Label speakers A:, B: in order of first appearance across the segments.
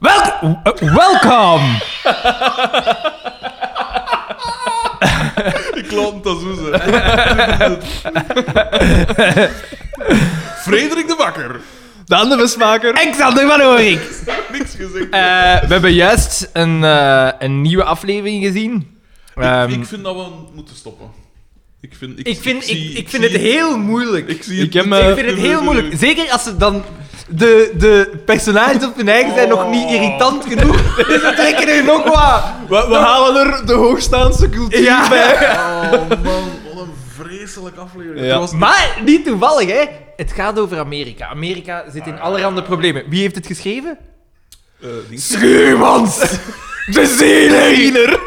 A: Ja,
B: eh,
A: w- welkom!
C: Ik laat het dat zo zijn. Frederik de Bakker.
A: De andere besmaker. Alexander van Oorik.
C: Niks gezegd.
A: Eh, we hebben juist een, eh, een nieuwe aflevering gezien. Ehm,
C: ik, ik vind dat we moeten stoppen. Ik vind, ik,
B: Ik vind,
C: ik zie-
B: ik,
C: ik
B: ik vind
C: zie-
B: het heel moeilijk.
C: Ik, zie
A: ik
C: het,
A: heb,
C: niet.
A: eh,
B: Ik vind het heel moeilijk. Zeker als ze dan. De, de personages op hun eigen zijn nog niet irritant genoeg. Dus ze trekken er nog wat.
A: we, we halen er de hoogstaanse cultuur
B: Ja.
A: bij.
C: Oh man, wat een vreselijke aflevering.
A: Ja.
C: Het was-
B: Maar niet toevallig, hè? Het gaat over Amerika. Amerika zit in allerhande problemen. Wie heeft het geschreven?
C: eh, ding.
A: Schuurmans! De ziener!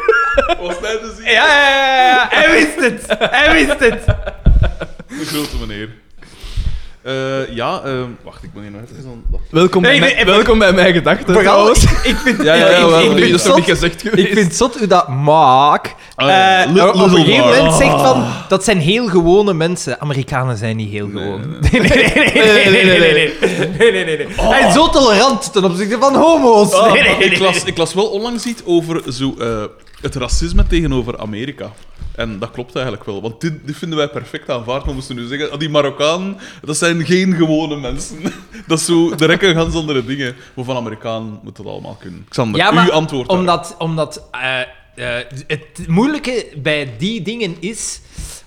C: was hij te zien?
B: Ja, ja, ja, ja. Hij wist het. Hij wist het.
C: De grote meneer. Eh, ja, ehm, wacht, ik moet hier nog even zo'n...
A: Welkom,
B: Nee,
A: bij,
B: nee,
A: mij-
B: nee.
A: welkom bij mijn gedachten.
B: Vooral, ik,
A: trouwens.
B: ik vind
C: Ja, ja,
B: ik-
C: ja,
B: ik-
C: wel,
B: ik
C: wel,
B: vind
C: dat
B: het
C: is
A: nog niet
B: zot-
A: gezegd geweest.
B: Ik vind het zot hoe dat Mark
C: Ah, ja,
B: eh,
C: Little
B: op een gegeven
C: Mark.
B: moment zegt van... Dat zijn heel gewone mensen. Amerikanen zijn niet heel
C: Nee,
B: gewoon. Oh. Nee, Oh. nee, nee. nee, nee, nee, nee, nee, nee, nee, nee. Hij is zo tolerant ten opzichte van homo's.
C: Ah,
B: Nee, nee, nee,
C: ik, las, ik las wel onlangs iets over zo, eh, het racisme tegenover Amerika. En dat klopt eigenlijk wel, want dit, dit vinden wij perfect aanvaard. Maar moesten nu zeggen, ah, die Marokkanen, dat zijn geen gewone mensen. dat is zo, de rekken gaan andere dingen. Maar van Amerikaan moet dat allemaal kunnen. Xander,
B: Ja, maar
C: uw antwoord daarop.
B: Omdat, omdat eh, eh, het moeilijke bij die dingen is...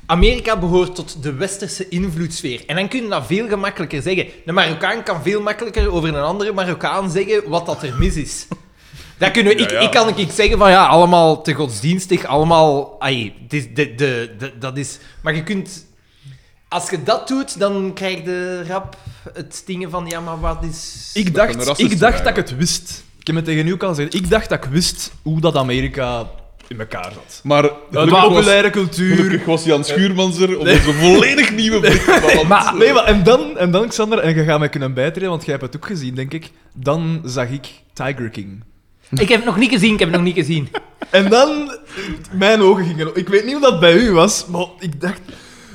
B: Amerika behoort tot de westerse invloedssfeer. En dan kun je dat veel gemakkelijker zeggen. De Marokkaan kan veel makkelijker over een andere Marokkaan zeggen wat dat er mis is. Dat kunnen we,
C: Ja,
B: ik,
C: ja.
B: ik kan ik zeggen van ja, allemaal te godsdienstig, allemaal... Ai, het is, de, de, de- dat is... Maar je kunt... Als je dat doet, dan krijg je rap het dingen van ja, maar wat is...
A: Ik
C: Dat kan een
A: dacht,
C: racist
A: ik dacht
C: zijn,
A: dat ik het wist. Ik heb het tegen u al gezegd. Ik dacht dat ik wist hoe dat Amerika in elkaar zat.
C: Maar
A: De
C: gelukkig was,
A: populaire cultuur.
C: gelukkig was Jan Schuurmans er om ons een volledig nieuwe blik te balansen.
A: Maar, Ah, nee, maar, en, dan, en dan, Xander, en je gaat mij kunnen bijtreden, want jij hebt het ook gezien, denk ik. Dan zag ik Tiger King.
B: Ik heb het nog niet gezien, ik heb het nog niet gezien.
A: En dan, mijn ogen gingen... Ik weet niet hoe dat bij u was, maar ik dacht...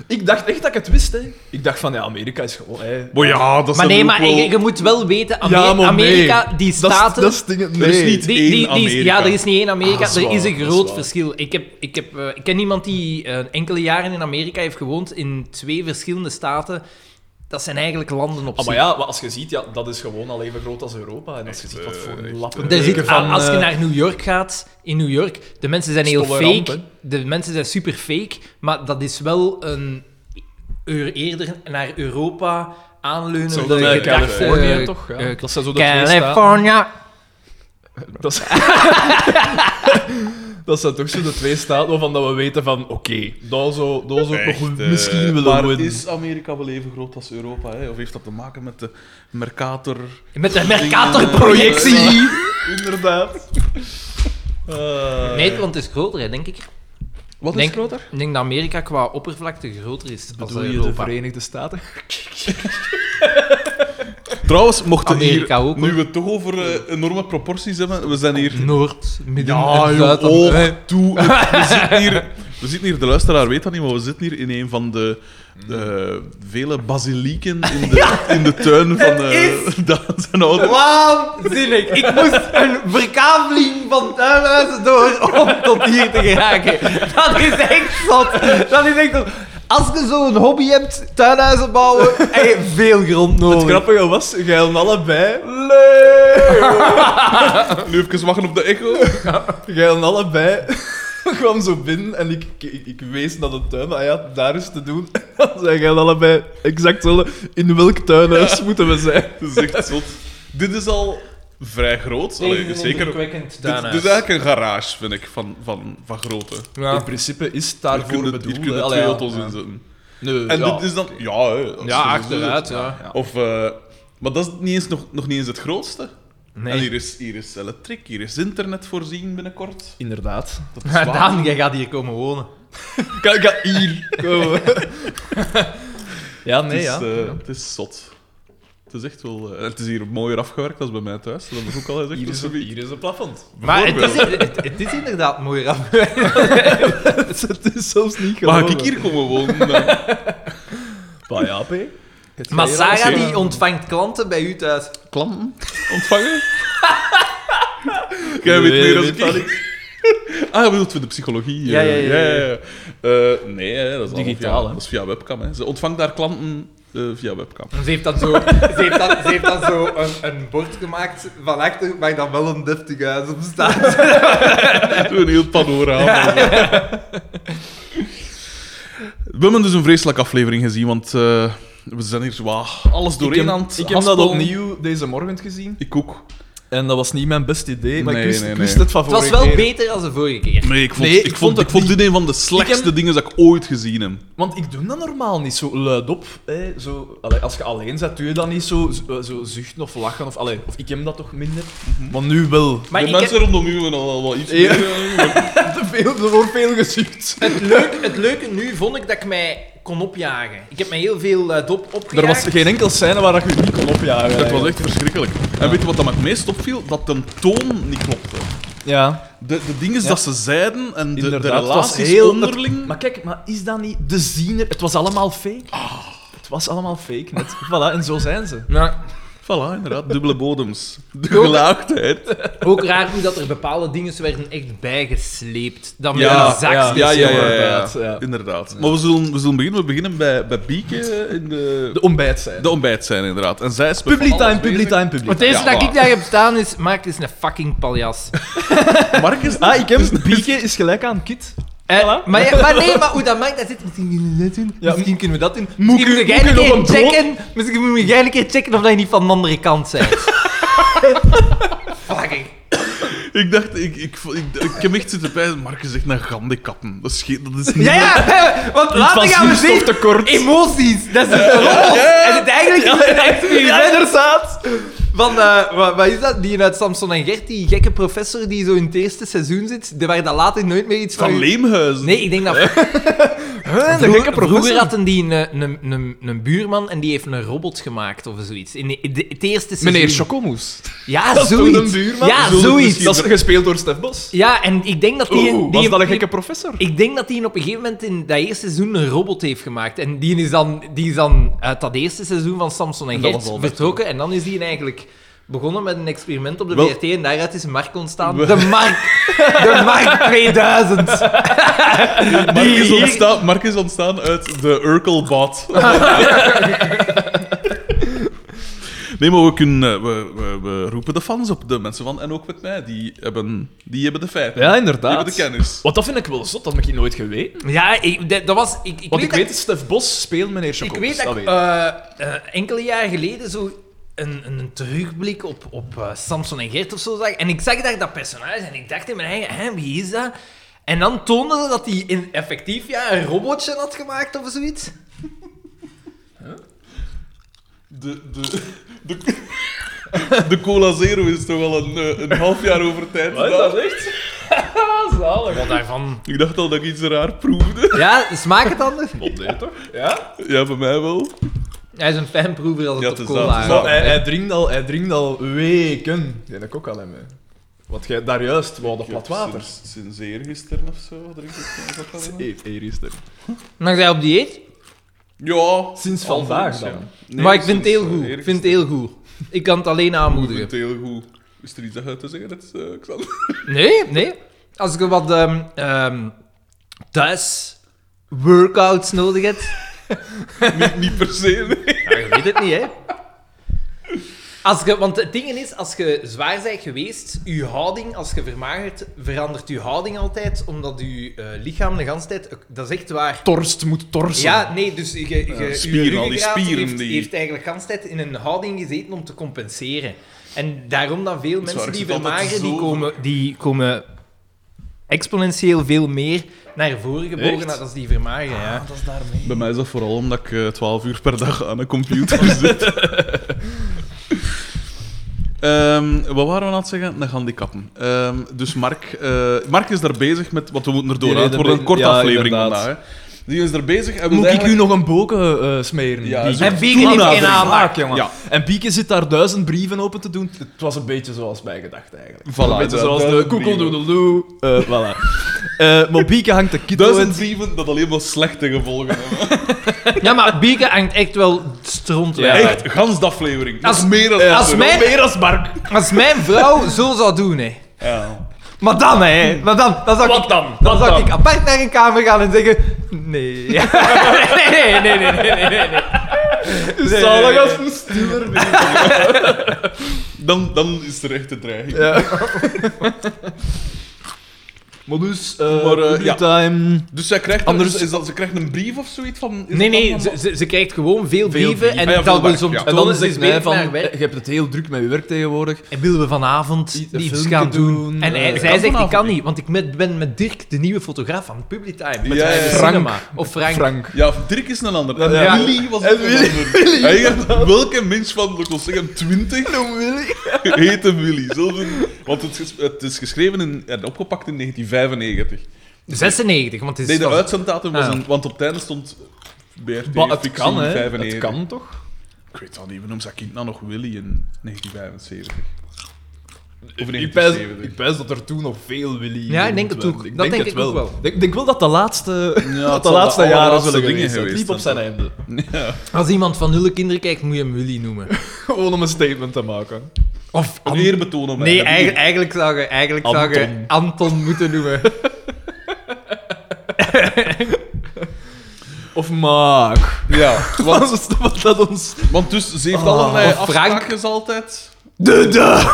A: Ik dacht echt dat ik het wist, hè. Ik dacht van, ja, Amerika is gewoon... Hè.
C: Maar ja, dat
B: Maar
C: zijn
B: nee,
C: ook
B: maar
C: wel-
B: je, je moet wel weten, Amer-
A: Ja, maar nee.
B: Amerika, die
A: Dat is-
B: staten...
A: Dat is dingen...
C: Er is
A: nee.
C: niet- één Amerika.
B: ja, er is niet één Amerika.
C: Ah, dat is
B: er is
C: waar,
B: een
C: dat is
B: groot
C: waar.
B: verschil. Ik, heb, ik, heb, eh, ik ken iemand die eh, enkele jaren in Amerika heeft gewoond in twee verschillende staten. Dat zijn eigenlijk landen op
A: Ah, maar
B: zich.
A: ja, maar als je ziet, ja, dat is gewoon al even groot als Europa. En als je ziet wat voor
C: eh,
A: lappen...
B: Er zit, ah,
A: van,
B: als je
A: eh,
B: naar New York gaat, in New York, de mensen zijn heel
A: Stolle
B: fake.
A: ramp,
B: de mensen zijn super fake. Maar dat is wel een eer- eerder naar Europa aanleunen.
C: Hetzelfde met
A: Californië, toch? Ja. dat zijn zo de twee staten.
B: eh, California.
A: Dat, is- dat zijn toch zo de twee staten waarvan dat we weten van... Oké, daar zou daar zou ik
C: Echt,
A: nog
C: eh,
A: misschien
C: maar
A: willen winnen.
C: Is Amerika wel even groot als Europa? Hè? Of heeft dat te maken met de Mercator?
B: Met de Mercator-projectie.
A: Projectie! Inderdaad. Eh,
B: Nederland is groter, hè, denk ik.
C: Wat
B: Denk-
C: is groter?
B: Ik denk dat Amerika qua oppervlakte groter is dan
A: Bedoel je de
B: Europa.
A: Verenigde Staten?
C: Trouwens, mochten
B: Amerika
C: hier,
B: ook,
C: nu
B: hoor.
C: we het toch over eh, enorme proporties hebben, we zijn hier...
B: Noord, Midden
C: Ja,
B: en
C: joh,
B: Zuid.
C: oog toe. We zitten, hier, we zitten hier, de luisteraar weet dat niet, maar we zitten hier in een van de eh, vele basilieken in de, in de tuin van eh, dat zijn ouders.
B: Waanzinnig! Ik moest een verkaveling van tuinhuizen door om tot hier te geraken. Dat is echt zot. Dat is echt zot. Als je zo'n hobby hebt, tuinhuizen bouwen, heb je veel grond
A: Het
B: nodig.
A: grappige was, jij hadden allebei... Leeuw!
C: Nu even wachten op de echo.
A: Jij en allebei kwam zo binnen en ik, ik, ik wees naar de tuin, maar ja, daar is te doen. Dan zei jij allebei exact zo, in welk tuinhuis moeten we zijn?
C: Dat is echt zot. Dit is al vrij groot. Allee, zeker dus-
B: indrukwekkend
C: Dit, dit is eigenlijk een garage, vind ik, van, van, van grootte.
A: In principe is het
C: Daar kunnen, hier kunnen
A: hè.
C: twee
A: Allee, ja.
C: auto's in zitten.
A: Nee,
C: En
A: ja.
C: dit is dan... Ja, hè, als
A: Ja,
C: je zo
A: achteruit,
C: zit.
A: ja.
C: Of, eh, maar dat is niet eens, nog, nog niet eens het grootste.
B: Nee.
C: En hier is, hier is elektriek, hier is internet voorzien binnenkort.
A: Inderdaad.
C: Dat is
B: Maar
C: waar.
B: Daan, jij gaat hier komen wonen.
A: Kijk, ga hier komen. ja,
C: Het
A: nee,
C: is,
A: ja.
C: eh, het is zot. Het is echt wel... eh, het is hier mooier afgewerkt dan bij mij thuis. Dat heb ik ook al gezegd.
A: Hier is,
C: Dus-
A: een, hier is een plafond.
B: Maar het is, het, het is inderdaad mooi rap.
A: het is zelfs niet
C: Mag ik hier komen wonen? dan?
A: Maar ja, P.
B: Maar Sarah
C: ja.
B: die ontvangt klanten bij u thuis.
C: Klanten ontvangen? Jij weet
A: Nee,
C: meer dan
A: weet dat
C: ik. Ah, je bedoelt voor de psychologie?
B: Ja,
C: eh,
B: ja, ja, ja.
C: ja. Eh, nee, hè, dat is allemaal
D: Digitaal,
C: via-
D: hè.
C: Dat is via webcam. Hè. Ze ontvangt daar klanten eh, via webcam.
B: Ze heeft dan zo, ze heeft dan, ze heeft dan zo een, een bord gemaakt van achter, waar dan wel een deftig huis op staat.
C: Een heel panorama. We hebben dus een vreselijke aflevering gezien, want eh, we zijn hier zwaar alles doorheen
A: ik heb,
C: aan het
A: ik heb dat
C: haspelen.
A: opnieuw deze morgen gezien.
C: Ik ook.
A: En dat was niet mijn best idee, maar
C: Nee,
A: ik wist,
C: nee,
A: ik wist
C: nee.
A: het van
B: Het was
A: vorige
B: wel
A: keer.
B: beter dan de vorige keer.
C: Nee, ik vond,
A: Nee,
C: ik
A: ik
C: vond,
A: vond
C: ik
A: het
C: vond dit een van de slechtste dingen dat ik ooit gezien heb.
A: Want ik doe dat normaal niet zo luidop. Hè. Zo, allee, als je alleen zit, doe je dat niet zo, zo, zo zuchten of lachen. Of, allee, of ik heb dat toch minder.
B: Mhm.
A: Maar nu wel.
B: Maar
C: de
B: ik heb,
C: mensen rondom u hebben al al wel iets
A: Ja.
C: meer, eh, maar-
A: Te veel, er wordt veel gezucht.
B: het, leuk, het leuke nu vond ik dat ik mij kon opjagen. Ik heb mij heel veel eh, dop
A: Er was
B: opgejaagd.
A: geen enkel scène waar je niet kon opjagen.
C: Het was
A: eigenlijk.
C: echt verschrikkelijk. En weet je wat dat me het meest opviel? Dat de toon niet klopte.
A: Ja.
C: De, de dingen
A: Ja.
C: dat ze zeiden en de, de
A: Inderdaad, het was
C: relaties
A: heel-
C: onderling.
A: Maar kijk, maar is dat niet de ziener? Het was allemaal fake. Het was allemaal fake net. Voilà, en zo zijn ze.
B: Nou,
C: Voilà, inderdaad. Dubbele bodems. De gelaagdheid.
B: ook raar nu dat er bepaalde dingen werden echt bijgesleept. Dat met
C: Ja,
B: een zak.
A: ja.
C: Ja, ja, ja, ja,
A: Inderdaad, ja.
C: inderdaad. Maar we zullen, we zullen beginnen. We beginnen bij, bij Bieke in de,
A: De ontbijt zijn.
C: de ontbijt zijn, inderdaad. En zij is met
A: Public
C: van alles
A: time, public
C: bezig.
A: time, public
B: Het eerste
C: Ja,
B: dat
C: maar-
B: ik daar heb staan is, maak eens een fucking paljas.
C: Mark is
A: Ah, ik
B: Dus-
A: heb... Bieke is gelijk aan Kit.
B: Eh,
A: Voilà.
B: maar, ja, maar nee, maar hoe dat maakt, dat zit misschien kunnen we dat doen.
A: Ja,
B: misschien kunnen we dat doen.
A: moet
B: misschien
A: ik-
B: moet jij
A: moet
B: een
A: ik nog
B: keer
A: een brood?
B: checken. Misschien moet jij een keer checken of dat je niet van de andere kant bent. Fucking.
C: Ik dacht, ik, ik, ik, ik, heb echt zitten bij. Mark is echt naar gandekappen. Dat is, geen- dat is niet...
B: Ja, ja, hè, want later gaan we zien.
A: tekort.
B: Emoties, dat is het rol. En het eigenlijk is het eigenlijk
A: Ja, inderdaad.
B: van, eh, wat, wat is dat? Die uit Samson en Gert, die gekke professor die zo in het eerste seizoen zit, die- waar dat later nooit meer iets
C: Van
B: van...
C: Leemhuizen.
B: Nee, ik denk dat...
A: de gekke
B: Vroeger, vroeger
A: professor.
B: hadden die een, een, een, een buurman en die heeft een robot gemaakt of zoiets. In de, de- het eerste seizoen.
A: Meneer Chocomoes.
B: Ja,
A: Dat is toch
B: zoiets.
A: een buurman?
B: Ja,
C: Zullen we
B: zoiets.
C: misschien-
A: Dat is gespeeld door Stef Bos.
B: Ja, en ik denk dat die...
A: Oeh,
B: die
A: Oh, was dat een gekke professor?
B: Ik denk dat die op een gegeven moment in dat eerste seizoen een robot heeft gemaakt. En die is dan, die is dan uit dat eerste seizoen van Samson en
C: dat
B: Gert
C: was al
B: vertrokken. En dan is die eigenlijk begonnen met een experiment op de
C: Wel-
B: VRT. En daaruit is een markt ontstaan.
C: We-
B: De markt. De markt 2000.
C: Mark, is ontstaan, Mark is ontstaan uit de Urkelbot.
B: Ah,
C: Nee, maar we, kunnen, eh, we, we, we roepen de fans op, de mensen van en ook met mij. Die hebben, die hebben de feiten.
A: Ja,
C: Die hebben
A: inderdaad.
C: de kennis.
A: Wat dat vind ik wel zot, dat heb ik nooit geweten.
B: Ja, ik, dat, dat was... Ik, ik
A: Want
B: weet
A: ik
B: dat-
A: weet dat Stef Bos speelt meneer
B: Ik
A: Chocomoes.
B: weet dat ik eh, eh, enkele jaren geleden zo een, een terugblik op, op eh, Samson en Gert of zo zag. En ik zag daar dat personage en ik dacht in mijn eigen, hè, wie is dat? En dan toonde ze dat hij in, effectief ja, een robotje had gemaakt of zoiets.
C: De, de, de, de Cola Zero is toch wel een, eh, een half jaar over tijd.
A: Wat,
C: gedaan.
A: dat is echt? Zalig.
B: Wat daarvan?
C: Ik dacht al dat ik iets raar proefde.
B: Ja, smaakt het anders?
A: Wat deed toch? Ja?
C: Ja, bij mij wel.
B: Hij is een fanproever als het
C: Ja,
B: op
C: het is
B: cola
C: dat, het is dat.
A: Maar hij,
B: aankomt.
A: hij, drinkt al, hij drinkt al weken. Ja, dat ook al hem. hè. Want jij daar juist wou dat plat water.
C: Sinds, sinds eergisteren of zo drink ik dat ook al.
A: Eer, eer is er.
B: Maar jij op dieet?
C: Ja.
A: Sinds
C: al
A: vandaag
C: sinds,
A: dan.
C: ja. Nee,
B: maar ik vind het
C: sinds,
B: heel
C: eh,
B: goed. Ik
C: eergisteren.
B: vind het heel goed. Ik kan het alleen
C: Ik
B: aanmoedigen.
C: vind het heel goed. Is er iets dat je te zeggen hebt, eh, Xander?
B: Nee, nee. Als ik wat ehm, ehm, thuis workouts nodig heb,
C: niet, niet per se, nee.
B: ja, je weet het niet, hè. Als je, want het ding is, als je zwaar bent geweest, je houding, als je vermagert, verandert je houding altijd, omdat je eh, lichaam de ganse tijd... Dat is echt waar.
A: Torst moet torsen.
B: Ja, nee, dus je, je, je
C: spieren, al die
B: ruggengraat
C: spieren
B: heeft,
C: die-
B: heeft eigenlijk de ganse tijd in een houding gezeten om te compenseren. En daarom dat veel
C: is
B: mensen
C: waar, ik
B: die
C: zit altijd
B: vermageren, die
C: zo-
B: komen, die komen exponentieel veel meer naar voren gebogen
A: Echt?
B: dan als die vermageren. Ja.
A: Dat is daarmee.
C: Bij mij is dat vooral omdat ik eh, 12 uur per dag aan een computer zit. Ehm, wat waren we aan het zeggen? Naar handikappen. Ehm, dus Mark, eh, Mark is daar bezig met... Want we moeten erdoor,
A: Die
C: hè. het wordt een
A: reden-
C: korte
A: ja,
C: aflevering
A: inderdaad.
C: vandaag. hè. Die is er bezig en wil
A: Moet ik u
C: eigenlijk-
A: nog een boken eh, smeren?
C: Ja,
A: Die-
C: zo.
B: En vegan heeft
C: Toenadering.
B: geen aanmaak.
A: Vaak, jongen.
C: Ja.
A: En Bieke zit daar duizend brieven open te doen. Het was een beetje zoals bij gedacht eigenlijk.
C: Voilà,
A: een beetje
C: du-
A: zoals de
C: duizend
A: koekeldoedeloe. Eh voilà. Eh maar Bieke hangt de kito in.
C: Duizend brieven dat alleen maar slechte gevolgen hebben.
B: ja, maar Bieke hangt echt wel stront
A: Ja.
B: weg.
C: Echt, gans de aflevering. Dat
B: Als-
C: is meer dan
B: als
C: dat.
B: mij-
A: Meer als Mark.
B: Als mijn vrouw zo zou doen, hè,
C: Ja.
B: Maar dan, hè. Maar dan, dan zou
D: Wat
B: ik,
D: dan?
B: dan
D: Wat
B: zou
D: dan?
B: ik apart naar een kamer gaan en zeggen... Nee. nee, nee, nee, nee, nee, nee, nee. nee,
A: Zalig
B: nee.
A: als een stiller. nee.
C: Dan, dan is er echt de dreiging.
A: Ja. maar dus, eh
C: Maar, eh,
A: Booby
C: ja.
A: Time...
C: Dus zij krijgt,
A: Anders-
C: is, is dat, ze krijgt een brief of zoiets Dus van... is
B: Nee,
C: dat
B: nee,
C: dan-
B: ze, ze, ze krijgt gewoon veel
A: Veel
B: brieven
A: brieven.
B: en
C: Ah ja, veel
B: dat wil
C: werk,
B: ze om
C: ja.
B: te
A: En
B: tonen,
A: dan dus
B: ze is dus
A: zegt hij
B: werk
A: van,
B: naar
A: je
B: werk.
A: hebt het heel druk met je werk tegenwoordig.
B: En eh, willen we vanavond
A: Iets-
B: iets,
A: een filmpje
B: gaan doen?
A: doen,
B: En hij,
A: eh,
B: zij
C: kan
B: zegt, ik
C: vanavond
B: kan
C: niet.
B: niet, want ik met- ben met Dirk, de nieuwe fotograaf van Publitime. Met
C: Ja,
B: ja,
C: ja, ja.
A: Frank.
B: cinema. Of Frank.
A: Frank.
C: Ja, Dirk is een ander. En
A: Ja.
C: Willy was
A: En
C: ook een
A: Willy-
C: ander. Hij heeft- welke mens van, ik wil zeggen, 20
A: Noem Willy.
C: heette Willy? Zelfs een- want het, ges- het is geschreven in- en opgepakt in 1995.
B: 96, want het is
C: Nee, de
B: van-
C: uitzenddatum was
B: Ah.
C: een... Want op het einde stond BRT
A: Maar het
C: Fictie
A: kan, hè.
C: 95.
A: Het kan toch?
C: Ik weet al niet, we noemen zijn kind nou nog Willy in 1975. Of in
A: Ik pijs,
C: 1970.
A: ik pijs dat er toen nog veel Willy...
B: Ja, ik denk
A: rond
B: het ook.
A: waren.
B: Dat denk
A: het
B: ik ook wel.
A: Ik denk, denk wel dat de laatste, dat de
C: zal de
A: laatste jaren
C: allerlaatste
A: zullen
C: dingen
A: geweest zijn. Het
C: geweest
A: liep op
C: zijn,
A: zijn einde.
B: Als iemand van nul kinderen kijkt, moet je hem Willy noemen.
A: Gewoon om een statement te maken.
B: Of
C: Een eerbetoon om
B: Nee,
C: mij.
B: eigenlijk, eigenlijk zou je eigenlijk Anton. Zou je
C: Anton.
B: Anton moeten noemen.
A: Of Maak.
C: Ja, want,
A: Wat is dat wat dat ons...
C: want dus ze heeft
A: Oh,
C: allerlei
B: of Frank.
C: afspraken altijd.
A: De, de.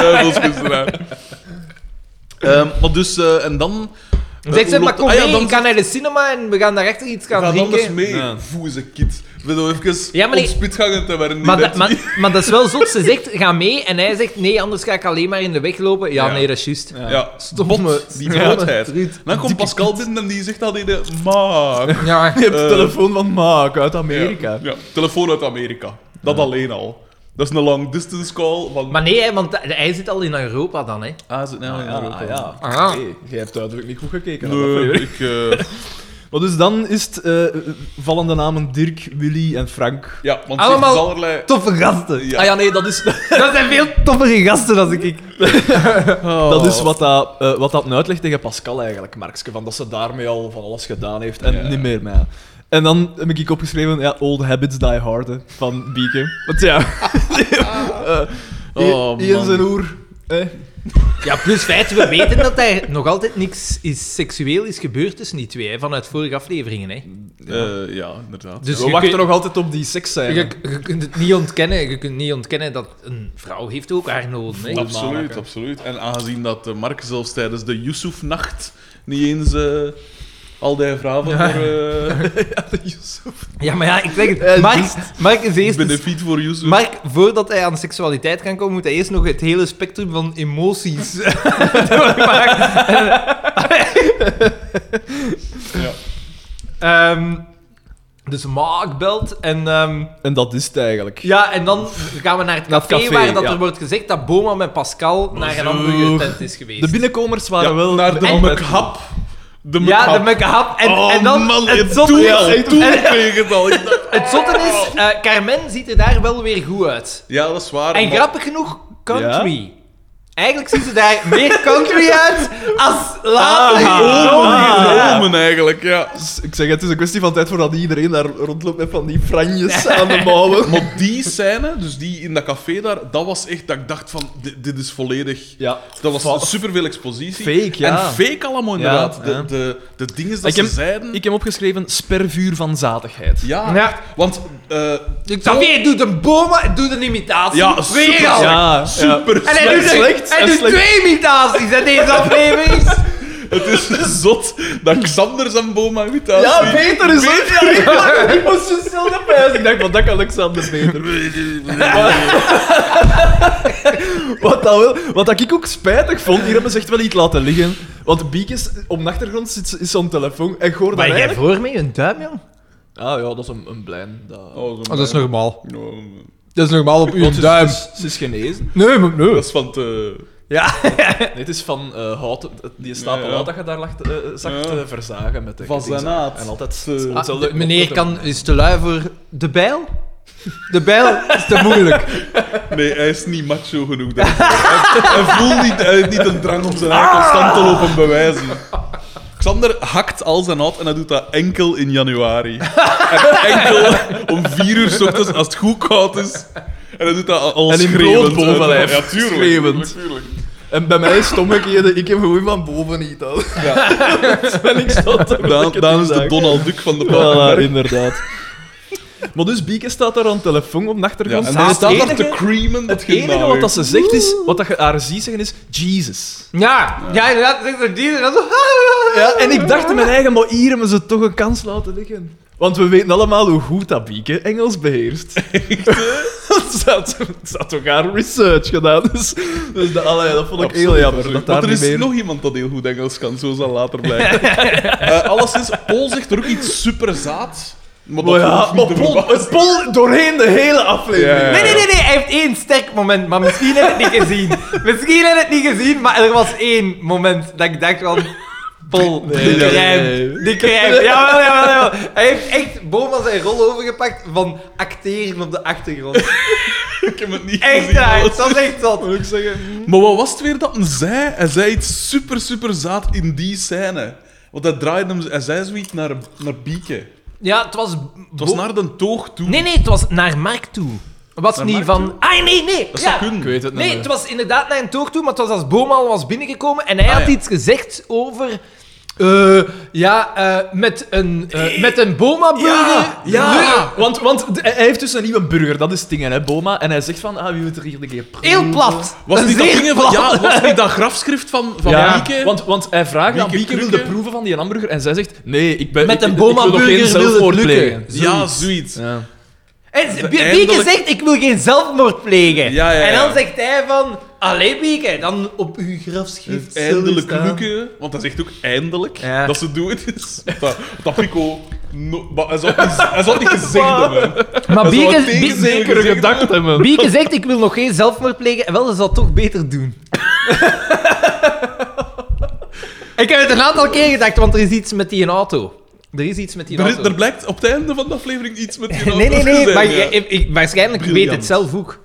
C: Duivelskunstenaar. Ehm maar dus, eh, en dan...
B: Zeg ze,
C: hoe
B: maar
C: loopt-
B: kom
C: ah ja,
B: mee,
C: dan-
B: ik ga naar de cinema en we gaan daar echt iets gaan
C: Ga anders
B: drinken.
C: mee,
A: Ja.
C: voe ze kid. We doen even
B: Ja, maar nee.
C: op spitgangen te werden.
B: Maar,
C: niet
B: dat-
C: net.
B: maar, maar dat is wel zot. Ze zegt, ga mee. En hij zegt, nee, anders ga ik alleen maar in de weg lopen. Ja,
C: Ja.
B: nee, dat is juist.
A: Ja.
C: Ja,
B: Stomme,
C: bot, die
B: stomme
C: grootheid.
B: truut.
C: Dan komt Pascal binnen en die zegt eh, dat hij de maak.
B: Ja.
A: Je hebt de
C: Eh.
A: telefoon van Maak uit Amerika.
C: Ja, ja, telefoon uit Amerika. Dat alleen al. Dat is een long distance call van...
B: Maar nee, hè, want hij zit al in Europa dan, hè.
C: Ah, zit nou in Europa.
B: Ah.
A: Oké, jij hebt duidelijk niet goed gekeken. naar dat
C: Nee,
A: project.
C: ik... eh,
A: Maar dus dan is het eh, eh, vallende namen Dirk, Willy en Frank.
C: ja, want ze heeft
B: Allemaal-
C: dus allerlei...
B: Toffe gasten.
C: Ja.
A: Ah ja, nee, dat is,
B: Dat zijn veel toppere gasten dan ik. ik.
C: Oh.
A: dat is wat, dat, eh, wat dat nu uitlegt tegen Pascal eigenlijk, Markske. Van dat ze daarmee al van alles gedaan heeft en
C: Ja.
A: niet meer mij. En dan heb ik opgeschreven, ja, Old Habits Die Hard, hè, van Bieke. Want ja... eh,
C: Oh,
A: Ian
C: man.
A: zijn oer. eh.
B: Ja, plus feit, we weten dat er nog altijd niks is seksueel is gebeurd tussen die twee, hè, vanuit vorige afleveringen, hè.
C: Eh, ja, inderdaad.
B: Dus
A: We
B: je
A: wachten
B: kun-
A: nog altijd op die seks zijn.
B: Je, je kunt het niet ontkennen. Je kunt niet ontkennen dat een vrouw heeft ook haar noden. Hè?
C: Absoluut,
A: maken.
C: absoluut. En aangezien dat eh, Mark zelfs tijdens de Yusuf-nacht niet eens eh, al die vragen voor eh
B: Ja, maar ja, ik zeg
A: Eh,
B: het. Mark, Mark is eerst...
C: benefiet voor Yusuf.
B: Mark, voordat hij aan seksualiteit kan komen, moet hij eerst nog het hele spectrum van emoties eh, doormaken.
C: Ja.
B: Ehm, dus Mark belt en... ehm,
A: En dat is het eigenlijk.
B: ja, en dan gaan we naar het
A: Naar
B: café,
A: het café,
B: waar dat
A: ja.
B: er wordt gezegd dat Boma met Pascal naar een
A: zo.
B: andere tent is geweest.
A: De binnenkomers waren
C: Ja,
A: wel...
C: naar de
A: altijd-
C: McHap. De
B: ja, de
C: McHap.
B: make-up. En,
C: Oh
B: en dan...
C: man,
B: het
C: het
B: zotte
C: doel,
B: is-
C: het doel
B: en-
C: tegen het al. Ik dacht-
B: Het zotte is, eh, Carmen ziet er daar wel weer goed uit.
C: Ja, dat is waar.
B: En
C: maar-
B: grappig genoeg, country. Eigenlijk ziet ze daar meer country uit als later.
A: Ah,
B: in
C: Oh,
B: Rome.
A: ah.
C: die
A: ja.
C: dromen eigenlijk, ja.
A: Dus Ik zeg, het is een kwestie van tijd voordat iedereen daar rondloopt met van die franjes aan de mouwen.
C: Maar die scène, dus die in dat café daar, dat was echt dat ik dacht van, dit, dit is volledig...
A: Ja.
C: Dat
A: Va-
C: was superveel expositie.
A: Fake, ja.
C: En fake allemaal, inderdaad.
A: ja.
C: De, de, de dingen dat
A: Ik
C: ze
A: heb-
C: zeiden...
A: Ik heb opgeschreven spervuur van zadigheid.
C: Ja,
B: Ja.
C: echt. want... eh,
B: Xavier doet een boma en doet een imitatie.
C: Ja,
B: weer
C: super
B: al.
A: Ja,
C: slecht. Super
B: En hij
C: slecht.
B: doet, een-
A: slecht,
B: hij
A: en
B: doet
A: slecht.
B: twee imitaties in deze aflevering.
C: Het is zot dat Xander zijn boom aan wit
A: Ja, beter is het. Ja, ik was zo stil de pijs. Ik dacht, van dat kan Alexander beter. Wat, dat wel, wat dat ik ook spijtig vond, hier hebben ze echt wel iets laten liggen. Want Biekes, op de achtergrond zit ze- is zo'n telefoon en ik hoor dat eigenlijk...
B: voor mij een duim, joh?
A: Ah ja, dat is een, een blijn. Dat...
B: dat is normaal.
C: Nou,
B: Dat is normaal op uw
A: Want ze-
B: duim.
A: Ze, ze is genezen.
B: Nee, maar nee.
C: Dat is van eh, te...
B: Ja.
A: Nee, het is van eh, hout, die stapel
C: Ja, ja.
A: hout dat je daar lag, eh, zag
C: Ja.
A: te verzagen met de
C: Van Eh,
A: kettingzaag.
C: zijn naad.
A: En altijd...
C: Te-
B: Ah,
A: hetzelfde-
B: de- meneer kan, is te lui voor de bijl. De bijl is te moeilijk.
C: Nee, hij is niet macho genoeg. daarvoor. hij, hij voelt niet, hij heeft niet een drang om zijn haar constant te lopen bewijzen. Xander hakt al zijn hout en hij doet dat enkel in januari. En enkel om vier uur 's ochtends als het goed koud is. En hij doet dat al
A: En in
C: schreeuwend.
A: bloot bovenlijf.
C: Ja, tuurlijk.
A: Schreeuwend.
C: tuurlijk, tuurlijk.
A: En En bij mij is het omgekeerde, ik heb gewoon van boven niet al.
C: Ja.
A: En ik zat er
C: Daan,
A: elke
C: Daan is de
A: dag.
C: Donald Duck van de
A: Voilà,
C: Paardenberg.
A: inderdaad. Maar dus Bieke staat daar aan de telefoon op de
C: Ja,
A: achtergrond.
C: en
A: en
C: dan
A: hij
B: het
C: staat
A: staat
C: daar
A: daar
C: te
A: te...
C: creamen.
A: Het enige wat dat ze zegt is, wat dat je haar ziet zeggen is, Jesus.
B: Ja, ja, inderdaad. dat is een dier, dat is-
A: Ja, en ik dacht in mijn eigen, maar hier hebben ze toch een kans laten liggen. Want we weten allemaal hoe goed dat Bieke Engels beheerst. Ze had, ze had toch haar research gedaan, dus, dus dat, allee, dat vond ik heel jammer. Dat daar
C: er is
A: niet meer...
C: nog iemand dat heel goed Engels kan, zo zal later blijken. Eh alles is, Paul zegt er ook iets superzaad. Maar dat
A: Maar Oh ja,
C: hoeft niet
A: maar
C: te
A: Paul,
C: verbazen.
A: Paul doorheen de hele aflevering.
C: Ja, ja, ja.
B: Nee, nee, nee, nee, hij heeft één sterk moment, maar misschien heb ik het niet gezien. Misschien heb ik het niet gezien, maar er was één moment dat ik dacht van... Pol,
A: Nee,
B: die
A: nee,
B: krijgt,
A: nee.
B: die krijgt. Jawel, jawel, jawel. Hij heeft echt Boma zijn rol overgepakt van acteren op de achtergrond.
C: Ik heb het niet
B: Echt
C: gezien,
B: waar,
C: alles.
B: dat is echt zot.
A: Moet ik zeggen... hm.
C: Maar wat was het weer dat hij zei? Hij zei iets super, super zaad in die scène. Want hij draaide hem, hij zei zoiets naar, naar Bieke.
B: Ja, het was...
C: Het was naar de toog toe.
B: Nee, nee, het was naar Mark toe. Het was
C: Naar
B: niet
C: Mark
B: van...
C: toe?
B: Ah, nee, nee.
C: Dat
B: ja.
C: zou kunnen.
A: Ik weet het niet
B: Nee,
A: meer.
B: het was inderdaad naar een toog toe, maar het was als Boma al was binnengekomen en hij
C: Ah,
B: had
C: ja.
B: iets gezegd over... eh, ja, eh, met een, eh, met een Boma-burger.
A: Ja, ja.
B: Nee.
A: Want, want d- hij heeft dus een nieuwe burger, dat is het ding, hè, Boma. En hij zegt van, ah, wie moet er hier een keer proeven?
B: Heel plat.
C: Was
B: Een
C: niet dat,
B: zeer
C: dingen van,
B: plat.
C: ja, was niet dat grafschrift van, van
A: ja,
C: Bieke?
A: Want, want hij vraagt aan
C: Wieke
A: Wieke, wil de
C: Krukke?
A: proeven van die hamburger? En zij zegt, nee, ik ben
B: Met
A: ik-
B: een
A: ik- ik wil nog
B: Boma-burger
A: geen
B: wil het
A: zelfmoord
B: lukken.
A: plegen.
C: Ja, zoiets.
A: Ja.
B: En ze- Bieke
C: Eindelijk-
B: zegt, ik wil geen zelfmoord plegen.
C: Ja, ja, ja.
B: En dan zegt hij van... Allee, Bieke, dan op uw grafschrift zullen
C: Eindelijk
B: staan."
C: lukken, want hij zegt ook eindelijk
B: Ja.
C: dat ze doen het is. Want Dat, want dat Pico. No, maar hij zal het niet, hij zal het niet gezegd hebben.
B: Maar
C: Dat is wel
B: Bieke,
C: een tegenzin.
B: Bieke-
A: Zekere
C: Zeker.
A: gedachten hebben.
B: Bieke zegt, ik wil nog geen zelfmoord plegen. En wel, ze zal het toch beter doen. ik heb het een aantal keer gedacht, want er is iets met die auto. Er is iets met die
C: Er,
B: auto.
C: is- er blijkt op het einde van de aflevering iets met die
B: nee, nee,
C: auto's te
B: nee.
C: zijn,
B: Maar
C: ja.
B: ik- ik- ik- waarschijnlijk
C: Briljant.
B: weet het zelf ook.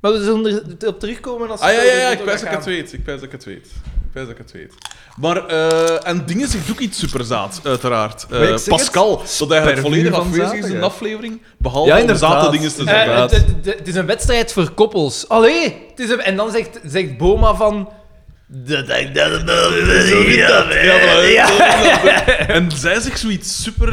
B: Maar we zullen er op terugkomen als
C: Ah ja, ja, ja, ik
B: gaan.
C: wijs dat ik het weet. Ik wijs dat ik het weet. Ik wijs dat ik het weet. Maar, eh, en dingen zegt ook iets superzaad, uiteraard. Eh,
A: Maar ik zeg
C: Pascal,
A: het,
C: dat eigenlijk
A: per
C: volledig
A: uur van
C: afwezig is in
A: zaterdag.
C: de aflevering, behalve
A: Ja,
C: om
A: inderdaad.
C: zate dingen te
B: Eh,
C: zeggen.
A: Inderdaad.
B: het- het- het- Het is een wedstrijd voor koppels. Allee! Het is een- en dan zegt, zegt Boma van... Dat ik dat
C: Ja, voilà. En zij zegt zoiets super...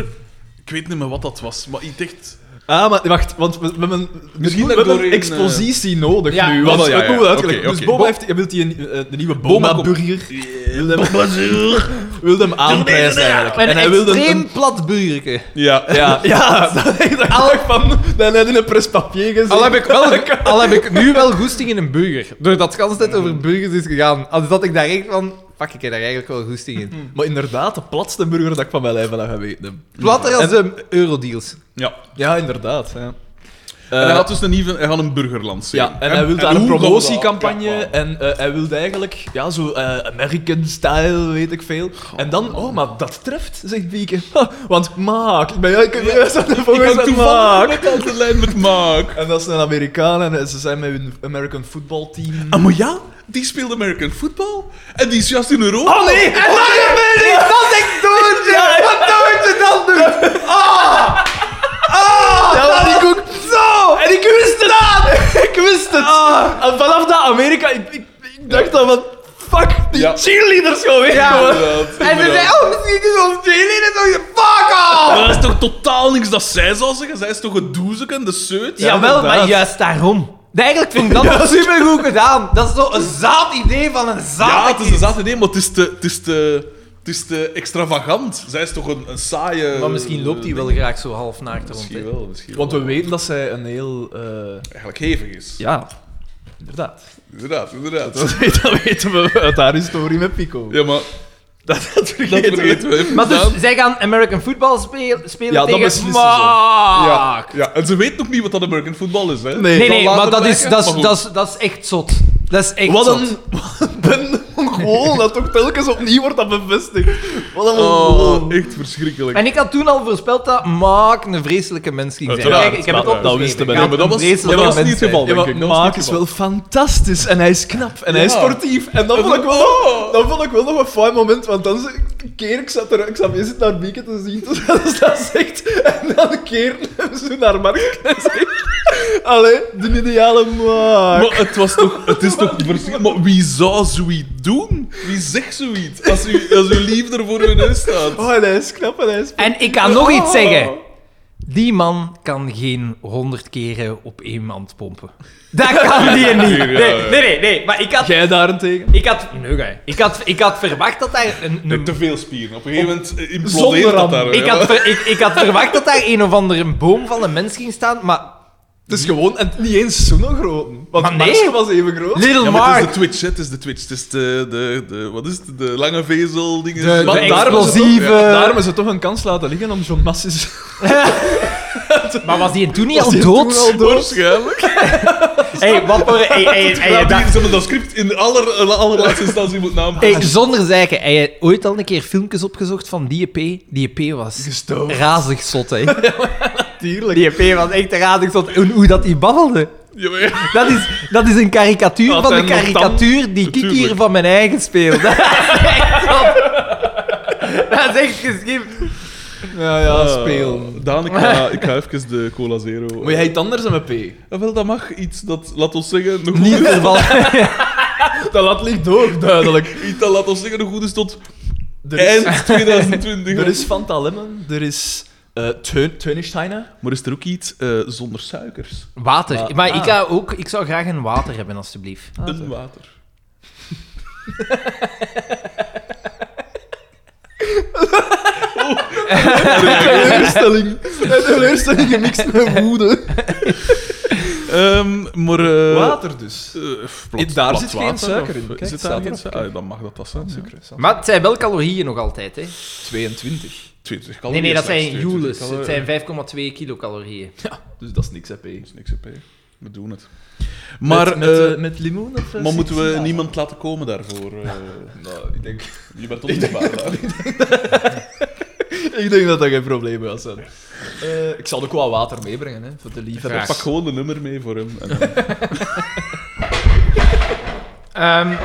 C: Ik weet niet meer wat dat was, maar ik dacht...
A: Ah, maar wacht, want we, we hebben,
C: Misschien
A: we
C: dat
A: hebben
C: door
A: een
C: in,
A: expositie nodig
B: Ja.
A: nu.
C: Ah,
A: Want
C: wel, ja,
A: dat
C: ja.
A: moeten we uitleggen.
C: Oké,
A: Dus
C: oké.
A: Boma
C: Bo-
A: heeft, hij wil die, eh, de nieuwe
C: Boma-
A: Boma-burger. Wil hem, wil hem aanprijzen eigenlijk.
B: Een
A: En hij wilde
B: extreem
A: een...
B: plat buurke.
C: Ja,
A: Ja, ja, dat ik dacht van, dat hij in een prespapier gezet.
B: Al heb, ik wel, al heb ik nu wel goesting in een burger. Doordat het tijd over burgers is gegaan. Als dat ik daar echt van... Fuck, ik heb daar eigenlijk wel goesting in.
A: Maar inderdaad, de platste burger dat ik van mijn lijf heb geweten. heb.
B: Platter als de eurodeals.
C: ja.
A: Ja, inderdaad. Ja.
C: En hij
A: Eh,
C: had dus een even, hij had een burgerland
A: ja, en hij wil daar een promotiecampagne en eh, hij wil eigenlijk ja, zo eh, American style, weet ik veel. en dan, oh, maar dat treft, zegt Bieke. Ha, Want maak, ik ben ja, ik, ik was aan de
C: Ik
A: volgende
C: had
A: zet,
C: toevallig
A: maak.
C: net al de lijn met Mark.
A: En dat is een Amerikaan en eh, ze zijn met hun American football team.
C: Ah, maar ja, die speelt American football. En die is juist in Europa.
A: nee!
B: En dat gebeurt niet! Dat ik doodje! Wat doodje dan doen?
A: Ja, want ik ook... Zo! En ik wist het! Ik wist het! En vanaf dat Amerika... Ik, ik, ik dacht dan van... Fuck, die
C: Ja.
A: cheerleaders gewoon weg,
B: Ja.
A: jongen.
C: Inderdaad,
B: En ze
C: inderdaad.
B: zei, oh, misschien kunnen we ons delen. En dan dacht ik, fuck off!
A: nou.
C: Maar dat is toch totaal niks dat zij zou zeggen? Zij is toch een doezeke, de seut?
A: Ja,
B: Jawel, maar
A: inderdaad.
B: juist daarom. Eigenlijk vind ik dat super supergoed gedaan. Dat is zo'n zaad idee van een zaad.
C: Ja, het is een zaad idee, maar het is te... Het is te het is te extravagant. Zij is toch een, een saaie...
B: Maar misschien loopt hij
C: hij
B: wel graag zo half naakt rond.
C: Misschien
B: hè.
C: wel, misschien
A: Want
C: wel.
A: we weten dat zij een heel... eh,
C: Eigenlijk hevig is.
A: ja, inderdaad.
C: Inderdaad, inderdaad.
A: Dat, weet- dat weten we uit haar historie met Pico.
C: Ja, maar
A: Dat, dat
C: dat
A: vergeten we.
C: vergeten we even
B: Maar dus,
C: gedaan.
B: zij gaan American Football speel- spelen
A: Ja, dat
B: tegen
A: beslissen ze.
C: Ja,
B: Maak.
C: ja, en ze weet nog niet wat dat American football is, hè?
A: Nee.
B: Nee, nee,
C: Zal
B: maar
C: later
B: dat is,
C: blijken,
B: dat,
C: maar
B: is,
C: goed.
B: dat, is, dat is echt zot. Dat is echt
A: Wat
B: zot.
A: een, wat een bende Mongool dat toch telkens opnieuw wordt dat bevestigd. Wat een Mongool.
C: Oh, echt verschrikkelijk.
B: En ik had toen al voorspeld dat Maak een vreselijke mens ging zijn.
C: Uiteraard,
B: Kijk, ik heb het
A: dat-
B: opgeschreven.
A: dat wisten we.
B: Ik
A: Ja,
B: had
C: maar dat
B: een
C: was- maar
B: vreselijke
C: dat was niet
B: mens
C: het geval.
B: zijn.
A: Ja,
C: denk
A: maar
C: ik. Dat was
A: Mark
C: niet
A: is wel fantastisch en hij is knap en hij is
C: Ja. Oh.
A: sportief. En dat vond, ik wel, nog- dat vond ik wel nog een fijn moment, want dan z- keer ik zat er, ik zat zit naar Bieke te zien, dus dat zegt, en dan keer hem zo naar Mark en zegt, Allee, de ideale maag.
C: Maar het, was toch, het is toch verschrikkelijk. Maar wie zou zoiets doen? Wie zegt zoiets? Als, u, als uw liefde voor hun neus staat.
A: Oh, en hij is knap en hij is...
B: En ik kan nog iets zeggen.
C: Oh.
B: Die man kan geen honderd keren op één mand pompen. Dat kan die niet. Nee, nee, nee. nee. Maar ik had...
A: Jij daarentegen?
B: Ik had... Nee, nee. Ik had, ik had verwacht dat daar een... een-
C: Met te veel spieren. Op een gegeven moment eh,
A: Zonder
C: implodeert
A: ram.
C: dat daar.
B: ik,
C: ja.
B: had ver- ik, ik had verwacht dat daar een of andere boom van een mens ging staan, maar...
A: Het is gewoon... En niet eens zo'n grote. Want
B: Maar nee.
A: Marsje was even groot.
B: Little
C: Ja, maar het
B: Mark...
C: is de Twitch, hè. het is de Twitch. Het is de, de, de, wat is het? De lange vezel dingen.
B: De-
A: Maar
B: de
A: daarom is het toch-
B: explosieve-
A: ja, daarom is het toch een kans laten liggen om John Massis...
B: Maar was die toen niet
A: Was
B: al
A: die
B: dood?
A: toen al dood?
C: Waarschijnlijk.
B: Hey, wat voor... Hey, hey, hey,
C: Ja,
B: dat-
C: die- ze hebben dat script in aller, allerlaatste instantie moeten aanpassen.
B: hey, zonder zeiken, heb je ooit al een keer filmpjes opgezocht van die EP? Die EP was
A: Gestoofd.
B: razig zot, hè.
A: Natuurlijk.
B: Die EP was echt razig zot. En hoe dat die babbelde.
C: Ja, maar ja.
B: Dat is, dat is een karikatuur
A: Had
B: van
A: hij
B: de
A: nog tanden?
B: karikatuur die ik hier
C: Tuurlijk.
B: van mijn eigen speel. Dat is echt zot. Dat is echt geschikt.
A: Ja, ja, spelen.
C: Eh, Daan, ik ga, ik ga even de Cola Zero.
A: Moet jij iets anders dan een
C: Eh, wel, dat mag iets dat, laat ons zeggen, nog
B: Niet
C: goed is.
B: ervan.
A: P? Dat laat ligt door, duidelijk.
C: Iets dat, laat ons zeggen, nog goed is tot
A: Er is,
C: eind 2020.
A: er is Fanta Lemon, er is eh Tön- Tönnisteiner.
C: Maar is er ook iets eh, zonder suikers?
B: Water. Maar
A: Ah.
B: ik, ga ook, ik zou graag een water hebben, alstublieft.
C: Een water.
A: Teleurstelling. Een teleurstelling gemixt met woede.
C: Ehm, maar... eh,
A: Water dus.
C: eh, f- plat-
A: daar
C: plat
A: zit geen
C: water,
A: suiker in.
C: of- eh,
A: Kijk,
C: zit
A: het
C: daar
A: staat
C: geen
A: erop,
C: suiker?
A: kijk.
C: Ah, dan mag dat dat zijn. Suiker. is dat.
B: Maar het zijn wel calorieën nog altijd, hè?
A: 22.
C: 22
B: Nee,
C: calorieën
B: nee, dat
C: slechts,
B: Oh, zijn
C: 22
B: joules. Het zijn
C: calorieën.
B: 5,2 kilocalorieën.
A: Dus dat is niks, hè, P.
C: Dat is niks, hè, P. We doen het. Maar,
A: met, met,
C: eh,
A: eh, met limoen of eh,
C: maar moeten we
A: citroen?
C: niemand laten komen daarvoor? eh?
A: Nou, ik denk,
C: je bent onmisbaar. hè?
A: ik denk dat dat geen probleem gaat zijn. Eh, ik zal ook wel water meebrengen, hè, voor de liefhebbers.
B: Graag.
C: Pak gewoon de nummer mee voor hem. En dan-
B: Ehm,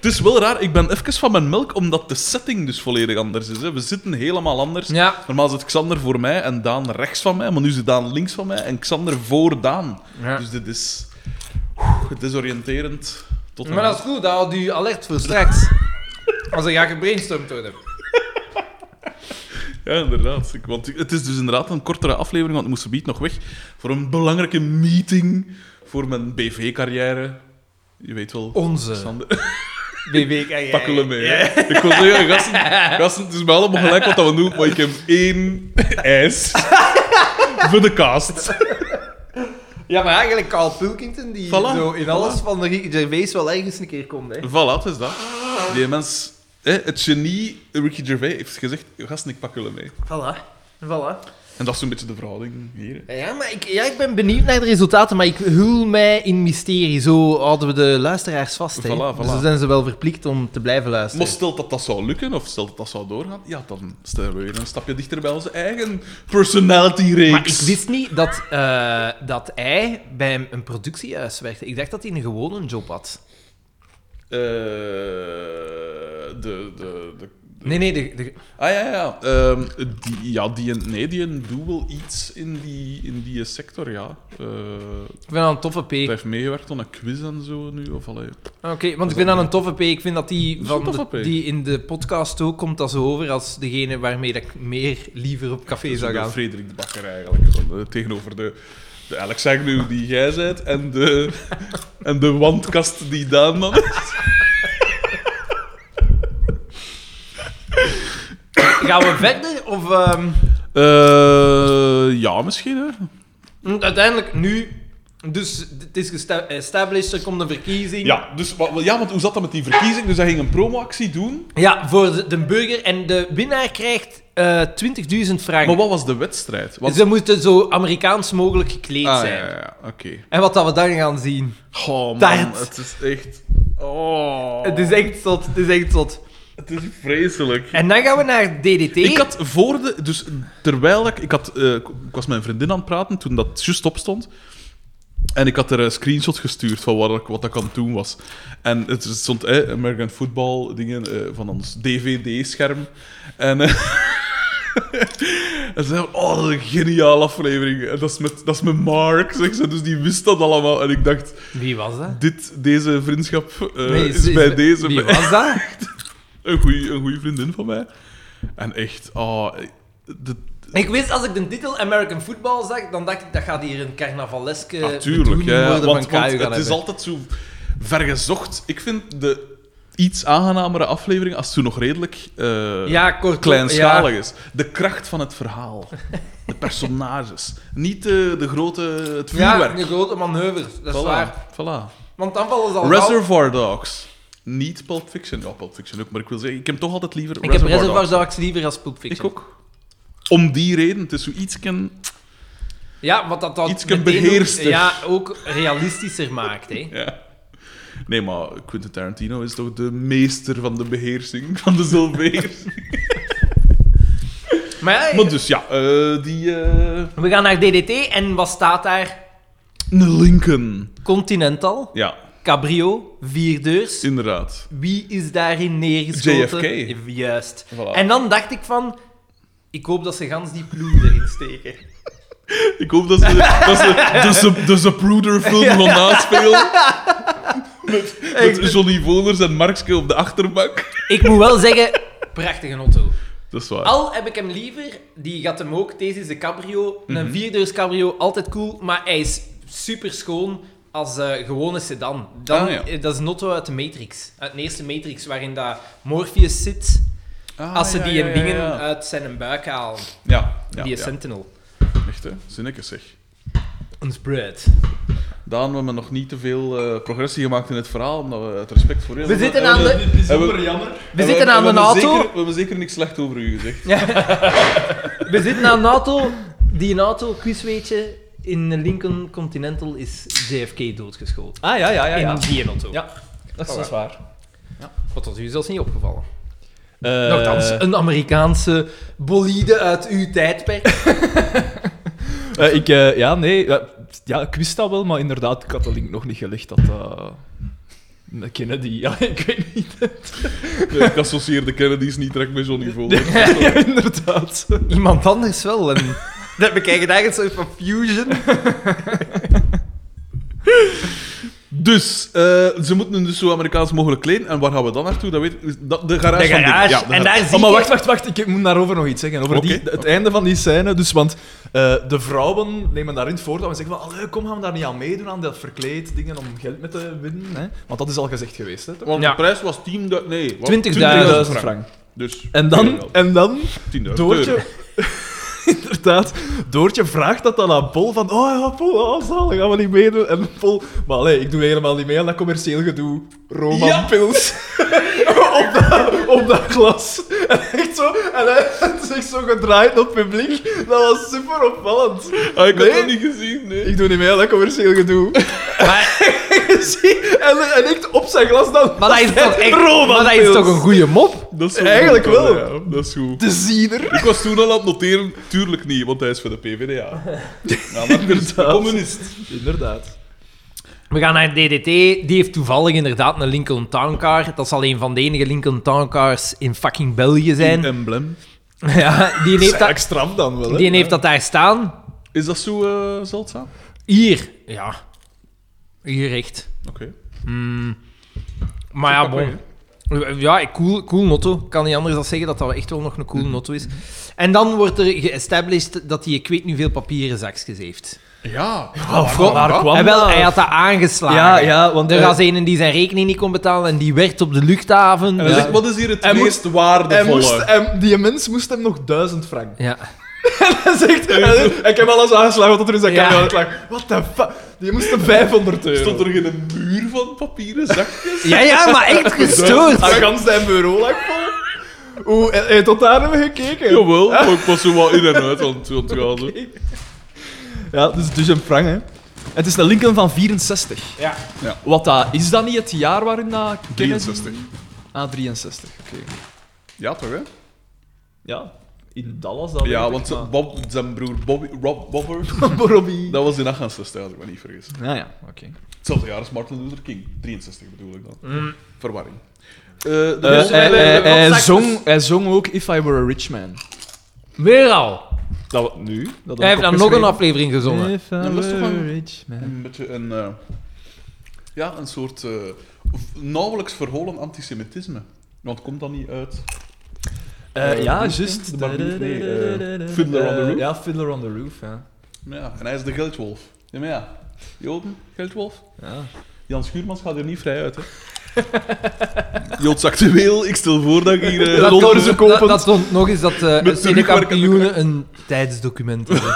C: Het is wel raar, ik ben even van mijn melk, omdat de setting dus volledig anders is. Hè. We zitten helemaal anders.
B: ja.
C: Normaal zit Xander voor mij en Daan rechts van mij, maar nu zit Daan links van mij en Xander voor Daan.
B: Ja.
C: Dus dit is oeh, desoriënterend. Tot en
B: Maar dat
C: met.
B: is goed, dat houdt u alert voor straks. Als er ga gebrainstormd worden.
C: Ja, inderdaad. Ik- Want het is dus inderdaad een kortere aflevering, want ik moest gebied nog weg voor een belangrijke meeting voor mijn BV-carrière. Je weet wel.
B: Onze
C: Xander.
B: BB kan jij.
C: pakken we mee. hè. Ik wil zeggen, gasten, gasten, het is me allemaal gelijk wat dat we doen, maar ik heb één ijs voor de cast.
B: Ja, maar eigenlijk Carl Pilkington, die
C: Voilà,
B: zo in alles van de Ricky Gervais wel ergens een keer komt. Hè.
C: Voilà, het is dat. Die mens, hè, het genie Ricky Gervais heeft gezegd, gasten, ik pak jullie mee.
B: Voilà. Voilà.
C: En dat is zo'n beetje de verhouding hier. hè.
B: Ja, maar ik, ja, ik ben benieuwd naar de resultaten, maar ik hul mij in mysterie. Zo houden we de luisteraars vast. Hè.
C: Voilà, voilà.
B: Dus dan zijn ze wel verplicht om te blijven
C: Maar
B: luisteren.
C: stel dat dat zou lukken, of stel dat dat zou doorgaan, ja, dan staan we weer een stapje dichter bij onze eigen personality-reeks.
B: Maar ik wist niet dat, eh, dat hij bij een productiehuis werkte. Ik dacht dat hij een gewone job had.
C: Eh, de, de, de,
B: Nee, nee, de, de-
C: Ah ja, ja. Ehm, die, ja die, nee, die doet wel iets in die, in die sector, ja. Eh
B: ik ben aan een toffe P. Ah,
C: hij heeft meegewerkt aan een quiz en zo nu. Of allee.
B: Oké, want ik vind dat een toffe P. Ik vind dat die,
C: is
B: van
C: een toffe
B: de-
C: P.
B: die in de podcast ook komt dat zo over als degene waarmee dat ik meer liever op café
C: Dus
B: zou
C: de
B: gaan.
C: Frederik de Bakker eigenlijk. Van, eh, tegenover de, de Alex Agnew die jij bent en de, en de wandkast die Daan dan is.
B: Gaan we verder? Of ehm,
C: Eh, ja, misschien hè.
B: uiteindelijk nu... Dus het is gesta- established, er komt een verkiezing.
C: Ja, dus, wa- ja, want hoe zat dat met die verkiezing? Dus hij ging een promoactie doen.
B: Ja, voor de, de burger. En de winnaar krijgt eh 20.000 vragen.
C: Maar wat was de wedstrijd? Want-
B: Ze moeten zo Amerikaans mogelijk gekleed
C: ah, ja,
B: zijn.
C: ja, ja, oké.
B: En wat dat we dan gaan zien.
C: Oh man,
B: Taart.
C: het is echt... Oh.
B: Het is echt zot, het is echt zot.
C: Het is vreselijk.
B: En dan gaan we naar DDT.
C: Ik had voor de... Dus terwijl ik... Ik, had, eh, ik was met mijn vriendin aan het praten toen dat juist opstond. En ik had er een screenshot gestuurd van wat, ik- wat ik aan het doen was. En het stond eh, American Football dingen eh, van ons DVD-scherm. En, eh, En ze zei, oh, dat is een geniale aflevering. En dat is met, dat is met Mark, zeg ze. Dus die wist dat allemaal. En ik dacht,
B: Wie was dat?
C: dit, deze vriendschap eh,
B: Nee,
C: is, bij deze...
B: Wie
C: bij-
B: was dat?
C: een goede een goeie vriendin van mij. En echt, oh... De,
B: Ik wist, als ik de titel American Football zag, dan dacht ik, dat gaat hier een carnavaleske
C: Natuurlijk,
B: bedoeling
C: ja, ja,
B: worden
C: Ah, want,
B: van
C: want
B: KU
C: het
B: gaan
C: is
B: hebben.
C: altijd zo vergezocht. Ik vind de iets aangenamere aflevering, als het toen nog redelijk eh,
B: Ja, kort.
C: kleinschalig
B: ja.
C: is, de kracht van het verhaal. De personages. Niet eh, de, de grote... Het
B: Ja,
C: vuurwerk.
B: de grote manoeuvres, dat is
C: Voilà,
B: waar. Oh,
C: voilà.
B: Want dan vallen ze al gauw-
C: Reservoir Dogs. Niet Pulp Fiction. Ja, Pulp Fiction ook, maar ik wil zeggen, ik heb toch altijd liever
B: Ik heb
C: Reservoir
B: Reservoir
C: Dogs.
B: Dogs liever als Pulp Fiction.
C: Ik ook. Om die reden. Het is zoiets...
B: Ja, wat dat dan
C: Ietske
B: meteen ook-
C: beheerster.
B: Ja, ook realistischer maakt, hè.
C: Ja. Nee, maar Quentin Tarantino is toch de meester van de beheersing van de zilveer.
B: Maar ja,
C: maar dus ja, eh, die. eh,
B: we gaan naar DDT en wat staat daar?
C: Een Lincoln.
B: Continental,
C: Ja,
B: cabrio, vierdeurs.
C: inderdaad.
B: Wie is daarin neergeschoten?
C: JFK.
B: Juist.
C: Voilà.
B: En dan dacht ik van... Ik hoop dat ze gans die ploeg erin steken.
C: Ik hoop dat ze, dat ze de, Sub- de Zapruder-film gaan naspelen. Met, met Johnny Voners en Markske op de achterbank.
B: Ik moet wel zeggen, prachtige auto.
C: Dat is waar.
B: Al heb ik hem liever, die gaat hem ook. Deze is de cabrio. Een
C: Mhm.
B: vierdeurs cabrio, altijd cool. Maar hij is super schoon als eh, gewone sedan. Dan,
C: Ah, ja.
B: eh, dat is een auto uit de Matrix. Uit de eerste Matrix, waarin dat Morpheus zit.
C: Ah,
B: als ze
C: ja,
B: die
C: ja,
B: een
C: ja,
B: dingen
C: Ja, ja.
B: uit zijn buik halen.
C: ja, ja,
B: die
C: ja.
B: Sentinel.
C: Echt, hè? Zinnetjes, zeg.
B: Een spread.
C: Daan, we hebben nog niet te veel eh, progressie gemaakt in het verhaal, omdat we het respect voor heel
B: We zitten aan de,
A: Dit is
C: Hebben-
A: super jammer.
B: we
C: En
B: zitten
C: en
B: aan
C: we
B: een
C: hebben
B: auto.
C: Zeker, we hebben zeker niks slecht over u gezegd.
B: We zitten aan een auto. Die een auto, quiz weet je. In de Lincoln Continental is JFK doodgeschoten.
A: Ah, ja, ja, ja.
B: In die auto.
A: Ja. Dat is, dat is waar.
B: Wat was u zelfs niet opgevallen?
A: Nou,
B: Nochtans,
A: Eh,
B: een Amerikaanse bolide uit uw tijdperk.
A: Eh, ik, eh, ja, nee. ja, ja, ik wist dat wel, maar inderdaad, ik had de link nog niet gelegd dat dat... een Kennedy, ja, ik weet niet.
C: Nee, ik associeer de Kennedys niet direct met Johnny Voller.
A: ja, inderdaad.
B: Iemand anders wel. En... We krijgen daar een soort van fusion.
C: Dus, eh, ze moeten dus zo Amerikaans mogelijk kleden. En waar gaan we dan naartoe? Dat weet ik. Dat, de garage.
B: De
C: van
B: garage.
C: Dick.
B: en daar zie
A: Oh, maar
B: je-
A: wacht, wacht, wacht. Ik moet daarover nog iets zeggen. Over die,
C: Oké,
A: het einde van die scène. Dus, want eh, de vrouwen nemen daarin het voordeel en zeggen van... "Allee, Kom, gaan we daar niet aan meedoen, aan dat verkleed dingen om geld mee te winnen. Hè? Want dat is al gezegd geweest. Hè, toch?
C: Want
B: Ja.
C: de prijs was 10 du- Nee, wat?
B: 20.000
A: 20.000 frank.
C: Dus,
A: En dan, en dan
C: 10.000 euro.
A: Doortje... Inderdaad, Doortje vraagt dat dan aan Paul van oh ja, Paul, oh, zalig, gaan we niet meedoen. En Paul, maar allee, ik doe helemaal niet mee aan dat commercieel gedoe.
C: Ja.
A: Romanpils. op, dat, op dat glas. En echt zo, en hij had zich zo gedraaid op het publiek. Dat was super opvallend.
C: Ah, ik
A: Nee.
C: had dat niet gezien. Nee.
A: Ik doe niet mee aan dat commercieel gedoe.
B: Maar,
A: Zie, en, en echt op zijn glas dan
B: maar dat is toch echt...
A: Roman
B: Maar dat is
A: Pils.
B: toch een goede mop?
C: Dat is zo
A: Eigenlijk
C: goed,
A: wel.
C: ja. dat is goed.
A: de ziener.
C: Ik was toen al aan het noteren. Tuurlijk niet, want hij is voor de PvdA. Ja, maar
A: Inderdaad.
C: Dus communist.
A: Inderdaad.
B: We gaan naar DDT. Die heeft toevallig inderdaad een Lincoln Town Car. Dat zal een van de enige Lincoln Town Cars in fucking België zijn.
C: Emblem.
B: Ja, die heeft
A: Is
B: dat,
A: stram dan wel, hè?
B: die heeft dat daar staan.
C: Is dat zo eh, zeldzaam?
B: Hier. Ja. Hier echt.
C: Oké.
B: Maar ja,
C: Pak mee,
B: bon. Ja, cool, cool notto. Ik kan niet anders dan zeggen dat dat echt wel nog een cool notto is. En dan wordt er geestablished dat hij ik weet niet veel papieren zakjes heeft.
C: hè. Ja.
A: Ah, waar, waar kwam
B: En wel,
A: dat?
B: hij had dat aangeslagen.
A: Ja, ja, want...
B: Er
A: eh,
B: was een die zijn rekening niet kon betalen en die werd op de luchthaven.
C: En
B: dus-
C: dan zeg ik, wat is hier het
A: Hij moest-
C: meest
A: Hij
C: waardevolle?
A: moest, hem- die mens moest hem nog duizend frank.
B: ja.
A: Hij zegt, hij zegt, ik heb alles aangeslagen wat er in zijn
B: Ja.
A: ja. kamer lag. What the fuck? Die moest hem 500 euro.
C: Stond er geen muur van papieren zakjes?
B: ja, ja, maar echt
A: Aan
B: gestoord.
A: gans zijn bureau lag vol. Oeh, hij, hij tot daar hebben we gekeken.
C: Jawel, maar ik was zo wat in en uit aan het aan het gaan. zo.
A: Ja, dus dus een frank, hè. Het is de Lincoln van 64.
B: Ja.
A: Wat dat, is dat niet het jaar waarin dat... Kennedy-
C: 63.
A: Ah, 63, oké.
C: Ja, toch, hè?
A: Ja, in Dallas dan.
C: Ja, want ze- Bob, zijn broer Bobby, Rob Bobber,
A: Robbie.
C: dat was in 68, als ik me niet vergis.
A: Ja, Ah, ja, oké.
C: Eh, Hetzelfde jaar als Martin Luther King. 63 bedoel ik dan. Verwarring. Eh, de
A: Eh,
C: mensen
A: hij-
C: bij de-
A: hij-
C: wat
A: hij
C: zakjes-
A: zong- hij zong ook If I Were a Rich Man.
B: Weer al.
A: Dat
C: Nou,
A: we- nu? Dat
B: Hij heeft dan nog een aflevering gezongen.
C: Ja, maar dat is toch een-
A: rich man.
C: Een beetje een, eh, ja, een soort eh, v- nauwelijks verholen antisemitisme. Want komt dat niet uit?
A: Eh, ja,
C: Eh,
A: juist.
C: de Barbier, nee, eh, Fiddler on the Roof.
A: Eh, Ja, Fiddler on the Roof, ja.
C: Maar Ja, en hij is de geldwolf. Ja, maar ja. Joden, geldwolf.
A: ja.
C: Jan Schuurmans gaat er niet vrij uit, hè. Joods actueel, ik stel voor dat ik hier eh,
A: Dat
C: rond-
A: kan ze kopen.
B: dat, dat stond nog eens dat eh
C: Met
B: cinekampioenen een tijdsdocument hebben.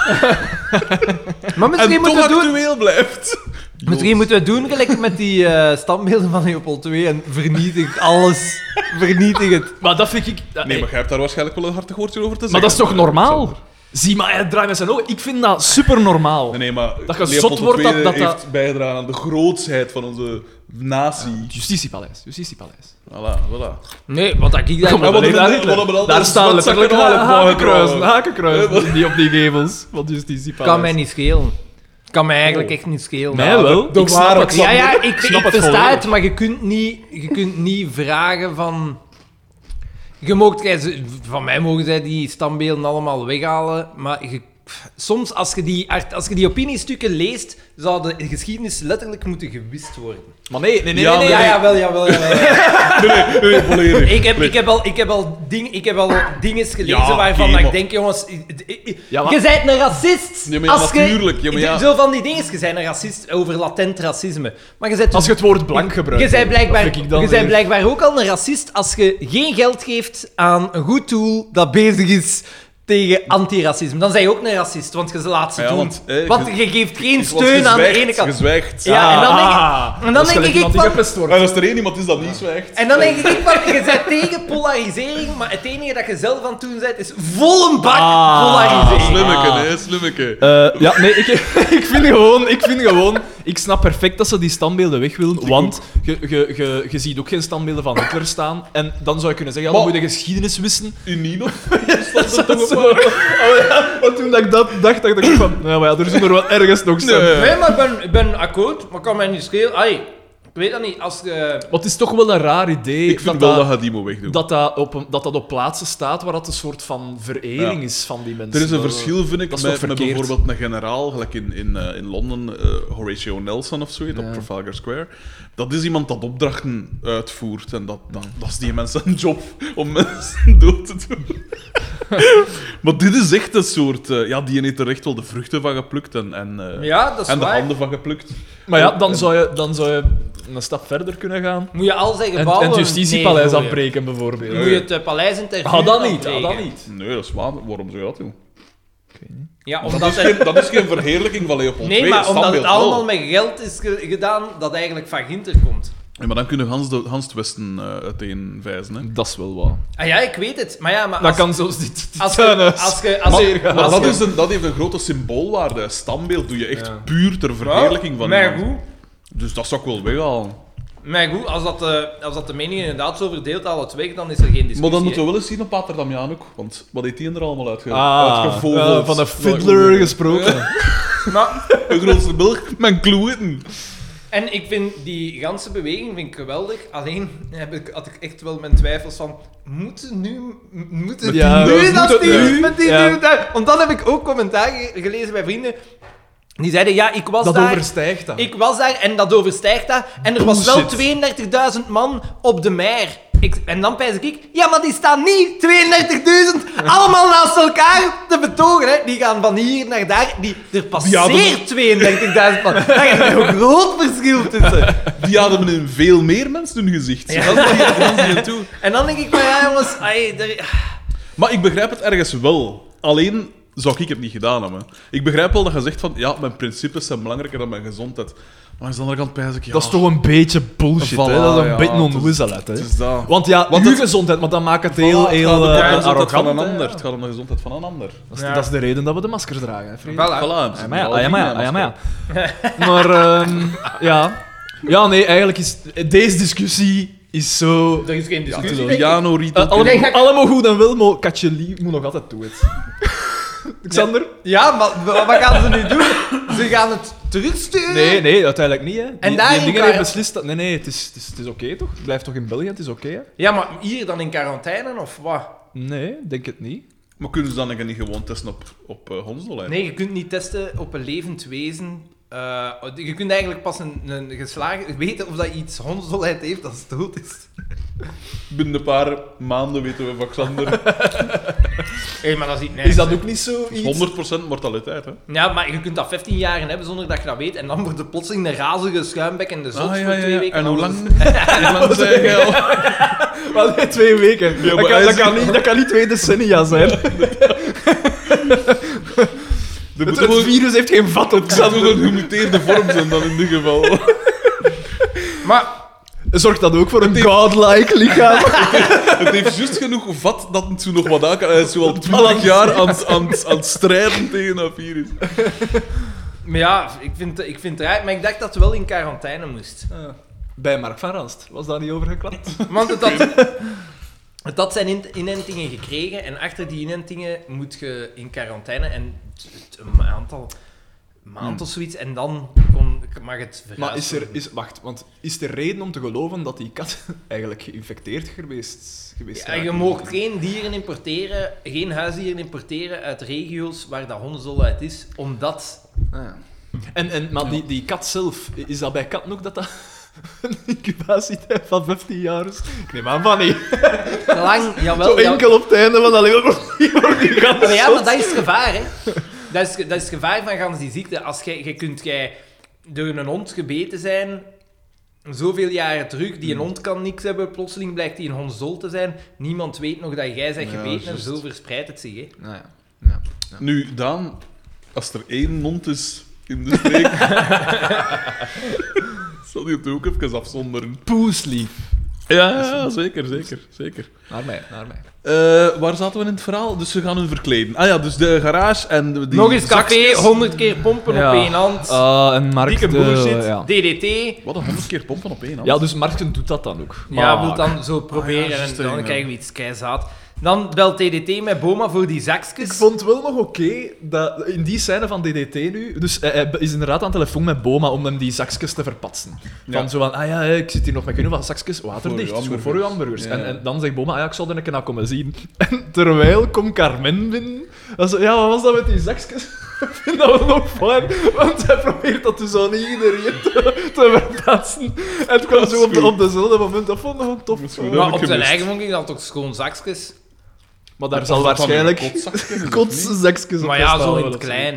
B: maar misschien
C: en
B: moeten
C: toch
B: we doen...
C: actueel blijft.
B: Misschien
C: Joods.
B: moeten we doen gelijk met die eh, standbeelden van Leopold II en vernietig alles. vernietig het.
A: Maar dat vind ik... eh,
C: Nee, maar jij hebt daar waarschijnlijk wel een hartig woordje over te zeggen.
A: Maar dat is toch
C: eh,
A: normaal?
C: Alexander.
A: Zie, maar hij draait met zijn ogen. Ik vind dat super normaal.
C: Nee, nee, maar
A: Dat je zot
C: Leopold
A: wordt dat-
C: II
A: dat dat-
C: heeft bijgedragen aan de grootsheid van onze natie.
A: Justitiepaleis, justitiepaleis.
C: Voilà, voilà.
B: Nee, wat dat ik
A: Kom,
B: daar...
C: maar wat
A: nee,
C: hebben-
A: daar
C: wat hebben we al-
A: daar
C: dat is
A: staan
C: wat
A: letterlijk
C: zakken
A: wel
C: aan-
A: hakenkruisen,
C: hakenkruisen.
A: hakenkruisen. Niet op die gevels van justitiepaleis.
B: kan mij niet schelen. Kan mij eigenlijk
C: Oh.
B: echt niet schelen.
A: Mij wel.
C: de
A: Ik snap
C: ware
A: het.
B: Ja, ja, ik, ik,
A: snap het
B: versta
A: volledig.
B: het, maar je kunt niet, je kunt niet vragen van... Je moogt, jij ze- van mij mogen zij die standbeelden allemaal weghalen, maar je, pff, soms als je, die, art- als je die opiniestukken leest, zou de geschiedenis letterlijk moeten gewist worden.
A: Maar nee, nee, nee.
C: Ja,
A: nee, nee,
B: Ja,
A: nee.
B: jawel, jawel, jawel.
C: Nee, nee, volledig.
B: ik, heb, ik, heb al, ik, heb al ding, ik heb al dingen gelezen
C: Ja,
B: waarvan
C: oké,
B: dat ik
C: maar-
B: denk, jongens... i- i- i-
A: Ja, maar-
B: Je bent een racist!
C: Ja, maar ja,
B: als je-
C: natuurlijk. Ja, maar ja.
B: Zo van die dingen, je bent een racist over latent racisme. Maar je bent dus
A: Als je het woord blank gebruikt.
B: je bent,
A: dat
B: blijkbaar,
A: vind ik dan
B: je bent
A: weer-
B: blijkbaar ook al een racist als je geen geld geeft aan een goed doel dat bezig is tegen antiracisme. Dan ben je ook een racist, want je laat ze
C: Ja,
B: doen. Want,
C: want, eh,
B: je,
C: je-
B: geeft geen
C: Ik was
B: steun aan de
C: gezwijgd,
B: ene kant.
C: Gezwijgd.
B: Ja, en dan denk ik- en dan
A: Ah. dat is
B: denk
A: gelijk
B: ik
A: iemand die
B: van-
A: gepest wordt.
C: En als er één iemand is dat niet zwijgt.
B: En dan denk ik van, je bent tegen polarisering, maar het enige dat je zelf aan het doen bent, is vol een bak
A: Ah.
B: polarisering.
C: Slimmeke,
A: Ah.
C: hè, slimmeke.
A: Eh, ja, nee, ik, ik, vind gewoon, ik vind gewoon... Ik snap perfect dat ze die standbeelden weg willen, want je, je, je, je ziet ook geen standbeelden van Hitler staan. En dan zou je kunnen zeggen, ja, dan
C: Maar-
A: moet je geschiedenis wissen.
C: In Nino stond er toch
A: Zo.
C: op aan.
A: Oh ja, want toen dat ik dat dacht, dacht ik van... Nou maar ja, er zullen er wel ergens nog zijn.
C: Nee.
B: Nee, maar ik ben, ik ben akkoord, maar kan mij niet schelen. Ai, ik weet dat niet, als eh, je...
A: Maar het is toch wel een raar idee
C: Ik vind
A: dat,
C: wel dat
A: dat,
C: je die moet wegdoen.
A: dat, dat op een- dat dat op plaatsen staat waar dat een soort van verering
C: Ja.
A: is van die mensen.
C: Er is een
B: eh,
A: Maar-
C: verschil, vind ik,
A: dat
C: met,
A: is toch
C: met
A: verkeerd?
C: bijvoorbeeld een generaal, gelijk in, in, eh, in Londen, eh, Horatio Nelson of zo, heet,
A: Ja.
C: op Trafalgar Square. Dat is iemand dat opdrachten uitvoert. En dat, dat, dat is die mensen een job om mensen dood te doen. maar dit is echt een soort... eh, ja, die heeft er echt wel de vruchten van geplukt en, en, eh,
B: Ja, dat is
C: en de
B: waar.
C: handen van geplukt.
A: Maar ja, dan zou, je, dan zou je een stap verder kunnen gaan.
B: Moet je al zijn
A: En,
B: gebouwen...
A: en het justitiepaleis
B: neergooien.
A: afbreken, bijvoorbeeld.
B: eh, Moet je het eh, paleis in
A: Ah, dat niet. Ah, dat niet.
C: Nee, dat is waar. Waarom zou je dat doen?
B: Ja,
C: Dat is,
B: omdat
C: geen,
B: het,
C: dat is geen verheerlijking van Leopold
B: nee,
C: II.
B: maar omdat het
C: standbeeld wel.
B: allemaal met geld is ge- gedaan dat eigenlijk van Ginter komt.
C: Ja, maar dan kunnen Hans, de, Hans het Westen eh uiteenwijzen. Hè.
A: Dat is wel waar.
B: Ah ja, ik weet het. Maar ja, maar
A: Dat
B: als,
A: kan zelfs dit, dit
B: als, je,
A: tuinhuis.
B: als je...
C: Maar,
B: Als je...
C: maar
B: als
C: dat,
B: je-
C: is een, dat heeft een grote symboolwaarde. Een standbeeld doe je echt
A: Ja.
C: puur ter verheerlijking van
B: Maar
C: iemand.
B: goed,
C: Dus dat zou ik wel weghalen.
B: maar goed als, dat de, als dat de mening inderdaad zo verdeelt al het weg, dan is er geen discussie.
C: Maar dan
B: hè.
C: moeten we wel eens zien op Pater Damian ook. Want wat heeft die er allemaal uitge
A: Ah,
C: uitgevogeld?
A: eh, van een fiddler gesproken.
B: Maar,
C: Een grootste Belg mijn kloeten.
B: en ik vind die ganse beweging vind ik geweldig. Alleen heb ik, had ik echt wel mijn twijfels van... Moeten nu... m- Moeten
A: Ja,
B: nu
A: we
B: dat
A: moeten
B: die...
A: nu.
B: Met die
A: Ja.
B: nu daar- Want dan heb ik ook commentaar ge- gelezen bij vrienden. Die zeiden, ja, ik was
A: Dat
B: daar...
A: overstijgt Oh, dat.
B: Ik was daar en dat overstijgt dat. En er was wel
A: Bullshit.
B: 32.000 man op de mer. Ik, en dan pijs ik, ja, maar die staan niet 32.000 allemaal naast elkaar te betogen. Hè. Die gaan van hier naar daar. Die, er passeert 32.000 man. Daar is een groot verschil tussen.
C: Die ademen in veel meer mensen hun gezicht.
B: Ja.
C: Dat is die- dat is die aan toe.
B: En dan denk ik, maar ja, jongens, ai, er-
C: Maar ik begrijp het ergens wel. Alleen zou ik het niet gedaan hebben. Ik begrijp wel dat je zegt van, ja, mijn principes zijn belangrijker dan mijn gezondheid. Maar aan de andere kant pijs ik, ja...
A: Dat is toch een beetje bullshit, hè?
C: Voilà,
A: Dat is een
C: ja,
A: beetje
C: het is-
A: onwizzelheid, hè?
C: Het is dat.
A: Want ja,
C: Want
A: uw
C: het-
A: gezondheid, want dat maakt het heel,
C: Voilà, het gaat
A: heel
C: om de
A: eh,
C: gezondheid van een
A: arrogant. hè.
C: ander. Het gaat om de gezondheid van een ander.
A: Dat is,
B: Ja.
A: dat is de reden dat we de maskers dragen, hè, Frederik?
B: Voilà.
C: Voilà.
A: Ah, maar ja, ah, ja, maar ja, ah, ja, maar ja. Maar, ehm, ja. Ja, nee, eigenlijk is... Deze discussie is zo...
B: er is geen discussie.
A: Ja,
C: Piano, Rita.
A: Eh, allemaal,
B: denk dat ik-
A: allemaal goed en wel, maar Katjeli moet nog altijd toe. Het. Xander?
B: Ja, maar wa- wat gaan ze nu doen? Ze gaan het terugsturen?
A: Nee, nee, uiteindelijk niet, hè. Die,
B: En
A: die
B: daarin
A: dingen
B: kan
A: heeft
B: je-
A: beslist dat... Nee, nee, het is, het is, het is oké, toch? Het blijft toch in België, het is oké, hè?
B: Ja, maar hier dan in quarantaine of wat?
A: Nee, denk het niet.
C: Maar kunnen ze dan nog niet gewoon testen op, op eh, hondsdolijn?
B: Nee, je kunt niet testen op een levend wezen. Eh, je kunt eigenlijk pas een, een geslagen weten of dat iets hondsdolheid heeft als het dood is.
C: Binnen een paar maanden weten we van Xander.
B: Hé, maar dat is niet nice.
A: Is dat ook niet zo iets?
C: 100% mortaliteit, hè?
B: Ja, maar je kunt dat 15 jaar hebben zonder dat je dat weet. En dan wordt er plotseling een razige schuimbek en de
C: Ah,
B: zot voor twee weken.
C: En hoe lang?
B: anders.
C: Hoe lang zijn jij al?
A: Maar nee, twee weken.
C: maar
A: dat,
C: hij
A: kan, dat,
C: is-
A: kan niet, dat kan niet twee decennia zijn.
C: Er
A: Het,
C: moet
A: het
C: gewoon-
A: virus heeft geen vat op
C: er zou
A: Xander.
C: toch een gemuteerde vorm zijn dan in dit geval.
B: Maar
A: Zorgt dat ook voor een godlike lichaam?
C: Het heeft juist genoeg vat dat het zo nog wat aan kan. Hij is zo al 20 jaar aan, het- aan, het- aan het strijden tegen dat virus.
B: Maar ja, ik vind, ik vind het raar, maar ik dacht dat het wel in quarantaine moest.
A: Bij Mark van Ranst. Was daar niet over geklapt?
B: Want het had, het had zijn in- inentingen gekregen en achter die inentingen moet je in quarantaine en het- het- een aantal maand of zoiets en dan kon, mag het verhuisd
A: Hmm. Maar is er...
B: worden.
A: Is, wacht, want is er reden om te geloven dat die kat eigenlijk geïnfecteerd geweest, geweest
B: Ja, je
A: raakt?
B: mag geen dieren importeren, geen huisdieren importeren uit regio's waar dat hondsdolheid is, omdat...
A: Ah, ja. en, en, maar die, die kat zelf, is dat bij katten ook dat dat een incubatietijd van 15 jaar is? Ik neem aan van niet.
B: Lang, jawel,
A: Zo
B: jawel.
A: enkel op het einde van dat leven. Die kat
B: Maar ja,
A: zot.
B: maar dat is het gevaar, hè. Dat is, dat is het gevaar van gans die ziekte. Als jij, jij kunt jij door een hond gebeten zijn, zoveel jaren terug, die een
C: Hmm.
B: hond kan niks hebben, plotseling blijkt die een hond zol te zijn, niemand weet nog dat jij bent
C: Ja,
B: gebeten en
C: juist.
B: zo verspreidt het zich, hè.
A: Nou ja.
C: Nu, Daan, als er één mond is in de streek... zal die het ook even afzonderen.
A: Poeslief.
C: Ja, ja, ja, zeker, zeker, zeker.
A: Naar mij, naar mij.
C: Eh, waar zaten we in het verhaal? Dus ze gaan hun verkleden. Ah ja, dus de garage en de- die
B: nog eens café,
C: zakjes.
B: 100 keer pompen op één hand,
A: Ah, en Mark...
B: dikke
A: eh,
B: bullshit,
A: ja.
B: DDT.
C: Wat, een honderd keer pompen op één hand?
A: ja, dus Marken doet dat dan ook.
B: Ja,
A: Maar-
B: wil dan zo
C: Ah,
B: proberen
C: ja,
B: en
C: juist,
B: dan
C: ja.
B: krijgen we iets keizaad. Dan belt DDT met Boma voor die zakjes.
A: Ik vond wel nog oké dat in die scène van DDT nu. Dus hij, hij is inderdaad aan de telefoon met Boma om hem die zakjes te verpatsen.
C: Ja.
A: Van zo van, ah ja, ik zit hier nog met genoeg van zakjes waterdicht.
C: Voor uw
A: Voor, voor,
C: hamburgers.
A: uw hamburgers.
C: Ja.
A: En, en dan zegt Boma, ah ja, ik zal er een keer naar komen zien. En terwijl komt Carmen binnen. Dan zo, ja, wat was dat met die zakjes? Ik vind dat wel nog fijn, want hij probeert dat dus aan iedereen te, te verpatsen. En het kwam
C: Dat is
A: zo op, de-
C: goed.
A: op dezelfde moment. Dat vond ik nog wel tof.
C: Dat is goed, hè?
B: maar
C: ik
B: op zijn
C: gemist.
B: eigen vond ik dat toch schoon zakjes.
A: Maar daar
C: Of
A: zal
C: dat dan
A: waarschijnlijk
C: een kotzakje is, of
A: kotse
C: dus niet?
A: zakjes op
B: Maar ja,
A: gestaan
B: zo in
A: worden
B: het
A: of
B: klein.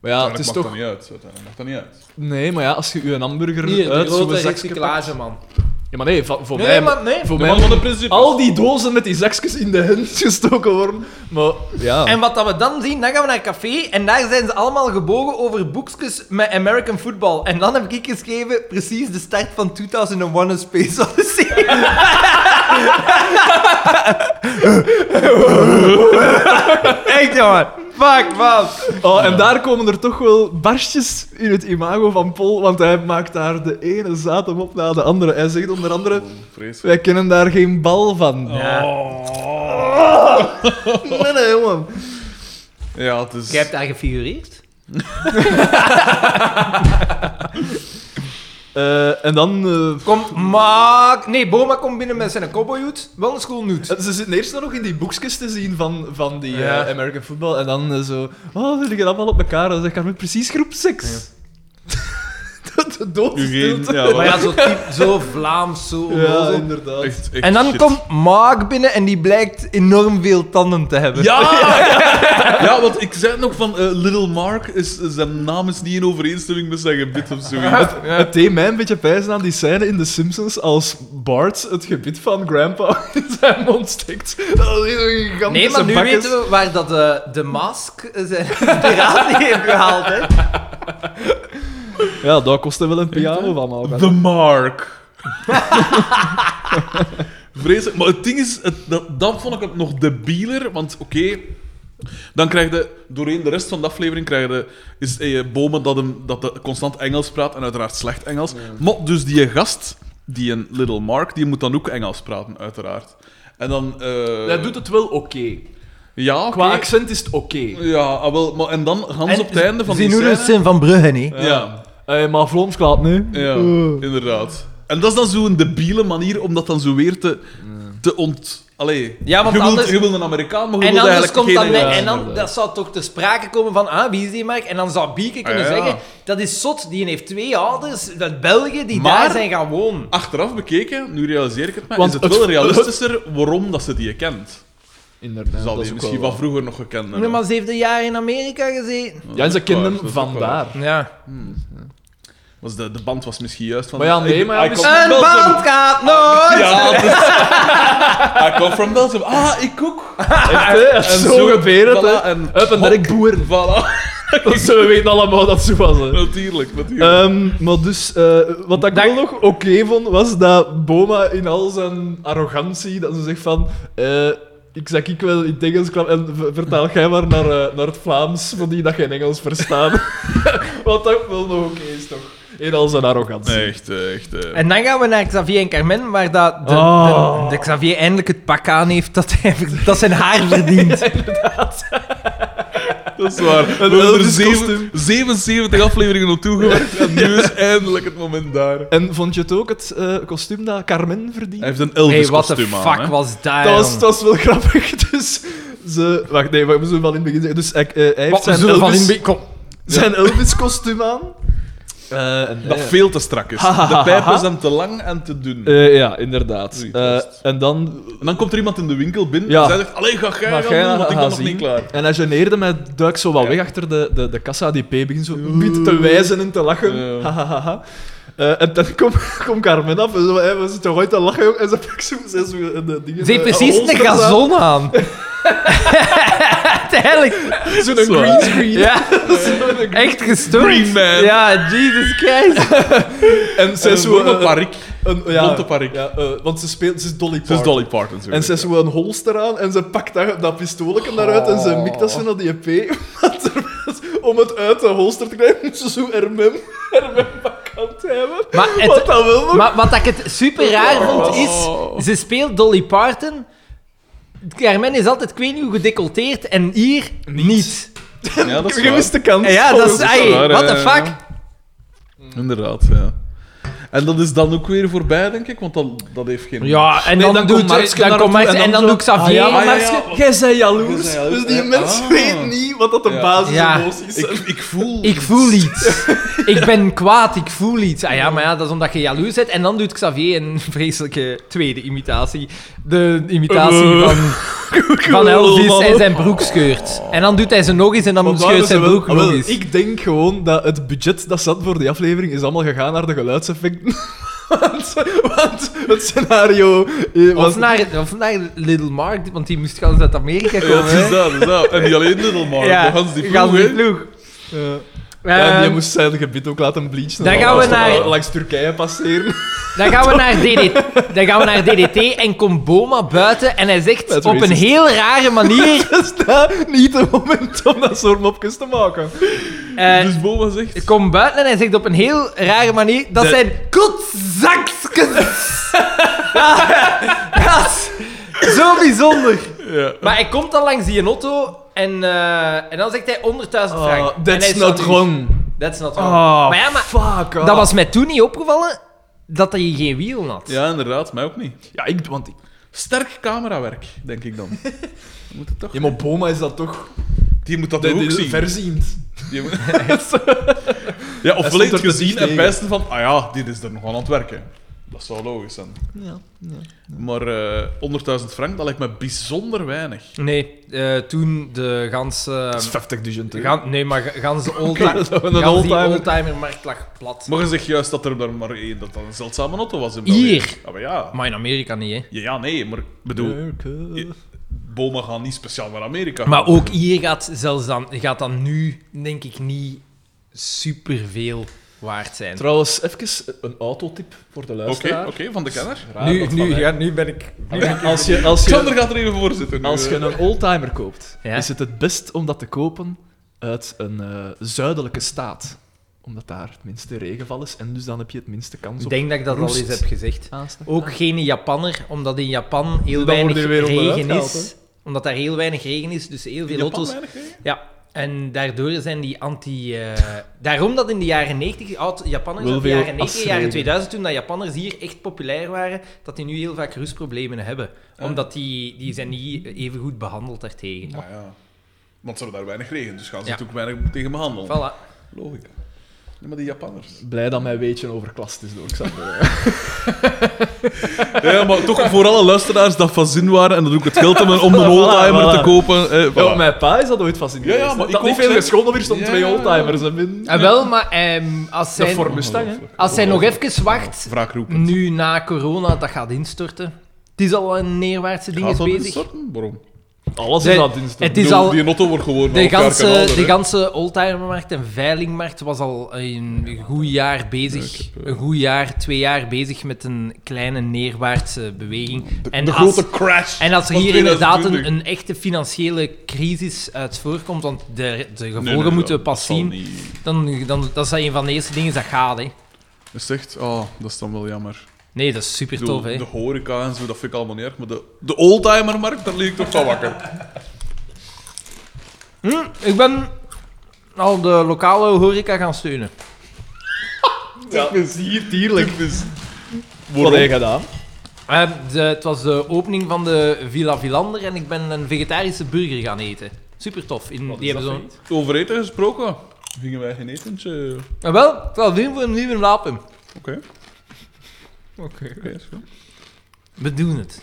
A: Maar ja, het
C: Uiteindelijk
A: is
C: maakt
A: toch
C: dat niet uit. Uiteindelijk maakt dat niet uit.
A: Nee, maar ja, als je een hamburger
B: Hier, de
A: uit zo'n
B: grote
A: zakje pakt-
B: recyclage, man.
A: Ja, maar nee, va- voor
B: Nee,
A: mij...
B: maar nee.
A: Voor
C: De
A: mij
C: man van de principes.
A: al die dozen met die zakjes in de hand gestoken worden. Maar ja...
B: En wat dat we dan zien, dan gaan we naar café en daar zijn ze allemaal gebogen over boekjes met American football. En dan heb ik geschreven, precies de start van 2001 A Space Odyssey. Echt jongen, fuck man.
A: Oh, en daar komen er toch wel barstjes in het imago van Paul, want hij maakt daar de ene zaten op na de andere. Hij zegt onder andere...
C: Oh, Vreselijk.
A: Wij kennen daar geen bal van.
B: Ja.
A: Nee, nee, man.
C: Ja, het is...
B: Jij hebt daar gefigureerd?
A: Eh, en dan... eh,
B: Kom, maak... Nee, Boma komt binnen met zijn cowboyhoed. Wel een schoolnoot.
A: ze zitten eerst nog in die boekjes te zien van, van die eh,
B: Ja.
A: American Football. En dan eh, zo... Oh, ze liggen allemaal op elkaar. Dan zegt Carmen, precies groep 6. dat de dood
C: U geen-
A: stilte.
C: ja,
B: Maar ja, zo, typ, zo Vlaams, zo
A: Ja,
B: onnozel.
A: inderdaad.
C: echt, echt
B: En dan
C: shit.
B: komt Mark binnen en die blijkt enorm veel tanden te hebben.
C: Ja! ja, want ik zei nog van eh, Little Mark, is, zijn naam is niet in overeenstemming met zijn gebit of zoiets.
A: Het deed mij een beetje pijzen aan die scène in The Simpsons als Bart het gebit van Grandpa in zijn mond steekt. Dat is een gigantische
B: Nee, maar nu
A: bakkes.
B: weten we waar dat de, de mask eh, zijn inspiratie heeft gehaald. Hè.
A: Ja, dat kostte wel een piano van maar.
C: The Mark. Vreselijk. Maar het ding is, het, dat, dat vond ik het nog debieler, want oké... dan krijg je, doorheen de rest van de aflevering, krijg je, is eh, Bomen dat, hem, dat de constant Engels praat en uiteraard slecht Engels. Maar dus die gast, die een Little Mark, die moet dan ook Engels praten, uiteraard. En dan... eh,
A: Hij doet het wel oké.
C: Ja,
A: Qua
C: oké.
A: accent is het oké.
C: Ja, ah, wel, maar en dan Hans op het einde van die
B: Zinurus
C: scène.
B: zijn van Brugge, hè.
C: Ja,
A: Eh, maar Vlaams klaat nu.
C: ja,
A: Eh.
C: inderdaad. En dat is dan zo'n debiele manier om dat dan zo weer te, te ont... Allee,
B: Ja, want
C: je, wilt,
B: anders-
C: je wilt een Amerikaan, maar je
B: En
C: wilt
B: anders
C: eigenlijk
B: komt
C: geen
B: dan,
C: Engels.
B: en dan
A: inderdaad.
B: dat zou toch ter sprake komen van, ah, wie is die Mark? En dan zou Bieke kunnen
C: Ah, ja.
B: zeggen, dat is zot, die heeft twee ouders, dat Belgen, die
C: Maar-
B: daar zijn gaan wonen.
C: Achteraf bekeken, nu realiseer ik het me,
A: Want
C: is het,
A: het-
C: wel realistischer waarom dat ze die kent.
A: Inderdaad.
C: Zal
A: dat is
C: die
A: ook
C: misschien
A: wel
C: wat vroeger nog gekend hebben.
B: Nee, maar ze heeft een jaar in Amerika gezeten.
A: waar. Ja, en ze
C: Dat is ook
A: kennen
C: waar, dat
A: hem
C: is ook waar.
A: vandaar.
B: Ja.
C: Was de, de band was misschien juist van...
A: Maar ja, nee,
C: Ik-
A: maar ja,
C: I
A: misschien-
C: come
B: Een
C: from Belgium.
B: band gaat nooit!
C: Ja, dat is- I come from Belgium. Ah, ik ook.
A: Echt, hè?
C: En
A: zo,
C: zo,
A: gebeurt het.
C: voilà,
A: hè.
C: en
A: Up en direct boer.
C: Voilà.
A: Dat zo, we weten allemaal dat zo was. Hè.
C: Natuurlijk, natuurlijk.
A: Ehm, maar dus, eh, wat dat ik wel nog oké vond, was dat Boma in al zijn arrogantie, dat ze zegt van... eh, ik zeg ik wel in het Engels kwam en v- vertaal jij maar naar, eh, naar het Vlaams, van die dat geen Engels verstaan. wat dat wel nog oké is, toch? In al zijn arrogantie.
C: Nee, echt, eh, echt. eh.
B: En dan gaan we naar Xavier en Carmen, waar dat de,
A: Oh.
B: de, de Xavier eindelijk het pak aan heeft dat, hij, dat zijn haar verdient.
C: Dat is waar. We hebben er
A: Elvis
C: zeven-
A: kostuum.
C: 77 afleveringen op toegewerkt en nu is eindelijk het moment daar.
A: En vond je het ook het eh, kostuum dat Carmen
C: Hij
A: verdiende?
C: heeft een
B: hey, what the
C: Elvis-kostuum aan.
B: fuck
C: hè.
B: was daar?
A: Dat was,
B: jong?
A: dat was wel grappig, dus... Ze... Wacht, nee, we zullen wel in het begin zeggen. Dus hij, eh, hij heeft
B: Wat, we
A: zijn
B: zullen van in
A: Elvis-
B: be- Kom.
A: zijn Elvis-kostuum aan. Eh, en-
C: Dat veel te strak is.
A: Ha, ha,
C: De
A: ha,
C: pijp
A: ha.
C: is hem te lang en te dun.
A: Eh, ja, inderdaad.
C: Niet
A: Eh,
C: vast.
A: en dan...
C: En dan komt er iemand in de winkel binnen
A: Ja.
C: en zij zegt, allee, ga jij
A: Maar
C: gaan
A: jij
C: doen, want ik
A: gaat
C: ben nog
A: zien.
C: niet klaar.
A: En hij geneerde mij, duik zo wat
C: Ja.
A: weg achter de, de, de kassa. Die P begint zo een beetje te wijzen en te lachen.
C: Ja.
A: Hahaha. Eh, en dan komt kom Carmen af en zo, hey, we zitten ooit te lachen, jong. En ze pakt zo, ze is zo een eh, ding in
B: Ze heeft
A: de-
B: precies een
A: holster
B: gazon aan. Eigenlijk.
A: aan. Zo'n green screen.
B: Ja, echt gestoord.
C: Green man.
B: Ja, Jesus Christ.
A: En ze
C: Ze
A: is
C: is
A: zo
C: een
A: eh,
C: parik.
A: een- ja,
C: blonde parik.
A: Ja, eh, want ze speelt, ze is Dolly
C: Ze is
A: Parton.
C: Dolly Parton. zo
A: En ze
C: weet
A: is zo een holster aan en ze pakt dat, dat pistooletje eruit en ze mikt dat zo naar die EP. Maar terwijl- om het uit de holster te krijgen, moet ze zo Hermem, Hermem vakant hebben.
B: Maar het-
A: Wat dat wil nog.
B: Maar wat ik het super raar vond
C: Oh.
B: is, ze speelt Dolly Parton. Carmen is altijd, ik weet niet hoe gedecolteerd en hier niet.
C: ik. Ja, dat is
A: Je
C: waar.
A: wist de kans.
B: En ja, Oh, dat is,
A: volgens-
C: dat is
B: ey,
C: waar,
B: what the
C: ja,
B: fuck?
C: ja. Inderdaad, ja. En dat is dan ook weer voorbij, denk ik, want dat, dat heeft geen...
B: Ja, en
A: Nee,
B: dan,
A: komt
B: doe
A: Markske
B: dan
A: naar
B: komt
A: toe
B: Markske en dan
A: zo-
B: doe ik Xavier.
A: Ah, ja,
C: ja,
A: maar
C: ja.
A: Markske, jij bent
C: Jij
A: jaloers.
C: bent jaloers,
A: Dus die
C: hè?
A: mens
C: Ah.
A: weet niet wat dat de
C: Ja.
A: basisemoties
C: Ik,
A: zijn.
C: ik voel...
B: Ik voel iets. ik ben kwaad, ik voel iets. Ah ja, maar ja, dat is omdat je jaloers bent. En dan doet Xavier een vreselijke tweede imitatie. De imitatie
A: Eh,
B: van, van Elvis en zijn broek scheurt. En dan doet hij ze nog eens en dan
A: Want daar
B: scheurt
A: is
B: zijn
A: wel-
B: broek
A: ah, wel,
B: nog eens.
A: Ik denk gewoon dat het budget dat zat voor die aflevering is allemaal gegaan naar de geluidseffecten. want, want het scenario eh, was...
B: Of naar, of naar Little Mark, want die moest gaan uit Amerika
C: Ja, dat
B: komen.
C: is
B: hè.
C: dat, dat is dat. En niet alleen Little
A: Ah,
C: Mark,
B: Ja,
C: maar gans die
B: gans
C: ploeg, hè.
B: ploeg.
A: Ja. Ja, die
B: Ehm,
A: moest zijn gebit ook laten bleachen.
B: Dan
A: En
B: gaan we
A: langs-
B: naar-
A: Langs Turkije passeren.
B: Dan gaan, we naar DDT, dan gaan we naar DDT en komt Boma buiten en hij zegt
A: Dat is
B: op een
A: racist.
B: heel rare manier...
A: dat is daar niet het moment om dat soort mopjes te maken.
B: eh,
C: Dus Boma zegt...
B: Ik kom buiten en hij zegt op een heel rare manier: dat
A: De-
B: zijn kutzakskens. dat is zo bijzonder.
C: Ja.
B: Maar hij komt dan langs die auto en, eh, en dan zegt hij 100.000 frank.
A: Ah, that's not wrong.
B: dus- That's not wrong.
A: Ah,
B: maar ja, maar
A: fuck. ah.
B: dat was mij toen niet opgevallen dat hij geen wiel had.
C: Ja, inderdaad, mij ook niet.
A: Ja, ik... Want ik...
C: Sterk camerawerk, denk ik dan. Moet het toch...
A: Ja, maar Boma is dat toch...
C: Die moet dat
A: De,
C: ook
A: de,
C: zien.
A: verziend.
C: Die moet- ja, of alleen het
A: stond er te dicht
C: gezien en
A: tegen.
C: pijsten van... Ah ja, dit is er nog aan het werken. Dat zou logisch zijn.
A: Ja, ja.
C: Maar eh 100.000 frank, dat lijkt me bijzonder weinig.
B: Nee, eh, toen de ganse.
A: Dat is 50 duizend euro.
B: gan- nee, maar ga- gans de
A: Ja,
B: oldtimer.
A: zo een
B: gans die
A: oldtimer.
B: oldtimermarkt lag plat.
C: Maar je zegt juist dat er daar maar één, dat dat een zeldzame auto was in
B: Hier.
C: België. Ja, maar ja.
B: Maar in Amerika niet, hè?
C: ja. Ja, nee, maar ik bedoel, bomen gaan niet speciaal naar Amerika.
B: Maar ook hier gaat zelfs dan, gaat dan nu, denk ik, niet superveel waard zijn.
A: Trouwens, even een autotip voor de
C: Oké,
A: luisteraar.
C: oké, van de kenner.
A: Raar dat van mij.
B: nu ben ik...
A: Als je, als
C: Xander
A: je,
C: gaat er even voor zitten. nu,
A: als je
C: eh.
A: een oldtimer koopt,
B: Ja.
A: is het het best om dat te kopen uit een eh, zuidelijke staat. Omdat daar het minste regenval is en dus dan heb je het minste kans
B: Ik
A: op
B: denk dat ik dat
A: roest.
B: al eens heb gezegd.
A: aanslag.
B: Ook geen Japanner, omdat in Japan heel
A: Dan wordt
B: weinig
A: je weer
B: regen
A: onderuit gehaald,
B: is. Omdat daar heel weinig regen is, dus heel veel
C: Japan
B: auto's...
C: weinig, hè?
B: Ja. En daardoor zijn die anti... eh, daarom dat in de jaren 90, oud Japanners,
A: Wel
B: uit de
A: veel
B: jaren 90, jaren
A: afschrijven.
B: 2000, toen dat Japanners hier echt populair waren, dat die nu heel vaak rustproblemen hebben.
C: Ah.
B: Omdat die, die zijn niet even goed behandeld daartegen.
C: Ah, ja. Want ze hebben daar weinig regen, dus gaan ze
B: Ja.
C: natuurlijk weinig tegen behandelen.
B: Voilà.
C: Logica. Nee, maar die Japanners.
A: Blij dat mijn weetje over kwast is door Xander.
C: Ja, maar toch voor alle luisteraars dat van zin waren en dat ook het geld hebben om een
A: Voilà,
C: oldtimer
A: voilà.
C: te kopen. Eh, voilà.
A: Ja, maar mijn pa is dat ooit vast in
C: Ja, ja,
A: geweest, hè.
C: maar ik
A: Dat niet
C: ook,
A: veel
C: zeg.
A: geschonden, hier stonden
C: Ja,
A: twee
C: ja, ja.
A: oldtimers. hè, min.
B: En Ah, wel, maar ehm, als
A: Dat
B: zij,
A: voor Mustang, hè.
C: Ongelooflijk.
B: als zij nog even wacht,
C: Wraakroepend.
B: nu na corona, dat gaat instorten. Het is al een neerwaardse ding
C: Gaat
B: is
C: dat
B: bezig.
C: instorten? Waarom?
A: Alles
B: Nee,
A: is aan dienst.
B: het
C: Ik
B: is
C: bedoel,
B: al-
C: Die auto wordt gewoon
B: De
C: een half jaar
B: ganse,
C: kanaler,
B: de
C: hè.
B: ganse oldtimermarkt en veilingmarkt was al een goed jaar bezig.
C: Ja, ik heb, eh,
B: Een goed jaar, twee jaar bezig met een kleine neerwaartse beweging.
C: De,
B: en,
C: de
B: als,
C: grote crash.
B: en als er
C: van
B: hier inderdaad een,
C: 2020.
B: een echte financiële crisis uit voorkomt, want de, de gevolgen
C: Nee, nee,
B: moeten we
C: dat-
B: pas
C: dat zal
B: zien,
C: niet.
B: dan, dan dat is dat een van de eerste dingen dat gaat. Hè.
C: Dat is echt, ah, dat is dan wel jammer.
B: Nee, dat is super
C: Ik bedoel,
B: tof. Hè.
C: De horeca en zo, dat vind ik allemaal niet erg. Maar de, de oldtimermarkt, daar lig ik toch van wakker.
B: Hm, ik ben al de lokale horeca gaan steunen.
A: Ja, plezier, dierlijk. Wat
C: Waarom?
A: heb je gedaan?
B: Eh, de- het was de opening van de Villa Villander en ik ben een vegetarische burger gaan eten. Super tof. In, die hebben zo'n.
C: Over eten gesproken. Gingen wij geen etentje? Oké.
B: Ah, wel, ik zal doen voor een nieuwe wapen.
C: Oké, is goed.
B: We doen het.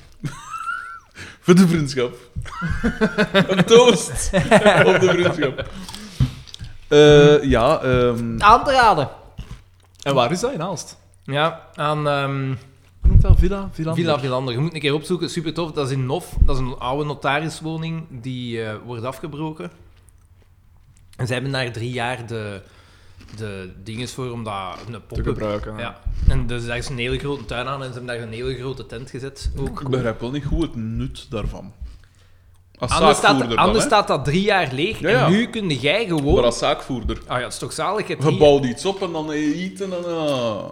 C: Voor de vriendschap. een toast op de vriendschap. Eh, ja, ehm,
B: Aan te raden.
A: En waar is dat in Aalst?
B: Ja, aan ehm,
A: Hoe noemt dat? Villa? Villa?
B: Villa Villander. Je moet een keer opzoeken. Super tof. Dat is in Nof. Dat is een oude notariswoning die eh, wordt afgebroken. En ze hebben daar drie jaar de, de dinges voor om dat een
A: Te
B: pop-up
A: gebruiken.
B: Ja, en dus daar is een hele grote tuin aan en ze hebben daar een hele grote tent gezet. Ook.
C: ik begrijp wel niet goed het nut daarvan. Als
B: Anders, staat,
C: zaakvoerder dan,
B: anders
C: hè.
B: staat dat drie jaar leeg
C: Ja, ja.
B: en nu kun jij gewoon...
C: Maar als zaakvoerder.
B: Ah ja, het is toch zalig. Je, hebt
C: Je
B: hier-
C: bouwt iets op en dan eten en... ah.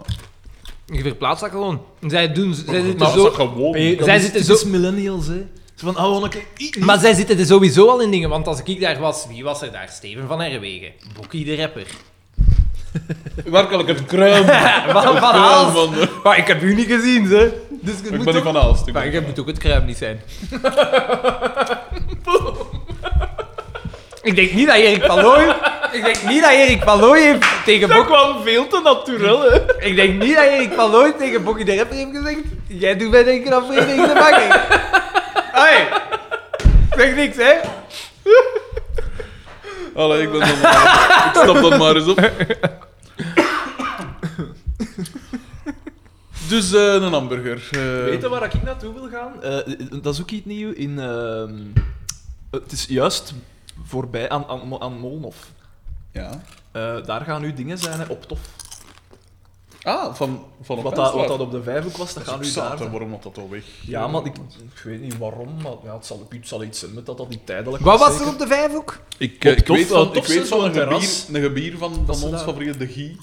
B: je verplaatst dat gewoon. En Zij, doen, zij
C: Dat
B: zitten
C: is
B: zo...
C: toch gewoon...
A: Hey, dat
B: Zij
A: is
B: zitten
A: typisch
B: zo-
A: millennials, hè. Zo van, oh, ik...
B: Maar zij zitten er sowieso al in dingen, want als ik daar was, wie was er daar? Steven van Herwegen, Boekie de rapper.
C: Werkelijk het kruim. Het
B: Van, van
C: kruim
B: Hals.
C: van de-
B: Maar ik heb u niet gezien, hè. Dus je moet
C: Ik ben niet
B: ook...
C: van Aalst. ik ben
B: Maar
C: niet
B: je
C: van
B: moet ook het kruim niet zijn. ik denk niet dat Erik Palloy... Ik denk niet dat Erik Palloy heeft tegen Boekie...
A: kwam veel te natuurlijk, hè.
B: Ik denk niet dat Erik van Looy tegen Bokkie de Rapper heeft gezegd. Jij doet mij denken aan Frederik de Bakker. Hoi. Ik zeg niks, hè?
C: Allee, ik ben dan maar... Ik stap dan maar eens op. Dus eh, een hamburger. eh.
A: Weet je waar ik naartoe wil gaan? Eh, dat is ook iets nieuws in... ehm, het is juist voorbij aan, aan, aan Molnhof.
C: Ja.
A: Eh, daar gaan nu dingen zijn, hè, op tof.
C: Ah, van, van op
A: Wat dat, wat
C: Enselaar.
A: dat op de vijfhoek was,
C: Dat
A: dat
C: is
A: gaan
C: ook
A: nu
C: zaad,
A: daar
C: hè,
A: zijn.
C: waarom dat dat al weg?
A: Ja, maar ik, ik weet niet waarom, maar ja, het, zal, het zal iets zijn met dat dat niet tijdelijk
B: Wat was
A: zeker.
B: er op de vijfhoek?
C: Ik, eh,
A: Op
C: ik
A: Tof,
C: weet
A: eh,
C: van, ik
A: Tof
C: weet
A: is
C: van
A: zo'n
C: een gebier,
A: terras.
C: een gebier van,
A: Dat
C: van
A: ze
C: ons
A: daar-
C: favoriete, de Guy.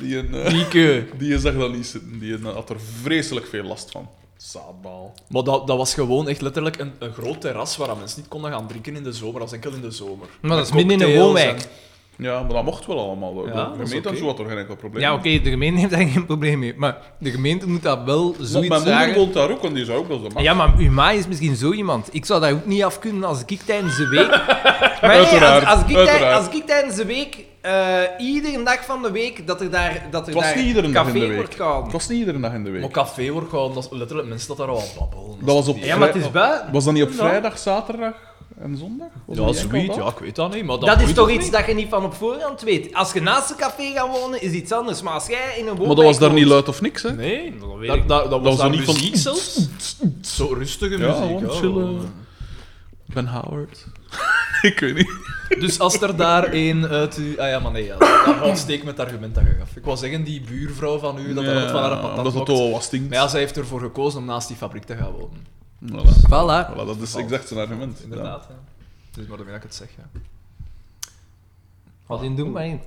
C: Die, een, eh,
A: Dieke.
C: die zag dat niet zitten. Die een, eh, had er vreselijk veel last van. Zaadbaal.
A: Maar dat, dat was gewoon echt letterlijk een, een groot terras waar mensen niet konden gaan drinken in de zomer. Dat was enkel in de zomer.
B: Maar dat is
A: Met
B: midden in een
A: cocktails
B: woonwijk.
A: en-
C: Ja, maar dat mocht wel allemaal. hoor.
A: Ja,
C: de
A: dat is
C: gemeente had
A: oké.
C: zo had er geen enkel probleem.
B: Ja, oké, de gemeente heeft daar geen probleem mee. Maar de gemeente moet dat wel
C: Want
B: zoiets
C: mijn moeder
B: vragen.
C: woont daar ook, en die zou ook wel zo maken.
B: Ja, maar uw ma is misschien zo iemand. Ik zou dat ook niet af kunnen als ik tijdens de week... Maar nee, als,
C: Uiteraard,
B: als, ik tij-
C: uiteraard.
B: als ik tijdens de week... eh, iedere dag van de week dat er daar, dat er
C: Het was
B: daar
C: niet iedere dag
B: café
C: in de
B: wordt
C: week. Het
B: gehouden.
C: was niet iedere dag in de
A: Maar
C: week.
A: café wordt gewoon, dat is letterlijk mensen dat daar al aan babbelen.
C: Dat was op
A: niet
B: Ja, maar het is buiten.
C: Was dat niet op
A: Ja.
C: vrijdag, zaterdag en zondag? Was
A: Ja,
C: dat niet enkel
A: zoiets.
C: dat?
A: Ja, ik weet dat niet, maar dat,
B: Dat, is
A: boeit
B: toch
A: ook
B: iets
A: niet.
B: dat je niet van op voorhand weet. Als je naast een café gaat wonen, is iets anders. Maar als jij in een woning.
C: Maar dat was daar niet luid of niks, hè?
A: Nee, dat,
B: weet
A: dat,
B: ik
A: dat, was,
C: was
A: daar
C: dan niet van-
A: muziek zelfs. Zo rustige
C: Ja,
A: muziek.
C: gewoon chillen. Ben Howard. ik weet niet.
A: Dus als er daar een uit u... Ah ja, maar nee, ja, dat ontsteek met het argument dat je gaf. Ik wou zeggen, die buurvrouw van u, dat daar
C: Ja,
A: ook van haar een patat
C: Omdat het
A: mokt.
C: al was
A: Maar ja, zij heeft ervoor gekozen om naast die fabriek te gaan wonen.
C: Voilà.
B: Voilà.
C: Voilà, dat is exact zijn argument.
A: Inderdaad, ja. Dus maar dan wil ik het zeggen.
B: Wat in doen, maar in.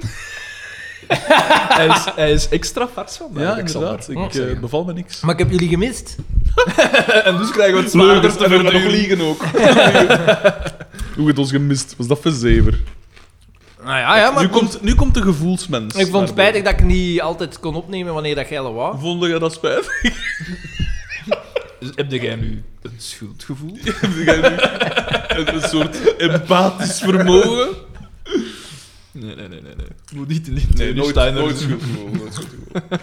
A: Hij is, hij is extra
C: Ja,
A: vars vandaag,
C: ja
A: Alexander.
C: inderdaad. Ik
B: Hm.
C: eh,
A: Zeggen.
C: beval me niks.
B: Maar ik heb jullie gemist.
A: En dus krijgen we het
C: Leuk,
A: zwaarder
C: en
A: te
C: we hebben nog
A: verduren.
C: liegen ook. Hoe het ons gemist. Was dat verzever?
B: Nou ja, ja maar
C: nu,
B: ik vond-
C: komt, nu komt de gevoelsmens.
B: ik vond het
C: naar
B: spijtig dat ik niet altijd kon opnemen wanneer dat jij er was.
C: boven. Vond je dat spijtig?
A: Dus heb jij nu een schuldgevoel?
C: een soort empathisch vermogen.
A: Nee, nee, nee, nee. nee. Moet niet in die nee, Steiner.
C: schuldgevoel, nooit schuldgevoel.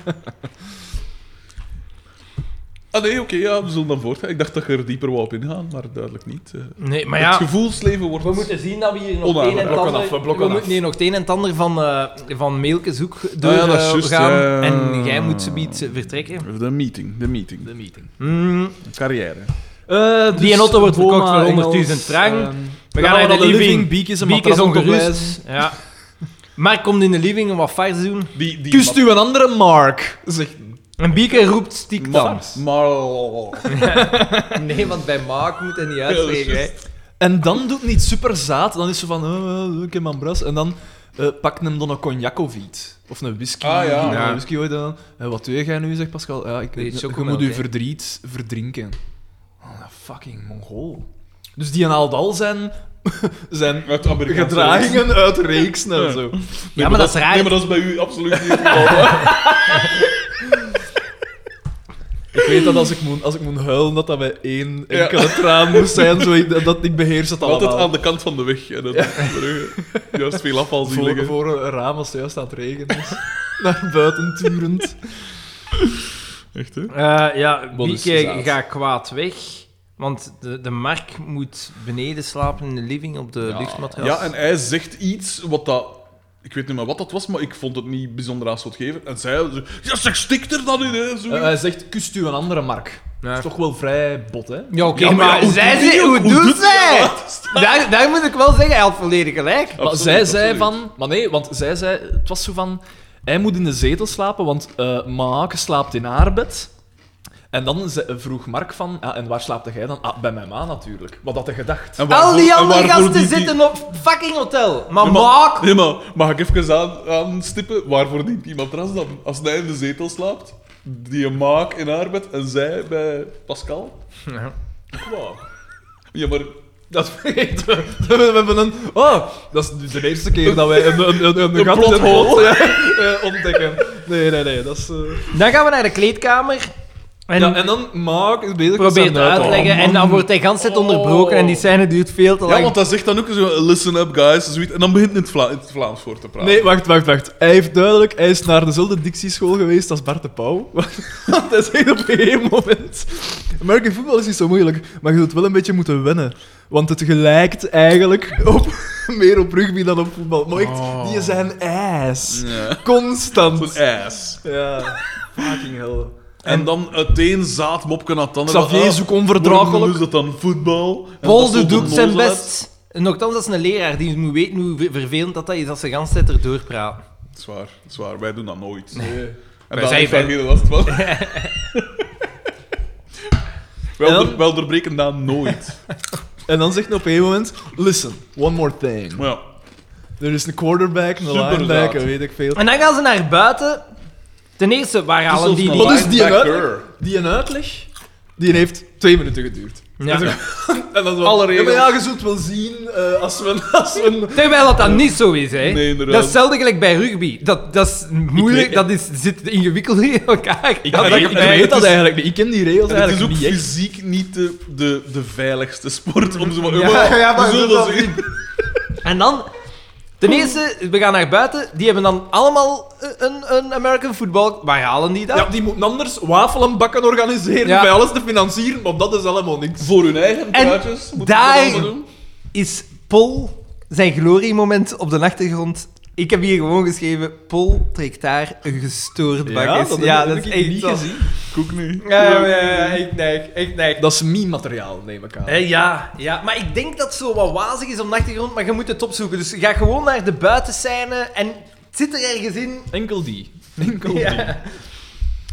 C: Ah nee, oké, ja, we zullen dan voortgaan. Ik dacht dat je er dieper wou op ingaan, maar duidelijk niet. Eh,
B: Nee, maar
C: Het
B: ja,
C: gevoelsleven wordt... Ah,
B: we moeten zien dat we hier nog het een en
C: Onaangenaam.
B: het
A: Blokken
B: ander...
A: af, we blokken
B: we
A: af.
B: moeten hier nog het een en het ander van, eh van Melkezoek door
C: Ah ja, dat is
B: eh,
C: juist,
B: gaan.
C: ja.
B: En jij moet ze biedt vertrekken.
C: De meeting, de meeting.
A: De meeting.
B: Hmm,
C: carrière. Eh,
B: Die dus auto wordt verkocht voor 100.000
A: ehm,
B: franken.
A: we gaan naar de living. Biek is een
B: Biek is
A: matras om te
B: ongerust.
A: wijzen.
B: Ja. Mark komt in de living om wat vars te doen.
C: Die, die
A: Kust u een andere Mark, zegt
B: En Bieke roept stiek
C: Ma-
B: dan.
C: Ma- Marl.
B: Nee, want bij Mark moet hij niet
C: uitspreken, hè.
A: En dan doet niet super zaad, dan is ze van, oh, oh, ik heb mijn bras. En dan eh pakt hem dan een cognac of iets. Of een whisky.
C: Ah, ja.
A: Een
B: Ja.
A: whisky ooit dan. Eh, wat doe jij nu, zegt Pascal? Ja, ik,
B: Nee,
A: je
B: chocomel,
A: moet je
B: hè.
A: verdriet verdrinken. Oh, dat fucking mongool. Dus die haalt al zijn, zijn
C: Uit Amerikaanse reeks.
A: gedragingen uit reeks en zo.
B: Ja, maar dat is raar.
C: Nee, maar dat is bij u absoluut niet het geval.
A: Ik weet dat als ik moet, als ik moet huilen, dat dat bij één enkele traan moest zijn. Zo, ik- dat ik beheers het allemaal.
C: Altijd aan de kant van de weg. En dat juist veel afval zien
A: voor,
C: liggen.
A: voor een raam als het juist aan het regenen is. Naar buiten turend.
C: Echt, hè?
B: Eh, ja,
A: Wat is
B: Bieke
A: zaad?
B: gaat kwaad weg. Want de, de Mark moet beneden slapen in de living op de luchtmatras.
C: Ja, en hij zegt iets wat dat... Ik weet niet meer wat dat was, maar ik vond het niet bijzonder aanstootgevend. En zij... zo, Ja, zeg, stik er dan in, hè. Zo.
A: Eh, hij zegt, kust u een andere mark. Dat is toch wel vrij bot, hè?
B: Ja, oké,
C: Ja, maar
B: maar,
C: ja, hoe
B: zij
C: doet die-
B: zei, hoe
C: hoe
B: doet
C: doet die
B: zij?
C: dat?
B: Daar, daar moet ik wel zeggen, hij had volledig gelijk.
A: maar
C: Absoluut,
A: zij zei
C: absoluut.
A: van... Maar nee, want zij zei... Het was zo van... Hij moet in de zetel slapen, want eh Maake slaapt in haar bed. En dan ze- vroeg Mark van... "Ah, en waar slaapte jij dan? Ah, bij mijn ma natuurlijk. Wat had hij gedacht?
C: En waarvoor-
B: Al die
C: en
B: andere
C: waarvoor
B: gasten
C: die- die-
B: zitten op fucking hotel. Maar
C: Ja,
B: Mark...
C: Nee, maar mag ik even aan, aanstippen waarvoor dient die matras dan? Als hij in de zetel slaapt, die een maak in haar bed en zij bij Pascal? Wow. Ja, maar...
A: Dat weten we. We hebben een... Oh, dat is nu de eerste keer dat wij een, een, een, een,
C: Een
A: gat in het
C: plothole.
A: hoofd, ja, eh, ontdekken. Nee, nee, nee. Dat is... eh,
B: Dan gaan we naar de kleedkamer. En,
A: Ja, en dan Mark is bezig met
B: probeert
A: zijn
B: te uitleggen. en dan wordt hij gans tijd onderbroken en die scène duurt veel te lang.
C: Oh. Ja, want hij zegt dan ook zo, listen up guys, zoiets. En dan begint hij in het, Vla- in het Vlaams voor te praten.
A: Nee, wacht, wacht, wacht. Hij heeft duidelijk, hij is naar dezelfde dictieschool geweest als Bart de Pauw. Want hij zegt op een gegeven moment... American football is niet zo moeilijk, maar je zult wel een beetje moeten wennen. Want het gelijkt eigenlijk op, meer op rugby dan op voetbal. Maar echt, die zijn ass.
C: Ja.
A: Constant.
C: Zo'n ass.
A: Ja, fucking hell.
C: En, dan het een zaadmopje naar het andere.
A: Xavier is ook onverdraaglijk.
C: Waarom is dat dan voetbal? En dat
B: Polder
C: is
B: doet
C: de
B: zijn
C: nozel
B: best. Nochtans, dat is een leraar die moet weten hoe ver- vervelend dat, dat is als ze gans tijd erdoor praten.
C: uit. Zwaar, zwaar. Wij doen dat nooit. En
B: Wij
C: daar
B: zijn
C: heeft daar
B: van-
C: geen last van.
A: En
C: wel,
A: dan-
C: door, wel doorbreken dat nooit.
A: En dan zegt hij op een gegeven moment... Listen, one more thing.
C: Maar ja,
A: Er is een quarterback, een
C: Superzaad.
A: linebacker, weet ik veel.
B: En dan gaan ze naar buiten. Ten eerste, waar halen die
A: Wat
B: die...
A: is die een
C: Linebacker.
A: uitleg? Die een uitleg? Die heeft twee minuten geduurd.
B: Ja.
A: En dan zo,
B: Alle
A: ja,
B: regels.
A: maar ja, je zult wel zien eh, als we... Als we
B: Terwijl dat dan niet zo is, hè.
C: Nee,
B: dat
C: inderdaad.
B: is hetzelfde gelijk bij rugby. Dat, dat is moeilijk,
C: weet-
B: dat is, zit ingewikkeld in elkaar.
C: Ik
A: Ja,
C: weet-
A: dat-
C: ik
A: ik weet dat eigenlijk niet. Ik ken die
C: het
A: regels
C: is
A: eigenlijk
C: ook
A: niet echt.
C: fysiek niet de, de, de veiligste sport om zo maar... we zullen
A: dat
C: wel zien.
B: En dan, ten eerste, we gaan naar buiten. Die hebben dan allemaal een, een American football. Waar halen die dat?
A: Ja, die moeten anders wafelen, bakken organiseren,
B: Ja.
A: bij alles te financieren, want dat is allemaal niks.
C: Voor hun eigen
B: En
C: truitjes moeten
B: daar-
C: ze dat allemaal doen.
B: Is Paul zijn gloriemoment op de achtergrond? Ik heb hier gewoon geschreven: Paul trekt daar een gestoord bak.
A: Ja, dat heb- dat heb ik niet
B: zo.
A: gezien.
C: Koek niet.
B: Ja, ja, ja, ja, echt neig, echt neig.
A: Dat is meme-materiaal, neem ik aan.
B: Eh, ja, ja, maar ik denk dat het zo wat wazig is op de achtergrond, maar je moet het opzoeken. Dus ga gewoon naar de buitenscène en het zit er ergens in.
A: Enkel die. Enkel die.
B: Ja.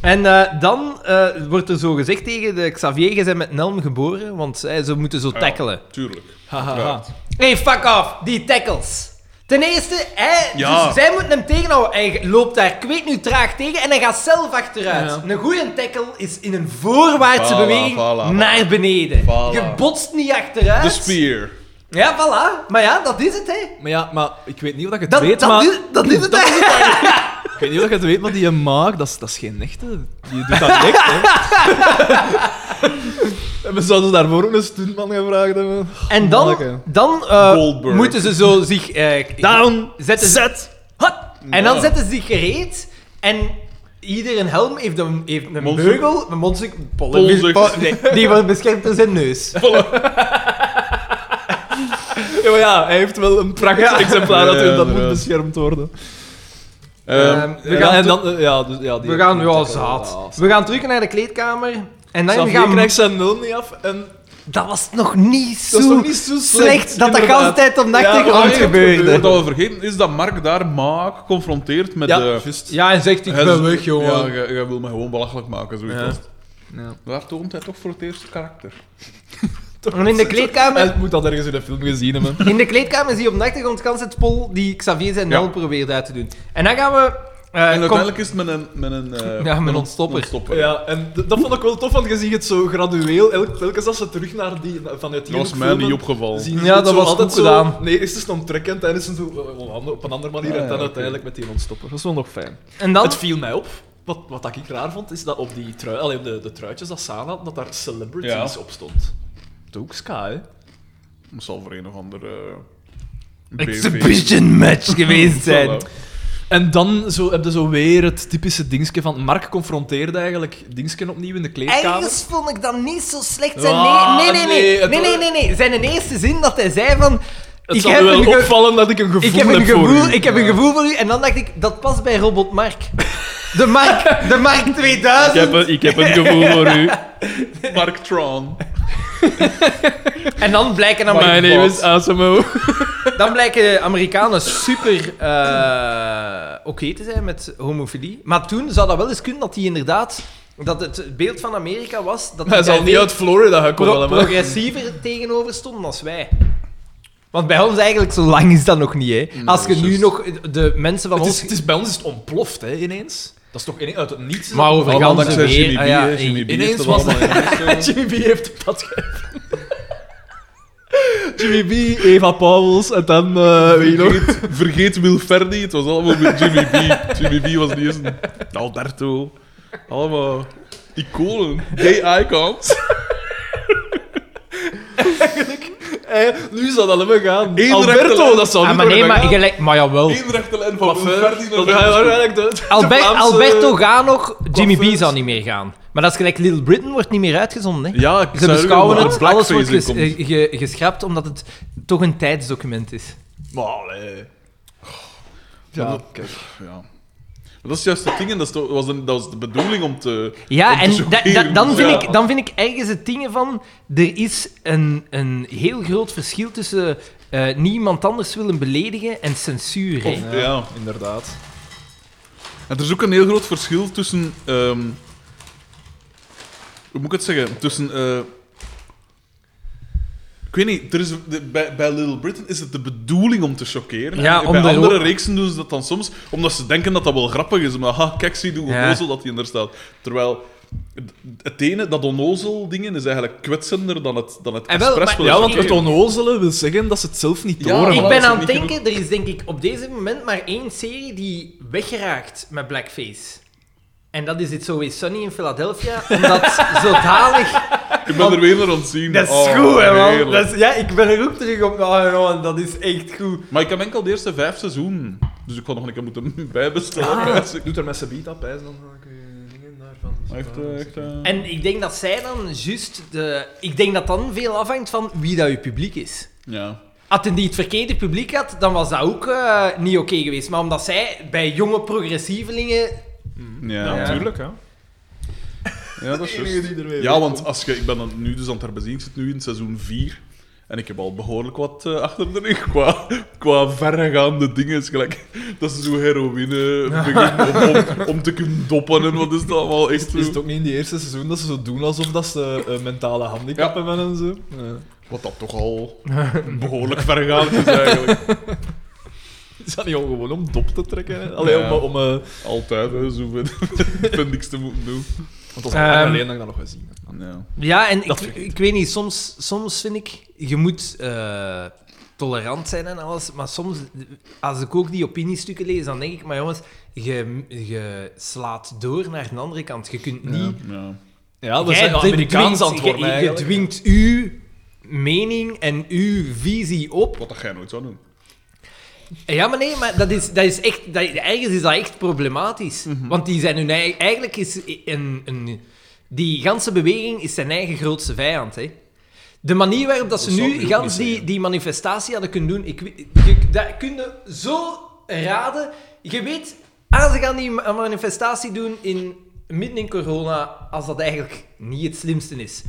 B: En eh, dan eh, wordt er zo gezegd tegen de Xavier, je bent met Nelm geboren, want eh, ze moeten zo tackelen.
C: Ja, Ah, tuurlijk.
A: Hahaha.
B: Hey, fuck off, die tackles. Ten eerste, hij,
C: Ja.
B: dus zij moeten hem tegenhouden. Hij loopt daar kweet nu traag tegen en hij gaat zelf achteruit.
A: Ja.
B: Een goede tackle is in een voorwaartse
C: Voilà,
B: beweging
C: voilà, voilà.
B: naar beneden.
C: Voilà.
B: Je botst niet achteruit.
C: De spear.
B: Ja, voilà. Maar ja, dat is het, hè.
A: Maar ja, maar ik weet niet of dat je het
B: Dat,
A: weet,
B: dat,
A: maar...
B: is, dat is het, hè.
A: Ik weet niet of je het weet, maar die maag, dat is, dat is geen echte. Die doet dat echt, hè. En we zouden daarvoor ook een stuntman gevraagd hebben.
B: En dan,
A: Manneke.
B: dan eh,
C: Goldberg.
B: moeten ze zo zich... eh,
A: Down,
B: zetten ze-
A: set, hut.
B: En dan
C: Ja.
B: zetten ze zich gereed en ieder een helm heeft een, heeft een
C: Monster-
B: beugel, een monster...
C: Polzucht.
B: po- nee, die wordt beschermd door zijn neus.
C: Ehm,
A: Ja, maar ja, hij heeft wel een prachtig exemplaar dat,
C: Ja,
A: dat moet
C: inderdaad.
A: beschermd worden.
C: Ehm,
B: Ehm, we
A: Ja,
B: gaan,
A: en
B: to-
A: dan, eh, ja, dus, ja, die
B: we gaan, ja,
A: die-
B: zaad. We gaan terug naar de kleedkamer en dan
A: Xavier
B: gaan
A: krijgt zijn nul niet af en
B: Dat was nog niet
A: dat is
B: zo
A: toch niet zo slecht.
B: slecht dat dat de
A: inderdaad.
B: hele tijd op
A: Ja,
B: nachtig
A: wat
B: rond
A: eigenlijk
B: gebeurde.
C: Wat we vergeten is dat Mark daar Maak geconfronteerd met...
A: Ja,
C: eh,
A: juist.
B: Ja, en zegt ik
C: hij
B: ben
C: is-
B: weg,
C: Ja,
B: jongen.
C: jij- jij wil me gewoon belachelijk maken, zoiets
A: Ja.
C: was het. Daar toont hij toch voor het eerst karakter.
B: En in de kleedkamer...
A: Hij moet dat ergens in de film gezien hebben.
B: In de kleedkamer zie je op de achtergrond kans het pol die Xavier zijn
C: Ja.
B: nul probeert uit te doen. En dan gaan we... eh,
C: en
B: kom-
C: uiteindelijk is het met een... Met een eh,
B: met
C: een
B: ontstopper.
A: Ja, en d- dat vond ik wel tof, want je ziet het zo gradueel. elk- Telkens als ze terug naar die, vanuit die
C: Dat was
A: hoek
C: mij niet
A: filmen,
C: opgevallen.
A: zien ze
B: Ja,
A: het
B: dat
A: zo
B: was
A: altijd
B: goed gedaan.
A: Zo, nee, eerst is het onttrekkend en is het zo eh, op een ander- op een andere manier
C: Ah,
A: en dan
C: ja,
A: uiteindelijk met die ontstopper. Dat is wel nog fijn.
B: En dan...
A: Het viel mij op. Wat, wat dat ik raar vond, is dat op die trui, allee, op de, de truitjes dat ze aan hadden, dat daar celebrities
C: Ja.
A: op stond. Dat is ook ska, hè?
C: Het zal voor een of ander... eh,
B: exhibition match geweest zijn.
C: Voilà.
A: En dan zo, heb je zo weer het typische dingetje van... Mark confronteerde eigenlijk dingetje opnieuw in de kleedkamer.
B: Ergens vond ik dat niet zo slecht zijn.
A: Ah,
B: Nee, nee, nee, nee.
A: nee, het-
B: Nee, nee, nee, nee. Zijn eerste zin dat hij zei van...
A: Het
B: Ik
A: zal
B: heb,
A: u wel
B: een ge-
A: opvallen dat ik een gevoel
B: ik heb een
A: voor
B: gevoel,
A: u.
B: ik heb een gevoel voor u. En dan dacht ik, dat past bij Robot Mark. De Mark, de Mark 2000.
A: een, ik heb een gevoel voor u.
C: Mark Tron.
B: En dan blijken,
A: Mijn
B: Ameri-
A: name is Asamo.
B: dan blijken Amerikanen super eh, oké te zijn met homofilie. Maar toen zou dat wel eens kunnen dat die inderdaad... Dat het beeld van Amerika was... Dat
A: Hij
B: die
A: zal
B: daar
A: niet
B: veel-
A: uit Florida gekomen
B: pro
A: allemaal.
B: progressiever tegenover stonden als wij. Want bij ons eigenlijk zo lang is dat nog niet, hè. Als je nu
C: juist.
B: nog de mensen van
A: Het
B: ons...
A: is, het is, bij ons is het ontploft, hè, ineens. Dat is toch ineens uit het niets.
B: Maar over
C: Allemaal
B: ganse
C: dankzij
B: weer-
C: Jimmy B.
B: ah ja,
C: hè. Jimmy B
A: ineens
C: heeft dat
A: was-
C: allemaal in huis, eh.
A: Jimmy B heeft dat gegeven. Jimmy B, Eva Pauwels en dan... eh, weet je nog?
C: Vergeet, vergeet Wilferdi, het was allemaal met Jimmy B. Jimmy B was niet eens een Alberto. Allemaal iconen, gay icons.
A: Eh, nu zal dat allemaal gaan.
C: Eén
A: Alberto,
C: rechterlijn.
A: dat zal
B: Ah,
A: niet
B: maar nee,
A: worden
B: maar
A: gaan.
B: gelijk... Maar jawel.
C: Eén rechterlijn van Wilferdi
A: Coiffeur,
C: naar
A: Dat gaat
C: Wilferdi.
A: waarschijnlijk de, de
B: Albe-
A: Vlaamse-
B: Alberto gaat nog, Jimmy B
A: coiffeurs.
B: zou niet meer gaan. Maar dat is gelijk Little Britain wordt niet meer uitgezonden, hè.
C: Ja, ik
B: Ze
C: zou
B: beschouwen
C: zeggen,
B: het,
C: maar
B: alles wordt
C: blackface
B: ges-
C: in komt.
B: eh, ge- geschrapt omdat het toch een tijdsdocument is.
A: Maar allee. Ja, kijk.
C: Ja. Maar dat is juist het ding, en dat, is toch- was de, dat was de bedoeling om te. om
B: Ja,
C: te
B: en da-
C: choqueren.
B: da- dan, vind
C: Ja.
B: ik, dan vind ik ergens het ding van... Er is een, een heel groot verschil tussen eh, niemand anders willen beledigen en censuur. hè.
C: Of- ja.
A: Inderdaad.
C: En er is ook een heel groot verschil tussen. ehm, hoe moet ik het zeggen? Tussen. eh, ik weet niet, er is, de- bij, bij Little Britain is het de bedoeling om te choqueren.
B: Ja,
C: En
B: om
C: bij
B: de-
C: andere reeksen doen ze dat dan soms omdat ze denken dat dat wel grappig is. Maar ha, kijk, zie hoe
B: Ja.
C: onnozel dat hij er staat. Terwijl het- het ene, dat onnozel dingen, is eigenlijk kwetsender dan het, dan het
B: En wel,
C: expres
B: maar-
C: willen
A: Ja, want het
C: choqueren.
A: onnozele wil zeggen dat ze het zelf niet
C: Ja,
A: horen.
C: maar
B: Ik
C: dat
B: ben
C: is
B: aan het
C: niet
B: denken, er is denk ik op deze moment maar één serie die weggeraakt met blackface. En dat is It's Always Sunny in Philadelphia, omdat zodanig...
C: Ik ben er weer naar aan het zien. Oh, heerlijk.
B: ja, ik ben er ook terug op. Oh, dat is echt goed.
C: Maar ik heb enkel de eerste vijf seizoenen. Dus ik ga nog een keer moeten bijbestellen.
A: Ah,
B: Ah.
C: Dus
A: Dus Ik doe er met zijn beat op, hè, dus dan kun je dingen daarvan.
C: Echt, eh, echt, eh.
B: En ik denk dat zij dan juist de... Ik denk dat dan veel afhangt van wie dat je publiek is.
C: Ja.
B: Had die het verkeerde publiek had, dan was dat ook eh, niet oké geweest. Maar omdat zij bij jonge progressievelingen...
C: Ja,
B: Ja.
C: natuurlijk.
A: hè.
C: Ja, dat is
A: Enige
C: juist.
A: die er weer
C: Ja, want
A: wegkomt.
C: als je, ik ben dan nu dus aan het herbezien. Ik zit nu in seizoen 4. En ik heb al behoorlijk wat eh, achter de rug qua, qua verregaande dingen. Het is gelijk dat ze zo heroïne beginnen om, om, om te kunnen doppen en wat is dat allemaal. Echt
A: Is
C: zo.
A: het ook niet in die eerste seizoen dat ze zo doen alsof dat ze eh, mentale handicap
C: Ja.
A: hebben en zo? Ja.
C: Wat dat toch al behoorlijk verregaand is eigenlijk.
A: Is dat niet om gewoon om dop te trekken? Alleen
C: Ja.
A: om, om eh,
C: Altijd, hè, zo vind, vind niks te moeten doen.
A: Want dat is al lang
B: Ehm,
A: alleen dat ik dat nog gezien heb.
C: Ja.
B: Ja, en ik,
A: Dat vergeet.
B: ik weet niet, soms, soms vind ik, je moet eh, tolerant zijn en alles, maar soms, als ik ook die opiniestukken lees, dan denk ik, maar jongens, je, je slaat door naar de andere kant. Je kunt niet...
C: Ja.
A: Ja, dat
B: Jij
A: Ah, zijn Amerikaans
B: dwingt-
A: antwoorden
B: jij- Je
A: eigenlijk.
B: dwingt uw mening en uw visie op.
C: Wat dat jij nooit zou doen.
B: Ja, maar nee, maar dat is, dat is echt... Dat, ergens is dat echt problematisch.
A: Mhm.
B: Want die zijn hun eigen... Eigenlijk is een, een... Die ganse beweging is zijn eigen grootste vijand, hè. De manier waarop dat ze
C: Dat zou ik
B: nu
C: ook niet
B: gans die,
C: zeggen.
B: die manifestatie hadden kunnen doen... Ik, weet- je, dat kun je zo raden. Je weet, ah, ze gaan die ma- manifestatie doen in, midden in corona, als dat eigenlijk niet het slimste is.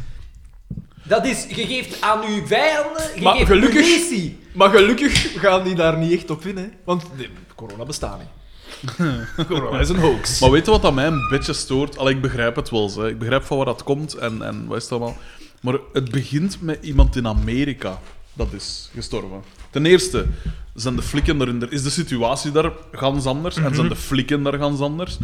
B: Dat is, je geeft aan uw vijanden, je
A: Maar
B: geeft
A: gelukkig-
B: munitie.
A: Maar gelukkig gaan die daar niet echt op in, hè. Want nee, corona bestaat niet. corona is een hoax.
C: Maar weet je wat dat mij een beetje stoort? Al ik begrijp het wel, hè. ik begrijp van waar dat komt en, en wat is het allemaal. Maar het begint met iemand in Amerika dat is gestorven. Ten eerste zijn de flikken er, is de situatie daar gans anders en zijn de
B: Mhm.
C: flikken daar gans anders.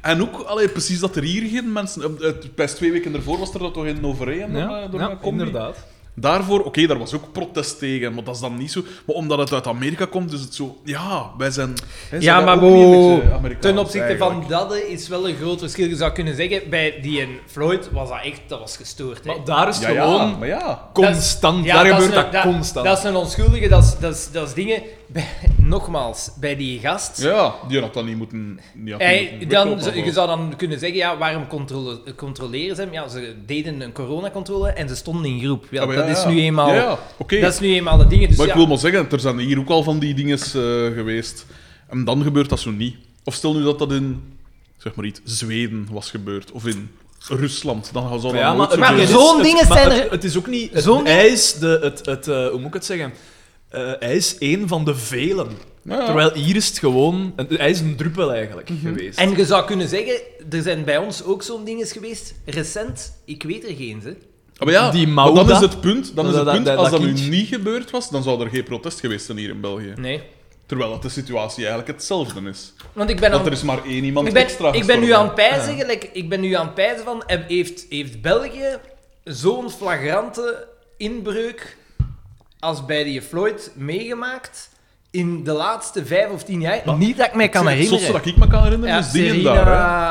C: En ook allee, precies dat er hier geen mensen. eh, het- Bij twee weken ervoor was er dat toch in Overeen? eh,
A: ja,
C: door
A: ja,
C: mijn combi?
A: inderdaad.
C: Daarvoor, oké, daar was ook protest tegen, maar dat is dan niet zo. Maar omdat het uit Amerika komt, is het zo. Ja, wij zijn. hè, zijn
B: Ja,
C: wij
B: maar
C: ook niet eh, een
B: wow,
C: beetje Amerikaans
B: ten opzichte
C: eigenlijk.
B: van dat is wel een groot verschil. Je zou kunnen zeggen, bij die en Floyd was dat echt dat was gestoord. Hè?
A: Maar daar is het
C: Ja,
A: gewoon
C: ja, maar ja.
B: Dat is-
A: constant.
B: ja,
A: daar
B: is
A: gebeurt
B: een-
A: dat, constant.
B: Dat is een onschuldige, dat is, dat is, dat is dingen... Bij, nogmaals, bij die gast...
C: Ja, die had dat niet moeten. Die had
B: Hij-
C: niet moeten
B: dan,
C: weglopen,
B: ze-
C: maar-
B: je zou dan kunnen zeggen, ja, waarom controle, controleren ze hem? Ja, ze deden een coronacontrole en ze stonden in groep. Ja,
C: Ja, Ah, maar
B: dat,
C: ja,
B: is
C: ja.
B: nu eenmaal,
C: Ja, ja, oké.
B: dat is nu eenmaal de dingen. Dus
C: Maar ik
B: ja,
C: wil maar zeggen, er zijn hier ook al van die dingen eh, geweest. En dan gebeurt dat zo niet. Of stel nu dat dat in, zeg maar iets, Zweden was gebeurd. Of in Rusland. Dan zou dat
A: Ja,
C: nooit
A: maar,
C: zo
B: maar
C: gebeuren.
A: het is-
B: zo'n
A: het-
B: dingen
A: maar
B: zijn
A: het-
B: er-
A: Het is ook niet. Het
B: zo'n-
A: hij is de. Het, het, eh, hoe moet ik het zeggen? Eh, hij is één van de velen.
C: Ja, ja.
A: Terwijl hier is het gewoon. een- Hij is een druppel eigenlijk geweest.
B: En je zou kunnen zeggen, er zijn bij ons ook zo'n dingen geweest. Recent, ik weet er geen, ze.
C: Ja, Ah, maar ja,
A: die
C: maar dan
A: Mauda-
C: is het punt, dan is het
A: dat- dat-
C: punt
A: dat-
C: als dat
A: dat
C: nu
A: kindje.
C: niet gebeurd was, dan zou er geen protest geweest zijn hier in België.
B: Nee.
C: Terwijl dat de situatie eigenlijk hetzelfde is.
B: Want ik ben,
C: Want
B: aan-
C: er is maar één iemand
B: ik ben,
C: extra
B: ik ben nu
C: gestorven.
B: aan het pijzen, gelijk, ik ben nu aan het pijzen van, heb- heeft, heeft België zo'n flagrante inbreuk als bij die Floyd meegemaakt in de laatste vijf of tien jaar? Niet dat ik mij kan
C: Het zotste
B: herinneren.
C: dat ik me kan herinneren is dingen daar.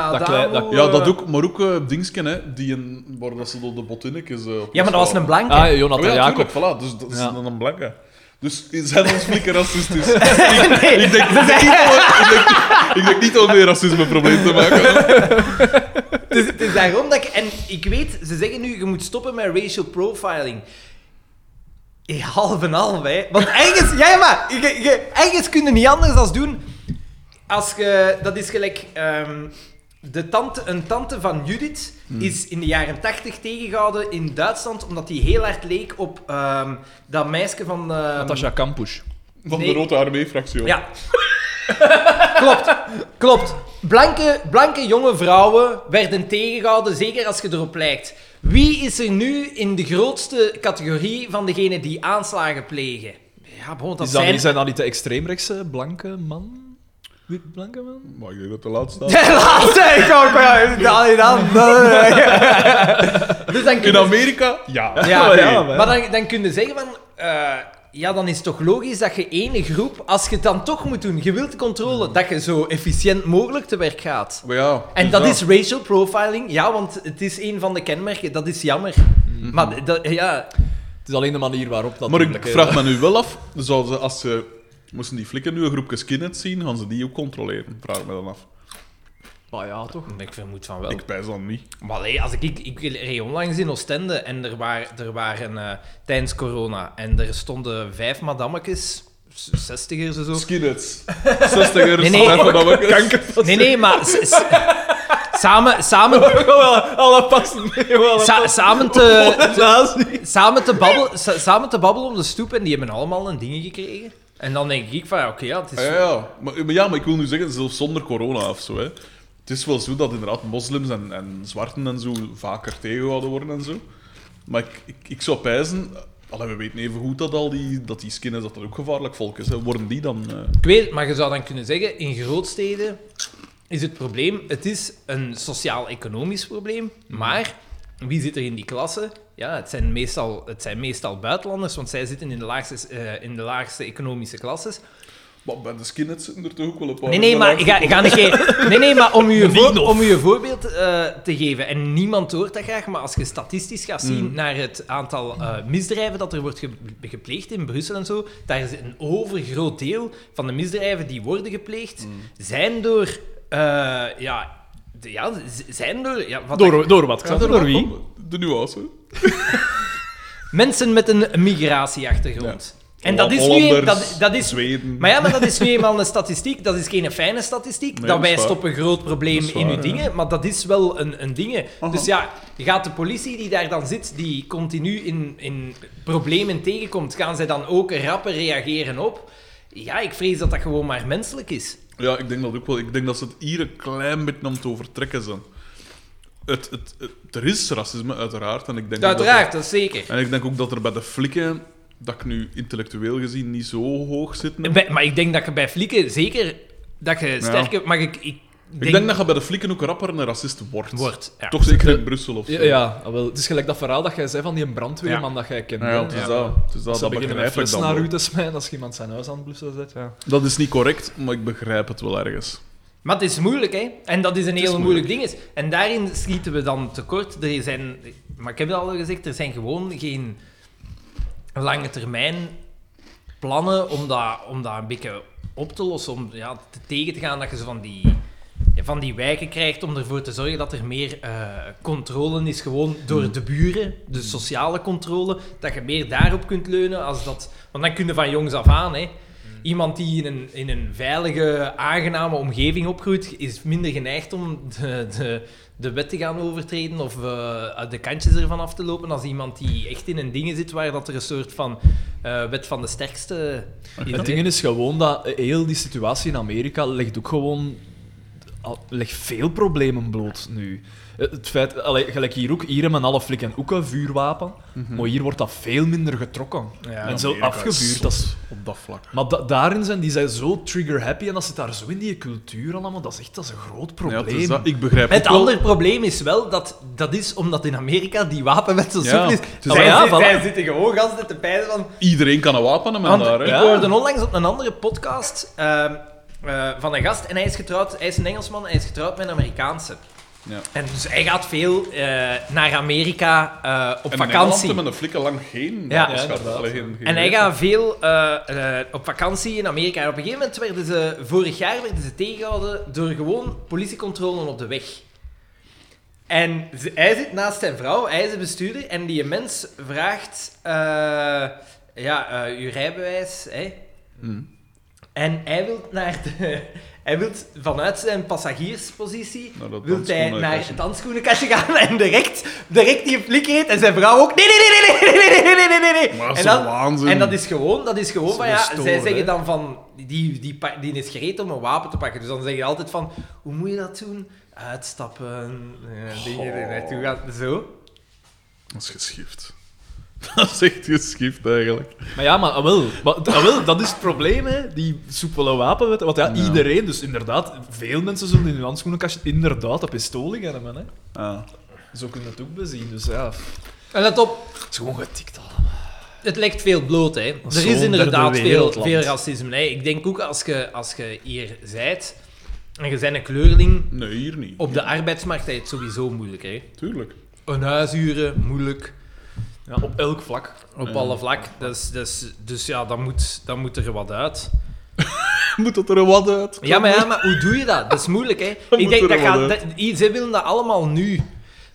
C: Hè.
A: Dat klei- dat-
C: Ja, dat ook, maar ook eh Dingsken, hè, die een, waar dat ze door de botinnetjes... eh, op
B: Ja, maar dat was een blanke.
A: Ah,
C: Oh
A: Jonathan
C: ja,
A: Jacob.
C: tuurlijk, voilà, dus dat is
A: Ja.
C: dan een blanke. Dus zijn ons flikken racistisch. ik,
B: Nee,
C: denk, ik, denk niet om- ik, denk, ik denk niet om een racismeprobleem te maken.
B: Dus het is daarom dat ik... En ik weet, ze zeggen nu, je moet stoppen met racial profiling. Eh, Half en half, hè. Want ergens... Ja, ja, maar je, je, ergens kun je niet anders dan doen... Als je... Dat is gelijk... ehm, de tante, een tante van Judith is in de jaren tachtig tegengehouden in Duitsland, omdat die heel hard leek op ehm, dat meisje van... ehm,
A: Natasha Kampusch.
C: Van
B: Nee.
C: de Rode Armee-fractie. ook.
B: ja. klopt, klopt. Blanke, blanke jonge vrouwen werden tegengehouden, zeker als je erop lijkt. Wie is er nu in de grootste categorie van degenen die aanslagen plegen? Ja, bon, dat
A: Is dat,
B: zijn...
A: niet- Zijn dat niet de extreemrechtse blanke man? Wit blanke man?
C: Maar ik denk dat de laatste...
B: De laatste, ik ook, ja, dan- dan- dan- Dus dan kun
C: In
B: je...
C: Amerika, ja.
B: Ja,
A: maar ja,
C: Nee.
A: maar-
B: Maar dan, dan kun je zeggen van... eh, ja, dan is het toch logisch dat je ene groep, als je het dan toch moet doen, je wilt de controle, dat je zo efficiënt mogelijk te werk gaat.
C: Maar ja,
B: En
C: dus
B: dat is racial profiling, ja, want het is een van de kenmerken, dat is jammer. Maar dat, ja,
A: Het is alleen de manier waarop dat.
C: Maar ik
A: natuurlijk, hè.
C: vraag me nu wel af, zouden ze, als ze... Moesten die flikken nu een groepje skinheads zien, gaan ze die ook controleren? Vraag ik me dan af.
A: Maar Ah, ja, toch?
B: ik vermoed van wel.
C: Ik pijs dan niet.
B: Maar allee, als ik, ik, ik reed onlangs in Oostende en er, waar, er waren eh, tijdens corona en er stonden vijf madammetjes, s- zestigers en zo.
C: Skinheads. Zestigers,
B: Nee, nee.
C: nee. kanker.
B: Nee, nee, maar s- s- samen, samen,
A: Alle passen mee, wel.
B: sa- samen te...
A: nazi.
B: Samen te, babbelen, sa- samen te babbelen op de stoep en die hebben allemaal een ding gekregen. En dan denk ik van, ja, oké, ja, het is...
C: Ah, Ja, ja, ja. Maar, maar ja, maar ik wil nu zeggen, zelfs zonder corona of zo. Hè. Het is wel zo dat inderdaad moslims en, en zwarten en zo vaker tegengehouden worden en zo. Maar ik, ik, ik zou pijzen, allee, we weten even goed dat al die, dat die skinheads dat dat ook gevaarlijk volk is. Hè. Worden die dan. eh,
B: Ik weet het, maar je zou dan kunnen zeggen, in grootsteden is het probleem. Het is een sociaal-economisch probleem, maar wie zit er in die klasse? Ja, het zijn meestal, het zijn meestal buitenlanders, want zij zitten in de laagste, eh, in de laagste economische klasses.
C: Maar bij de skinheads zitten er toch ook wel een paar.
B: Nee, nee, maar, ik ga, ik ga niet ge- nee, nee, maar om u een, voor-
A: Wien of-
B: om u een voorbeeld eh, te geven, en niemand hoort dat graag, maar als je statistisch gaat zien naar het aantal eh, misdrijven dat er wordt ge- gepleegd in Brussel en zo, daar is een overgroot deel van de misdrijven die worden gepleegd, zijn door... eh, ja, de- ja, z- zijn door... Ja, wat dat-
A: Door, door wat,
C: Ja,
A: Xander? door wie?
C: De nuance.
B: mensen met een migratieachtergrond. En dat is, nu,
C: Hollanders,
B: dat, dat is
C: Zweden.
B: Maar ja, maar dat is nu eenmaal een statistiek. Dat is geen fijne statistiek.
C: Nee,
B: dat
C: dat is
B: wijst
C: waar.
B: op een groot probleem
C: Dat is
B: in
C: waar,
B: uw
C: ja.
B: dingen. Maar dat is wel een, een ding.
C: Aha.
B: Dus ja, je gaat de politie die daar dan zit, die continu in, in problemen tegenkomt, gaan zij dan ook rapper reageren op? Ja, ik vrees dat dat gewoon maar menselijk is.
C: Ja, ik denk dat ook wel. Ik denk dat ze het hier een klein beetje aan het overtrekken zijn. Het, het, het- er is racisme, uiteraard. En ik denk ook dat er-
B: Uiteraard, dat is zeker.
C: en ik denk ook dat er bij de flikken, dat ik nu intellectueel gezien niet zo hoog zit. nu.
B: Bij- maar ik denk dat je bij flikken zeker dat je sterker... Maar ik, ik, denk,
C: Ik denk dat je bij de flikken ook rapper een racist wordt.
B: wordt. Ja.
C: Toch zeker
A: De-
C: in Brussel of zo.
A: Ja, ja ah, wel, het is gelijk dat verhaal dat jij zei van die brandweerman
B: Ja.
A: dat jij kent.
C: Nou ja, het is dat. Het is dat,
A: Ze
C: dat
A: beginnen
C: begrijp
A: met
C: ik
A: fles
C: dan
A: naar
C: wel.
A: u te smijten als je iemand zijn huis aan het blussen zet. Ja.
C: Dat is niet correct, maar ik begrijp het wel ergens.
B: Maar het is moeilijk, hè? En dat is een heel moeilijk
C: moeilijk.
B: ding. Is. En daarin schieten we dan tekort. Er zijn, maar ik heb het al gezegd, er zijn gewoon geen lange termijn plannen om dat, om dat een beetje op te lossen. Om ja, te tegen te gaan dat je zo van die, ja, van die wijken krijgt. Om ervoor te zorgen dat er meer eh, controle is. Gewoon door de buren, de sociale controle. Dat je meer daarop kunt leunen. Als dat, want dan kun je van jongs af aan. Hè, Iemand die in een, in een veilige, aangename omgeving opgroeit, is minder geneigd om de, de, de wet te gaan overtreden of eh, uit de kantjes ervan af te lopen, als iemand die echt in een ding zit waar dat er een soort van eh, wet van de sterkste is.
A: Het ding is gewoon dat heel die situatie in Amerika legt ook gewoon al- legt veel problemen bloot nu. Het feit, allee, gelijk hier ook, hier hebben we alle flik en ook een vuurwapen, maar hier wordt dat veel minder getrokken.
B: Ja,
A: en zo
C: Mhm. Amerika is
A: afgevuurd.
C: zot
A: Dat is,
C: Op dat vlak.
A: maar da- daarin zijn die zijn zo trigger-happy en dat zit daar zo in die cultuur allemaal, dat is echt dat is een groot
C: Ja, het
A: probleem.
C: is dat. Ik begrijp
B: Het
C: ook wel-
B: andere probleem is wel dat dat is omdat in Amerika die wapenwet zo
C: Ja,
B: soepel is.
C: het is
B: Zij,
A: wel-
B: zij-
A: ja,
B: zij zitten gewoon gasten te pijzen van...
C: Iedereen kan een wapen hebben
B: Want
C: daar, hè?
B: ik
A: Ja.
B: hoorde onlangs op een andere podcast ehm, eh, van een gast en hij is getrouwd, hij is een Engelsman en hij is getrouwd met een Amerikaanse.
C: Ja.
B: En dus hij gaat veel eh, naar Amerika eh, op
C: En in Engeland
B: vakantie.
C: hebben de flikken lang geen
B: Ja,
C: wapens
A: ja,
C: gehad.
A: inderdaad.
C: Allee, geen- geen
B: En hij
C: weten.
B: gaat veel eh, eh, op vakantie in Amerika. En op een gegeven moment werden ze, vorig jaar, werden ze tegengehouden door gewoon politiecontrole op de weg. En ze- hij zit naast zijn vrouw, hij is de bestuurder, en die mens vraagt, eh, ja, eh uw rijbewijs, hè.
C: Hm.
B: En hij wil naar de... Hij wil vanuit zijn passagierspositie
C: Naar dat
B: wil hij naar
C: dansschoenenkastje.
B: het handschoenenkastje gaan en direct, direct die flikkerheid en zijn vrouw ook. Nee, nee, nee, nee, nee, nee, nee, nee, nee, nee, nee.
C: Maar dat
B: en,
C: is
B: dan-
C: toch waanzin?
B: en dat is gewoon, dat is gewoon
A: is
B: van
A: wel
B: ja,
A: stoer,
B: zij
A: hè?
B: zeggen dan van, die, die, pa- die is gereed om een wapen te pakken. Dus dan zeg je altijd van, hoe moet je dat doen? Uitstappen, eh, dingen er naartoe gaan, zo.
C: Dat is geschift. Dat is echt geschift, eigenlijk.
A: Maar ja, maar ah, wel, Maar, ah, wel, dat is het probleem, hè. Die soepele wapenwet. Want ja,
C: Ja.
A: iedereen, dus inderdaad, veel mensen zullen in hun handschoenenkastje inderdaad een pistool liggen hebben, hè.
C: Ah.
A: Zo kunnen we het ook bezien, dus ja. Het
B: En let op,
A: is gewoon getikt allemaal.
B: Het legt veel bloot, hè.
A: Dat is
B: Er is
A: zo'n
B: inderdaad veel,
A: derde wereldland.
B: veel racisme. Hè. Ik denk ook als je als je hier zijt en je bent een kleurling
C: Nee, hier niet.
B: op de arbeidsmarkt, is het sowieso moeilijk, hè.
C: Tuurlijk.
B: Een huis huren, moeilijk.
A: Ja, op elk vlak.
B: Op
C: Ja.
B: alle vlak. Dus, dus, dus ja, dan moet, dan moet er wat uit.
C: Moet dat er wat uit?
B: Ja maar, ja, maar hoe doe je dat? Dat is moeilijk, hè.
C: Dan
B: Ik
C: moet
B: denk
C: er
B: dat
C: wat
B: gaat...
C: uit.
B: dat- i- Ze willen dat allemaal nu.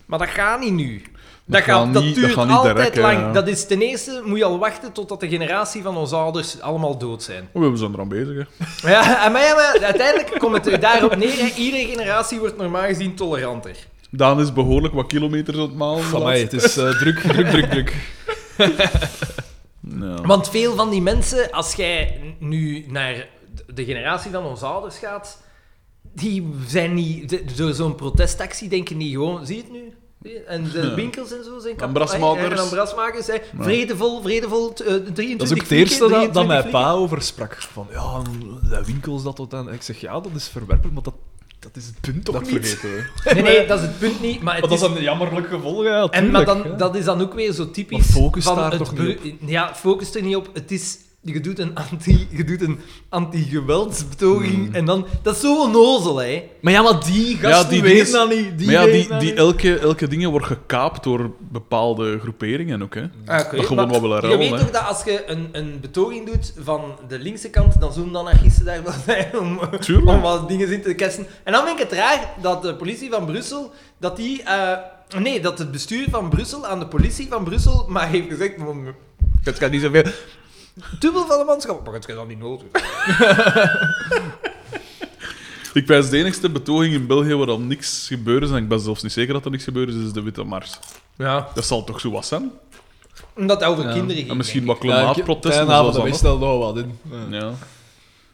B: Maar dat gaat niet nu. Dat,
C: gaat
B: gaat, dat
C: niet- dat
B: duurt
C: gaat niet
B: altijd
C: direct, hè,
B: lang.
C: ja.
B: Dat is ten eerste, moet je al wachten totdat de generatie van onze ouders allemaal dood zijn.
C: Oh, we zijn eraan bezig, hè.
B: Ja, en maar, ja, maar uiteindelijk komt het er daarop neer. hè. Iedere generatie wordt normaal gezien toleranter.
C: Daan is behoorlijk wat kilometers aan het malen.
A: Van mij, het is eh, druk, druk, druk, druk.
C: Ja.
B: Want veel van die mensen, als jij nu naar de generatie van onze ouders gaat, die zijn niet... de- door zo'n protestactie denken die gewoon... Zie je het nu? Zie je? En de
C: Ja.
B: winkels en zo zijn kapot.
C: brasmakers.
B: hè. En brasmakers. hè. Vredevol, vredevol, t- eh, 23
A: Dat is ook het
B: flikken,
A: eerste dat, dat
B: 23
A: mijn
B: flikken.
A: pa over sprak. Van, ja, de winkels dat tot aan... Ik zeg, ja, dat is verwerpelijk, maar dat, Dat is het punt toch
C: dat
A: niet?
C: vergeten we.
D: Nee, nee, dat is het punt niet. Maar het
A: Want dat
D: is
A: is een jammerlijk gevolg, ja.
D: En maar
A: tuurlijk, hè.
D: dan, dat is dan ook weer zo typisch.
A: Maar focus
D: van
A: daar
D: het
A: toch
D: bru-
A: niet
D: Ja, focus er niet op. Het is, je doet een anti- je doet een anti-geweldsbetoging en dan... Dat is zo onnozel, hè.
A: Maar ja, maar die gasten
C: die
A: weten
C: dingen-
A: dat niet. Die
C: maar ja,
A: weten
C: die,
A: dat
C: die
A: niet.
C: elke, elke dingen wordt gekaapt door bepaalde groeperingen ook, hè. Dat gewoon
D: maar
C: wel willen
D: Je
C: ruilen,
D: weet
C: hè.
D: toch dat als je een, een betoging doet van de linkse kant, dan zullen dan anarchisten daar wel zijn om,
C: Tuurlijk.
D: om wat dingen in te kessen. En dan vind ik het raar dat de politie van Brussel, dat die... eh, nee, dat het bestuur van Brussel aan de politie van Brussel maar heeft gezegd... Het gaat niet zoveel... Dubbel van de manschap, maar het gaat dan niet nodig.
C: Ik wijs de enigste betoging in België waar al niks gebeurd is, en ik ben zelfs niet zeker dat er niks gebeurd is, is de Witte Mars.
D: Ja.
C: Dat zal toch zo wat zijn?
D: Omdat het over
A: Ja.
D: kinderen ging.
C: En misschien
D: denk
C: wat
A: Ja, ik-
C: klimaatprotesten
A: Tijdenavond,
C: of
A: daar
C: zo.
A: wist wel nog wat in. Ja.
C: Ja.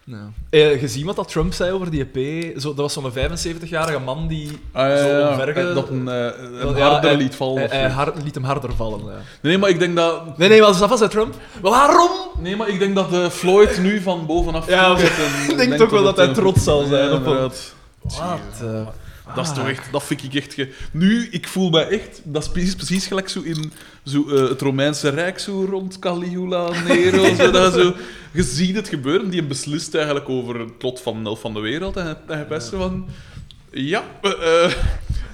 A: Ja. Eh, gezien wat dat Trump zei over die EP? Zo, dat was zo'n 75-jarige man die
C: Ah, ja,
A: zo
C: ja, ja.
A: omverge-
C: Dat een, eh, een
A: Ja, eh,
C: harder
A: hij-
C: liet vallen.
A: hij-
C: of zo.
A: hij har- liet hem harder vallen, ja.
C: Nee, maar ik denk dat...
A: Nee, nee, was dat was Trump? Waarom?
C: Nee, maar ik denk dat eh, Floyd nu van bovenaf...
A: Ja,
C: toekijkt en
A: ik denk
C: denkt
A: toch wel dat hij
C: een-
A: trots zal zijn
C: Ja,
A: op hem.
C: inderdaad.
A: Wat? eh,
C: Dat is toch echt, dat vind ik echt. Ge... Nu, ik voel mij echt, dat is precies, precies gelijk zo in zo, eh, het Romeinse Rijk, zo rond Caligula, Nero. zo, dat zo. Je ziet het gebeuren, die beslist eigenlijk over het lot van een elf van de wereld. En hij- hij best zo van. Ja, eh, eh,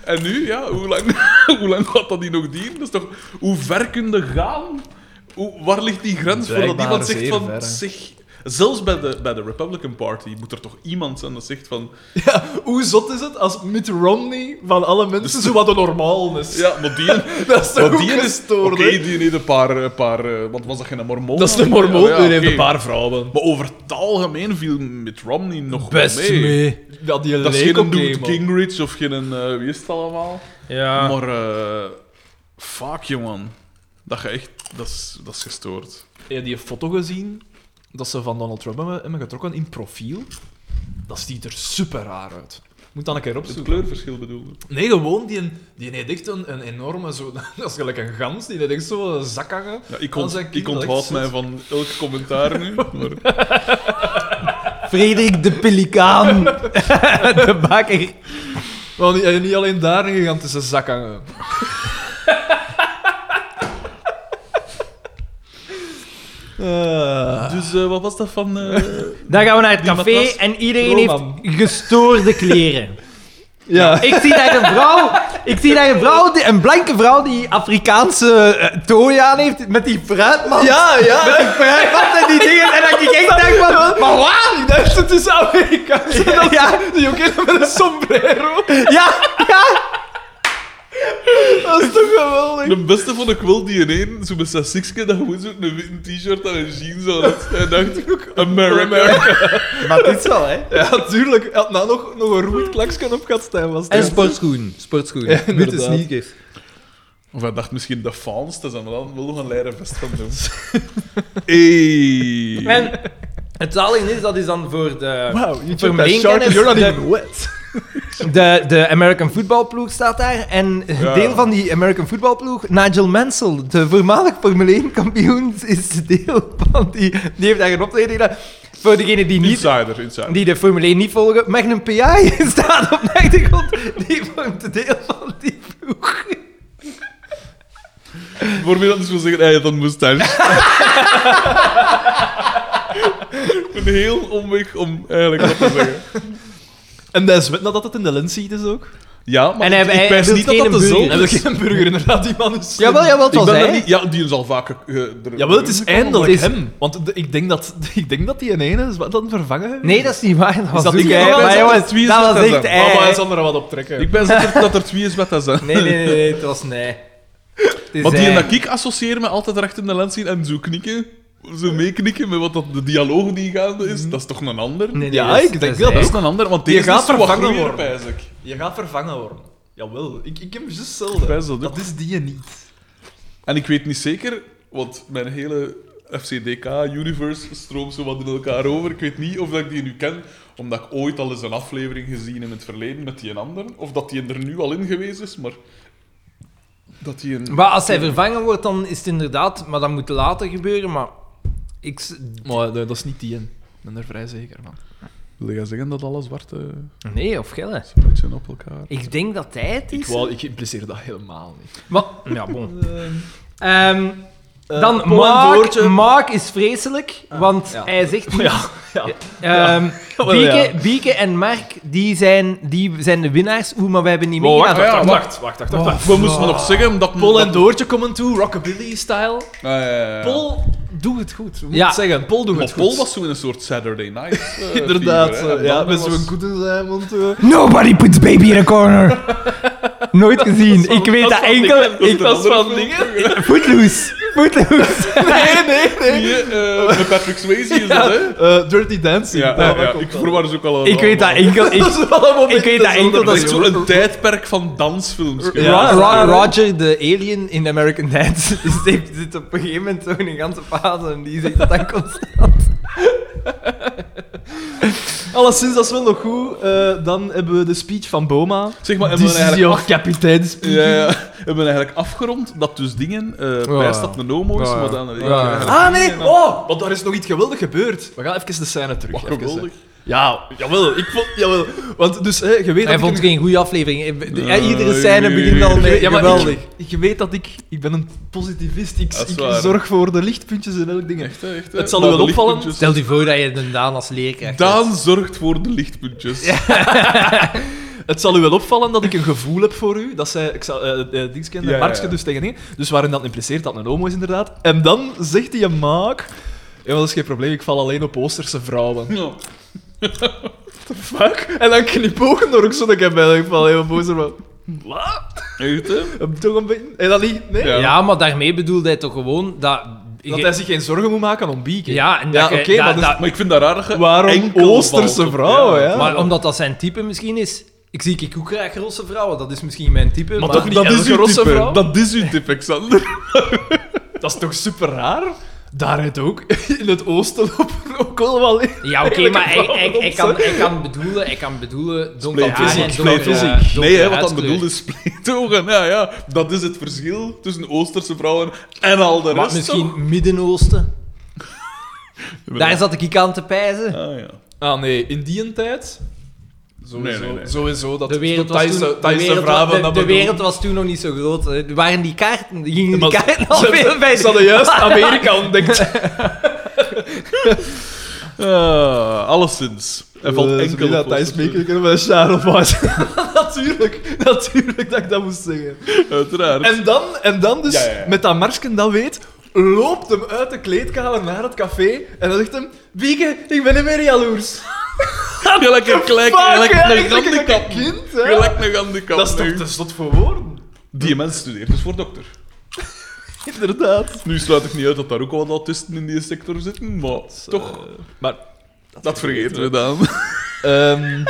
C: en nu, ja, hoe lang, hoe lang gaat dat die nog dienen? Dat is toch, hoe ver kun je gaan? Hoe, waar ligt die grens voor dat
A: Blijkbaar
C: iemand zegt
A: zeer
C: van.
A: ver, hè.
C: zeg, zelfs bij de, bij de Republican Party moet er toch iemand zijn dat zegt van.
A: ja, hoe zot is het als Mitt Romney van alle mensen zo wat een normaal is?
C: Dus Ja, maar die,
A: Dat is toch
C: Maar
A: ook
C: die is
A: gestoord,
C: Oké,
A: hè?
C: die heeft een paar, een paar eh, want was dat geen mormoon?
A: Dat is de mormoon,
C: Ja, ja,
A: die heeft
C: oké.
A: een paar vrouwen.
C: Maar over het algemeen viel met Romney nog wel mee.
A: Dat die
C: Dat is
A: leek
C: geen
A: op
C: een
A: die,
C: Newt
A: man.
C: Gingrich of geen eh, wie is het allemaal.
D: ik. Ja.
C: Maar eh fuck jongen, dat je echt, dat is, dat is gestoord.
A: Heb je die foto gezien dat ze van Donald Trump hebben, hebben getrokken in profiel? Dat ziet er super raar uit. Moet dan een keer
C: Het
A: opzoeken.
C: kleurverschil bedoelde.
A: Nee, gewoon die, die heeft echt een, een enorme, zo, dat is gelijk een gans, die heeft echt zo'n zakkagen.
C: Ja, ik,
A: Aan
C: ont,
A: zijn
C: ik
A: kind, dat
C: onthoud
A: is
C: mij
A: zot.
C: van elk commentaar nu. Maar,
D: Frederik de Pelikaan. de bakker.
A: Maar niet, en niet alleen daar een gigantische zakkagen. Eh,
C: dus eh, wat was dat van? eh,
D: Dan gaan we naar het café
C: matras-
D: en iedereen
A: Roman.
D: heeft gestoorde kleren.
A: ja.
D: Nou, Ik zie daar een vrouw, ik zie daar een, vrouw die, een blanke vrouw die Afrikaanse eh, tooi aan heeft met die fruitmand.
A: Ja,
D: Met
A: ja.
D: die fruitmand en die dingen. En dat ik echt dacht van... Maar waar?
A: Ik dacht, het is Amerikaans. Dat
D: Ja,
A: Die ook helemaal met een sombrero.
D: ja, ja.
A: Dat is toch geweldig.
C: De beste vond ik wel die in één, zo met zijn sixke, dat gewoon zo'n wit t-shirt en een jeans had. En dacht ook, America.
D: Maar dit is wel, hè.
A: Ja, tuurlijk. Hij had nou nog, nog een rood klaksken op gehad, Stijn. Was het
D: En
A: niet?
D: sportschoen. Sportschoen.
A: Ja,
D: Witte
A: inderdaad.
D: sneakers.
C: Of hij dacht misschien de fans, dat zijn we dan wel nog een leren vest van doen. Hey.
D: En het zalige is, dat is dan voor de...
A: Wauw, je took
D: Voor
A: that
D: mijn
A: short and
D: kennis,
A: you're not
D: de-
A: even wet.
D: De, de American voetbalploeg staat daar. En een
C: Ja.
D: deel van die American voetbalploeg, Nigel Mansell, de voormalig Formule 1 kampioen, is deel van die. Die heeft daar een optreden gedaan. Voor degenen die, niet,
C: Insider, insider.
D: die de Formule 1 niet volgen, Magnum PI staat op de achtergrond. Die vormt deel van die ploeg.
C: Voor wie dat dus wil zeggen, hij had een moustache. een heel omweg om eigenlijk wat te zeggen.
A: En dat is wet nadat het in de lens ziet, is ook.
C: Ja, maar
D: En hij-
C: ik,
D: hij
C: ik wijs
D: wil
C: niet dat
D: geen
C: dat dezelfde
A: Hij wil
C: is. Ik
A: geen burger, inderdaad. Die man is...
D: Jawel, jawel, het
C: ben
D: was
C: dat
D: hij.
C: niet... Ja, die is al vaker... eh, Ja,
A: Jawel, het is eindelijk
D: Het is-
A: hem. Want de- ik denk dat, ik denk dat die in ene is wat dan vervangen. heeft.
D: Nee, dat is niet waar. Dat was
A: dat
D: Zoek,
A: die-
D: hè.
A: Oh, dat
D: Maar
A: is-
D: jongens,
C: wie is
D: dat
C: dat
D: was
C: dan?
D: echt
A: Ah, Maar
D: hij,
A: hij
D: hè.
A: zal er wat op trekken.
C: Ik ben zeker dat er twee is met dat zijn.
D: Nee, nee, nee, nee, het was nee. Het is
C: Want die en
D: hij.
C: dat ik associeer me altijd recht in de lens zien en zo knikken, zo meeknikken met wat dat, de dialoog die gaande is, dat is toch een ander?
D: Nee, nee,
A: Ja,
D: dat is-
A: ik
D: dat
A: denk
D: is
A: wel,
D: hij.
C: Dat is een ander, want
A: Die
C: deze
A: gaat
C: is wat
A: vervangen
C: groener,
A: worden.
C: pijs ik.
A: Je gaat vervangen worden. Jawel, ik, ik heb hem juist
C: Wij zullen
A: zelden.
C: ook-
A: Dat is die niet.
C: En ik weet niet zeker, want mijn hele FCDK-universe stroomt zo wat in elkaar over. Ik weet niet of dat ik die nu ken, omdat ik ooit al eens een aflevering gezien in het verleden met die een ander, of dat die er nu al in geweest is, maar... Dat die een...
D: Maar als hij vervangen wordt, dan is het inderdaad... Maar dat moet later gebeuren, maar... Ik, s-
A: Maar nee, dat is niet die. Ik ben er vrij zeker van.
C: Wil jij zeggen dat alle zwarte
B: Nee, of gelle.
C: splijtsen op elkaar?
B: Ik denk dat hij het
A: Ik,
B: is.
A: wou, ik impliceer dat helemaal niet.
B: Maar, ja, bon.
A: Eh,
B: Ehm, dan
A: Paul en
B: Mark.
A: Doortje.
B: Mark is vreselijk, want
A: Ah, ja.
B: hij zegt...
A: Ja, ja. Ah,
B: Ehm,
A: Wel,
B: Bieke,
A: ja.
B: Bieke en Mark die zijn, die zijn de winnaars. Oeh, maar wij hebben niet
C: Maar Oh, wacht,
B: meegedaan.
C: ja,
A: Wacht, wacht, Ah, wacht, wacht. wacht.
C: We moesten nog zeggen dat...
A: Pol en
C: dat-
A: Doortje komen toe, rockabilly-style.
C: Ah, ja, ja, ja.
A: Pol, doe het goed. We moeten
B: Ja.
A: het zeggen, Pol doet
C: Maar
A: het
C: Pol
A: goed.
C: was zo in een soort Saturday night. eh,
A: Inderdaad,
C: fever, hè.
A: eh,
C: En
A: ja,
C: dan
A: met
C: was-
A: zo'n goed in zijn mond. eh.
B: Nobody puts baby in a corner. Nooit gezien. Ik weet dat enkel.
C: Ik
A: Ik
C: was
A: was
C: van
A: van dingen.
B: Footloose. Footloose.
A: Nee, nee, nee.
C: Die, eh, met Patrick Swayze is dat, hè?
A: Eh, Dirty Dancing.
C: Ja,
A: daar
C: ja, ja,
A: komt
C: ik
A: dat.
C: verwar ze ook al
B: Ik weet dat enkel. Ik,
A: Dat is wel een moment
B: ik weet dat enkel
C: Dat
B: dat...
A: zonder-
C: is zo'n tijdperk van dansfilms.
A: Ja.
B: Ra-
C: geweest.
B: Ra- Roger, de alien in American Dad, zit op een gegeven moment zo in een ganse fase en die zegt dat dan constant.
A: Alleszins, dat is wel nog goed. Eh, dan hebben we de speech van Boma.
C: Zeg maar, hebben
A: This
C: we
A: is
C: eigenlijk...
A: your kapitein speech.
C: Ja, ja. Hebben we eigenlijk afgerond dat dus dingen eh prijs dat een homo is,
B: Ja, ja.
C: maar dan... eh,
B: Ja, ja.
A: Ah, nee. Oh, want daar is nog iets geweldig gebeurd. We gaan even de scène terug.
C: Wat
A: even,
C: geweldig.
A: hè. Ja, jawel. Ik vond... Jawel. Want dus, hè, je weet dat
B: Hij
A: ik
B: vond
A: een-
B: het geen goede aflevering.
C: Ja,
B: Iedere scène
C: nee.
B: begint al met
A: ja, maar
B: geweldig.
A: ik, ik weet dat ik... Ik ben een positivist. Ik,
C: Dat is
A: ik
C: waar.
A: zorg voor de lichtpuntjes en elk ding.
C: Echt, hè, echt, hè.
A: Het zal u
C: Maar
A: wel
C: de
A: opvallen.
C: lichtpuntjes-
B: Stel je voor dat je een Daan als leerkracht hebt.
C: Daan zorgt voor de lichtpuntjes.
A: Het zal u wel opvallen dat ik een gevoel heb voor u. Dat zij, ik zal, eh eh, Dings kennen,
C: Ja, ja,
A: Markske
C: ja.
A: dus tegen dingen. Dus waarin dat impliceert dat het een homo is, inderdaad. En dan zegt hij, maak... Ja, maar dat is geen probleem, ik val alleen op Oosterse vrouwen.
C: Ja.
A: Fuck. En dan knipogen door ook zo'n keer bij. Ik val heel boos ervan. Wat?
C: Echt, hè?
A: Heb ik toch een beetje... En dat niet... Nee?
C: Ja.
B: Ja, maar daarmee bedoelde hij toch gewoon dat...
A: Dat hij zich geen zorgen moet maken om bieken.
B: Ja, en
A: ja
B: dat
A: oké,
B: je- dat-
A: maar dus
B: dat-
C: Maar ik vind dat raar dat je
A: waarom
C: enkel
A: Oosterse
C: valt op-
A: vrouwen, ja?
B: Maar omdat dat zijn type misschien is... Ik zie ik ook graag rosse vrouwen, dat is misschien mijn type. Maar,
A: Maar toch niet
C: Dat
A: elke
C: is uw
A: rosse
C: type.
A: vrouw.
C: Dat is uw type, Xander.
A: Dat is toch super raar? Daar het ook. In het oosten lopen ook allemaal in.
B: Ja, oké,
A: Elke
B: maar hij,
A: vrouw
B: hij,
A: roze.
B: hij, kan, hij kan bedoelen... Hij kan bedoelen donker haar en
A: Splijtvisie,
B: donker,
A: splijtvisie.
B: eh, donker
C: Nee, hè, wat dan
B: huidskleur.
C: bedoeld is spleetogen. Ja, ja. Dat is het verschil tussen Oosterse vrouwen en al de
B: Maar
C: rest. toch?
B: misschien Midden-Oosten. Daar zat ik aan te pijzen.
C: Ah, ja.
A: Ah nee, in die tijd... Sowieso,
C: Nee, nee, nee.
A: sowieso dat...
B: De wereld,
A: dat
B: was
A: is
B: toen,
A: de-
B: de,
A: dat is de
B: wereld,
A: vraag
B: wa-
A: van
B: de-
A: dat
B: de
A: bedoel.
B: wereld was toen nog niet zo groot. hè. Waren die kaarten, gingen die
A: Maar-
B: kaarten al
A: Ze-
B: veel bij
A: Ze hadden juist Amerika ontdekt.
C: Ah, alleszins. Er valt
A: Eh,
C: enkel
A: Sabina,
C: op
A: Thijs
C: Oosterse-
A: Meeker kunnen we een Sharon of White. natuurlijk, natuurlijk dat ik dat moest zeggen.
C: Uiteraard.
A: En dan, en dan dus,
C: Ja, ja, ja.
A: met dat Marsken dat weet, loopt hem uit de kleedkamer naar het café en dan zegt hem, Wieke, ik ben niet meer jaloers.
C: Ja, lekker gelijk,
A: fuck,
C: gelijk
A: ja,
C: een
A: ik denk dat ik
C: handicap.
A: een kind, hè?
C: Gelijk een handicap.
A: dat is toch
C: nu.
A: te slot voor woorden?
C: Die mens studeert dus voor dokter.
A: Inderdaad.
C: Nu sluit ik niet uit dat daar ook wat autisten in die sector zitten, maar toch,
A: Maar...
C: dat vergeten we dan.
A: ehm,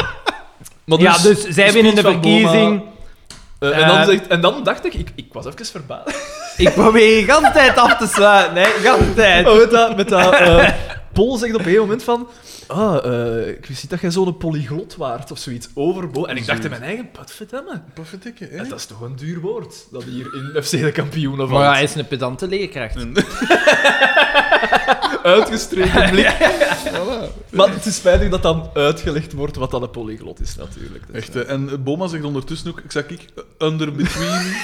A: maar
B: Ja, dus zij
A: speech
B: winnen de
A: van Boma,
B: verkiezing.
A: eh, en, dan
B: Eh,
A: zegt, en dan dacht ik, ik, ik was even verbaasd.
B: Ik probeer je de tijd af te sluiten, hè. Gans tijd.
A: Maar Oh, met dat, met dat eh, Pol zegt op een gegeven moment van... Ah, eh, ik wist niet dat jij zo'n polyglot waart of zoiets overbo. En ik dacht in mijn eigen, potverdamme.
C: Profitikke, hè?
A: Dat is toch een duur woord, dat hier in FC de kampioenen
B: Maar
A: valt.
B: ja, hij is een pedante leerkracht.
A: Uitgestreken blik. Maar het is spijtig dat dan uitgelegd wordt wat dat een polyglot is, natuurlijk. Dus,
C: Echt, hè. en eh, Boma zegt ondertussen ook, ik zeg ik, eh, under between.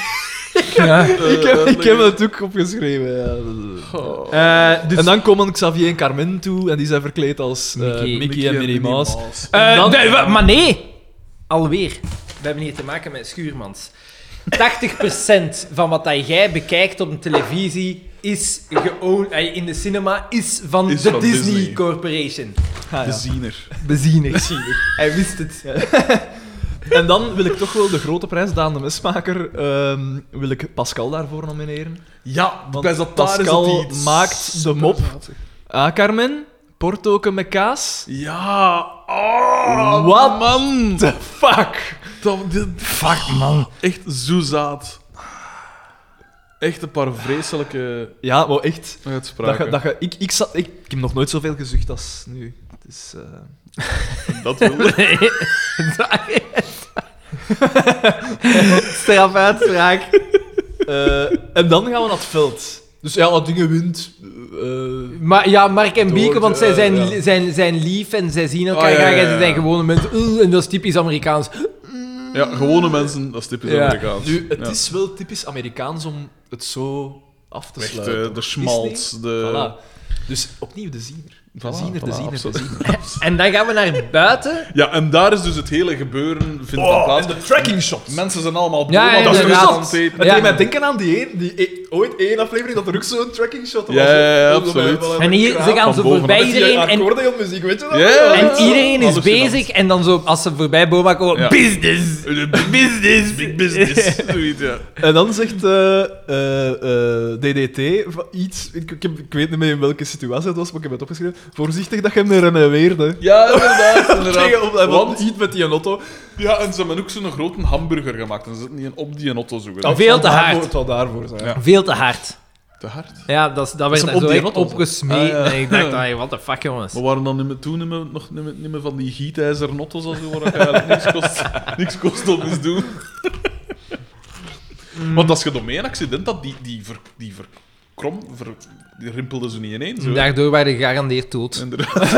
B: Ja.
A: eh, ik, heb, ik heb
C: uitleggen.
A: het ook opgeschreven. ja.
C: Oh.
B: Eh, dus,
A: En dan komen Xavier en Carmen toe en die zijn verkleed als eh,
B: Mickey.
A: Mickey, en Minnie Mouse.
B: eh,
A: en dan-
B: nee, wa- maar nee, alweer. We hebben hier te maken met schuurmans. 80% van wat dat jij bekijkt op de televisie is geown- eh, in de cinema is van
C: Is
B: de
C: van
B: Disney,
C: Disney.
B: Corporation.
A: Ah,
C: De
A: ja.
C: ziener.
B: Bezienig. Hij wist het.
A: En dan wil ik toch wel de grote prijs, Daan de Mesmaker, ehm, wil ik Pascal daarvoor nomineren.
C: Ja,
A: Want
C: bij Zatar is
A: Pascal
C: dat iets
A: maakt de mop.
C: superzatig.
A: Ah, Carmen, portoken met kaas.
C: Ja, oh,
A: Wat?
C: man.
A: The fuck?
C: Dat, dit-
B: Fuck, man.
C: echt zo zaad. Echt een paar vreselijke
A: Ja, maar echt. Dat
C: uitspraken.
A: ge, dat ge, ik, ik, zat, ik, ik heb nog nooit zoveel gezucht als nu. Het is, eh,
C: Dat wil ik.
B: Strafuitspraak.
A: eh, en dan gaan we naar het veld. Dus ja, dat dingen wint. eh,
B: Maar ja, Mark en
A: Door
B: Bieke,
A: de-
B: want zij zijn,
A: ja.
B: zijn, zijn lief en zij zien elkaar
C: Ah, ja,
B: graag
C: ja,
B: en
C: ja.
B: ze zijn gewone mensen. Oeh, en dat is typisch Amerikaans.
C: Ja, gewone mensen, dat is typisch
A: ja.
C: Amerikaans.
A: Nu, het
C: Ja.
A: is wel typisch Amerikaans om het zo af te
C: Echt,
A: sluiten.
C: eh, de schmaltz, de...
A: Voilà. Dus opnieuw de ziener. De
C: Voilà,
A: ziener, de
C: voilà,
A: ziener, de
C: absoluut.
A: ziener.
B: En dan gaan we naar buiten.
C: Ja, en daar is dus het hele gebeuren vindt dan
A: Oh,
C: plaats.
A: en de tracking shots.
C: Mensen zijn allemaal
B: Ja,
C: bloemen
B: ja,
C: aan het
B: inderdaad.
C: aan het eten.
A: Het
B: Ja.
A: deed mij denken aan die, een, die e- ooit één aflevering dat er ook zo'n tracking shot was.
C: Ja, ja, ja,
A: Zo bij-
C: absoluut.
A: wel aan
B: En
A: de
B: hier,
A: kraan.
B: ze gaan
C: van
B: zo
C: bovenaf.
B: voorbij
A: Met die
B: iedereen. En,
A: accordeonmuziek, weet je wel?
C: Ja, ja, ja.
B: en iedereen is
C: Hallucinant.
B: bezig. En dan zo, als ze voorbij Boma komen,
C: Ja.
B: business.
C: Business. Big business. Zoiets, ja.
A: En dan zegt eh, eh, eh, DDT van iets, ik, ik, heb- ik weet niet meer in welke situatie het was, maar ik heb het opgeschreven. Voorzichtig dat je hem er een weerde.
C: Ja, inderdaad.
A: Tegen
C: inderdaad.
A: op dat
C: Want,
A: iets met die auto.
C: ja, en ze hebben ook zo'n grote hamburger gemaakt. En ze zitten niet in op die auto zoeken.
B: Oh, veel te hard.
A: Het zal daarvoor zijn.
C: Ja.
B: Veel te hard.
C: Te hard.
B: Ja, dat, is- dat werd
A: hem
B: daar
A: op
B: zo
A: die
B: echt
A: rotte was.
B: opgesmeed.
C: Ah, ja.
B: En ik dacht, hey, what the fuck, jongens.
C: Maar waren dan niet meer, toen niet meer, nog niet meer, niet meer van die gietijzeren notto's als zo, waar je eigenlijk niks kost, niks kost om eens doen? Want als je door mijn accident had, die, die, ver, die verkrom, ver- die rimpelde ze niet ineens. Zo.
B: Daardoor waren ze gegarandeerd dood.
C: Inderdaad.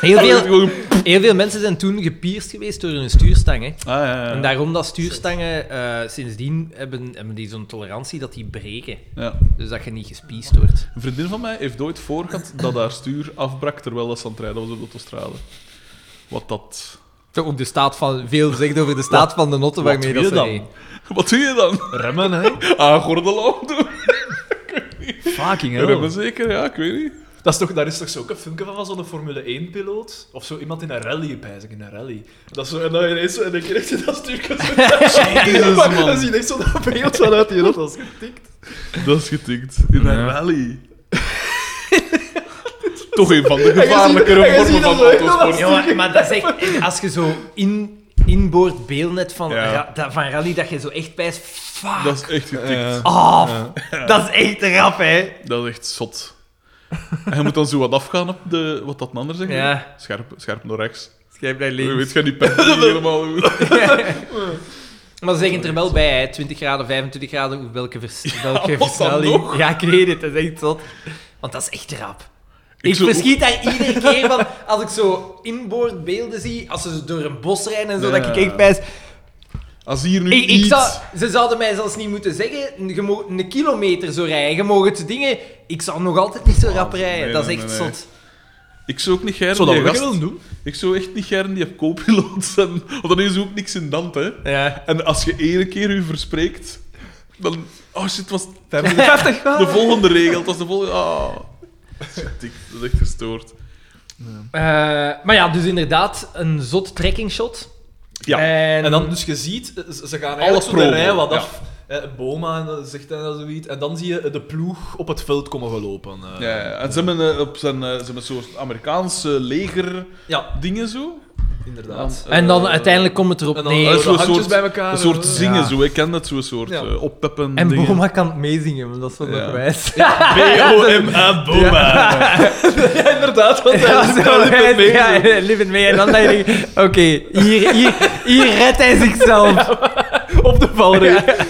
B: Heel veel,
C: Gewoon- Ah,
B: heel veel mensen zijn toen gepierst geweest door hun stuurstang. Hè.
C: Ah, ja, ja.
B: En daarom dat stuurstangen eh, sindsdien hebben, hebben die zo'n tolerantie dat die breken.
C: ja.
B: Dus dat je niet gespiest wordt.
C: Een vriendin van mij heeft nooit voorgehad dat haar stuur afbrak terwijl dat ze aan het rijden was op de autostrade. Wat dat...
B: Zo, Ook de staat van, veel zegt over de staat van de notten
C: wat
B: waarmee
C: doe
B: dat
C: je
B: ze
C: dan?
B: rijden.
C: Wat doe je dan?
A: Remmen, hè?
C: Aan gordel aan doen?
A: Fucking
C: Ja,
A: hell.
C: zeker, ja, ik weet niet.
A: Dat is toch, daar is toch zo ook een filmpje van, van zo'n Formule 1-piloot? Of zo iemand in een rally, pijs ik, in een rally. Dat is zo, en dan ineens zo, en dan krijg je dat stukje zo...
C: Jezus,
A: Maar
C: man.
A: Dan zie je echt zo dat beeld vanuit die auto, als getikt.
C: Dat is getikt. In een rally. Toch een van de
A: En je
C: gevaarlijkere
A: ziet- en je
C: vormen
A: ziet
C: van
A: dat zo heel
C: autosport.
A: lastig.
B: Ja, maar, maar dat is echt, als je zo in, inboord beeldnet van,
C: Ja.
B: ra- dat- van rally, dat je zo echt bij is, fuck
C: Dat is echt getikt.
B: off. Oh, Dat is echt rap, hè.
C: Dat is echt zot. En je moet dan zo wat afgaan op de, wat dat een ander zegt.
B: Ja.
C: Scherp, scherp naar rechts.
B: Schrijf bij
C: Je weet je niet per se helemaal hoe-
B: Maar ze zeggen er wel bij, hè. 20 graden, 25 graden, hoe- welke, vers welke
C: wat dan
B: versnelling.
C: nog?
B: Ja, ik weet het, dat is echt zot. Want dat is echt rap. Ik,
C: zou ook-
B: verschiet daar iedere keer van, als ik zo inboord beelden zie, als ze zo door een bos rijden en zo, dat
C: Ja.
B: ik echt bij is,
C: Als hier nu
B: Ik, ik
C: iets...
B: zou, ze zouden mij zelfs niet moeten zeggen, je mag een kilometer zo rijden, je mag het dingen... Ik zou nog altijd niet zo rap rijden,
C: nee,
B: dat is
C: nee,
B: echt
C: nee, nee.
B: zot.
C: Ik zou ook niet gern
A: Zou dat
C: die
A: wel
C: gast-
A: willen doen?
C: Ik zou echt niet gern die co-piloot zijn. Want dan is er ook niks in dant, hè.
B: Ja.
C: En als je één keer u verspreekt, dan... Oh shit, het was de
A: 50
C: volgende regel. Het was de volgende... Ah. Getikt, Dat is echt gestoord.
B: Eh, maar ja, dus inderdaad, een zot trekking shot.
C: Ja.
B: En,
A: En dan, dus je ziet, eh, ze ze gaan
C: Alle
A: eigenlijk zo de
C: promo,
A: rij wat
C: ja.
A: af. Eh, Boma en dat zegt en dat zoiets. En dan zie je eh, de ploeg op het veld komen gelopen. eh.
C: Ja, ja. En ze hebben eh, op zijn, eh, ze hebben een soort Amerikaanse leger
A: Ja,
C: dingen zo.
A: inderdaad.
C: Ja.
B: en dan
C: eh,
B: uiteindelijk komt het erop
A: en dan-
B: neer.
C: Dat
A: eh,
C: is zo'n
A: de handjes
C: soort-
A: bij elkaar,
C: Een soort
A: eh.
C: zingen
B: Ja.
C: zo, ik ken dat zo'n soort
A: Ja.
C: eh, oppeppen
B: En
C: dingen.
B: Boma kan het meezingen, want dat is wel
C: Ja.
B: nog wijs.
A: B-O-M-A, Boma. Ja, inderdaad, want hij is daar niet mee.
B: Ja, live it mee. En dan denk ik, oké, hier, hier, hier redt hij zichzelf.
A: Op de valreep.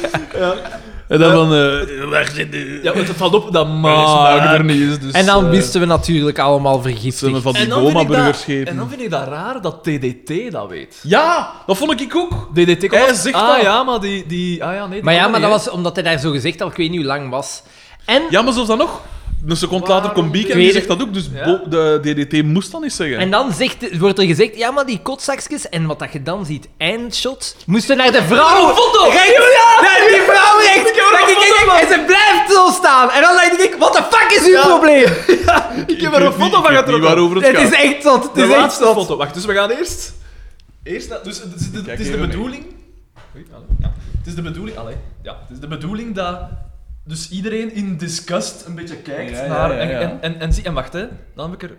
C: En dan van... eh, waar zit de...
A: Ja, want het valt op dat
C: smaak
A: maar er niet is. Dus,
B: En
A: eh,
B: dan wisten we natuurlijk allemaal vergiftigd.
C: Zijn van die
A: en dan vind ik dat-
C: Boma-burgers
A: En dan vind ik dat raar dat TDT dat weet.
C: Ja, dat vond ik ook.
A: DDT komt
C: Hij
A: als-
C: zegt
A: ah,
C: dat.
A: ja, maar die... die ah, ja, nee,
B: Maar ja, maar
A: kan
B: dat
A: niet,
B: was omdat hij daar zo gezegd al, ik weet niet hoe lang was. En,
C: Ja, maar zelfs dan nog. Een seconde later komt Bieke en
B: Waarom?
C: die zegt dat ook. Dus
A: Ja.
C: Bo- de DDT moest dat niet zeggen.
B: en dan zegt, wordt er gezegd, ja, maar die kotzakjes, en wat dat je dan ziet, eindshot, moesten naar de vrouw.
A: Robondo!
B: Rechts, naar die vrouw rechts. Dat ik kijk, kijk, en ze blijft zo staan. En dan denk ik, wat the fuck is uw probleem?
A: hè. Ik heb er een
C: weet niet- ik
A: foto van
C: weet niet
A: getrokken.
C: waarover het
B: Het is
C: gaat.
B: echt zot, het
A: De
B: is echt
A: laatste
B: zot.
A: foto. Wacht, dus we gaan eerst... Eerst naar- dus het is de, het is de
C: even mee.
A: bedoeling... Oei, allee. Ja. Het is de bedoeling... Allee. Ja, het is de bedoeling dat... Dus iedereen in disgust een beetje kijkt
C: Ja, ja,
A: naar...
C: ja, ja.
A: En, en, en, en, zie- en wacht, hè. Dan heb ik er...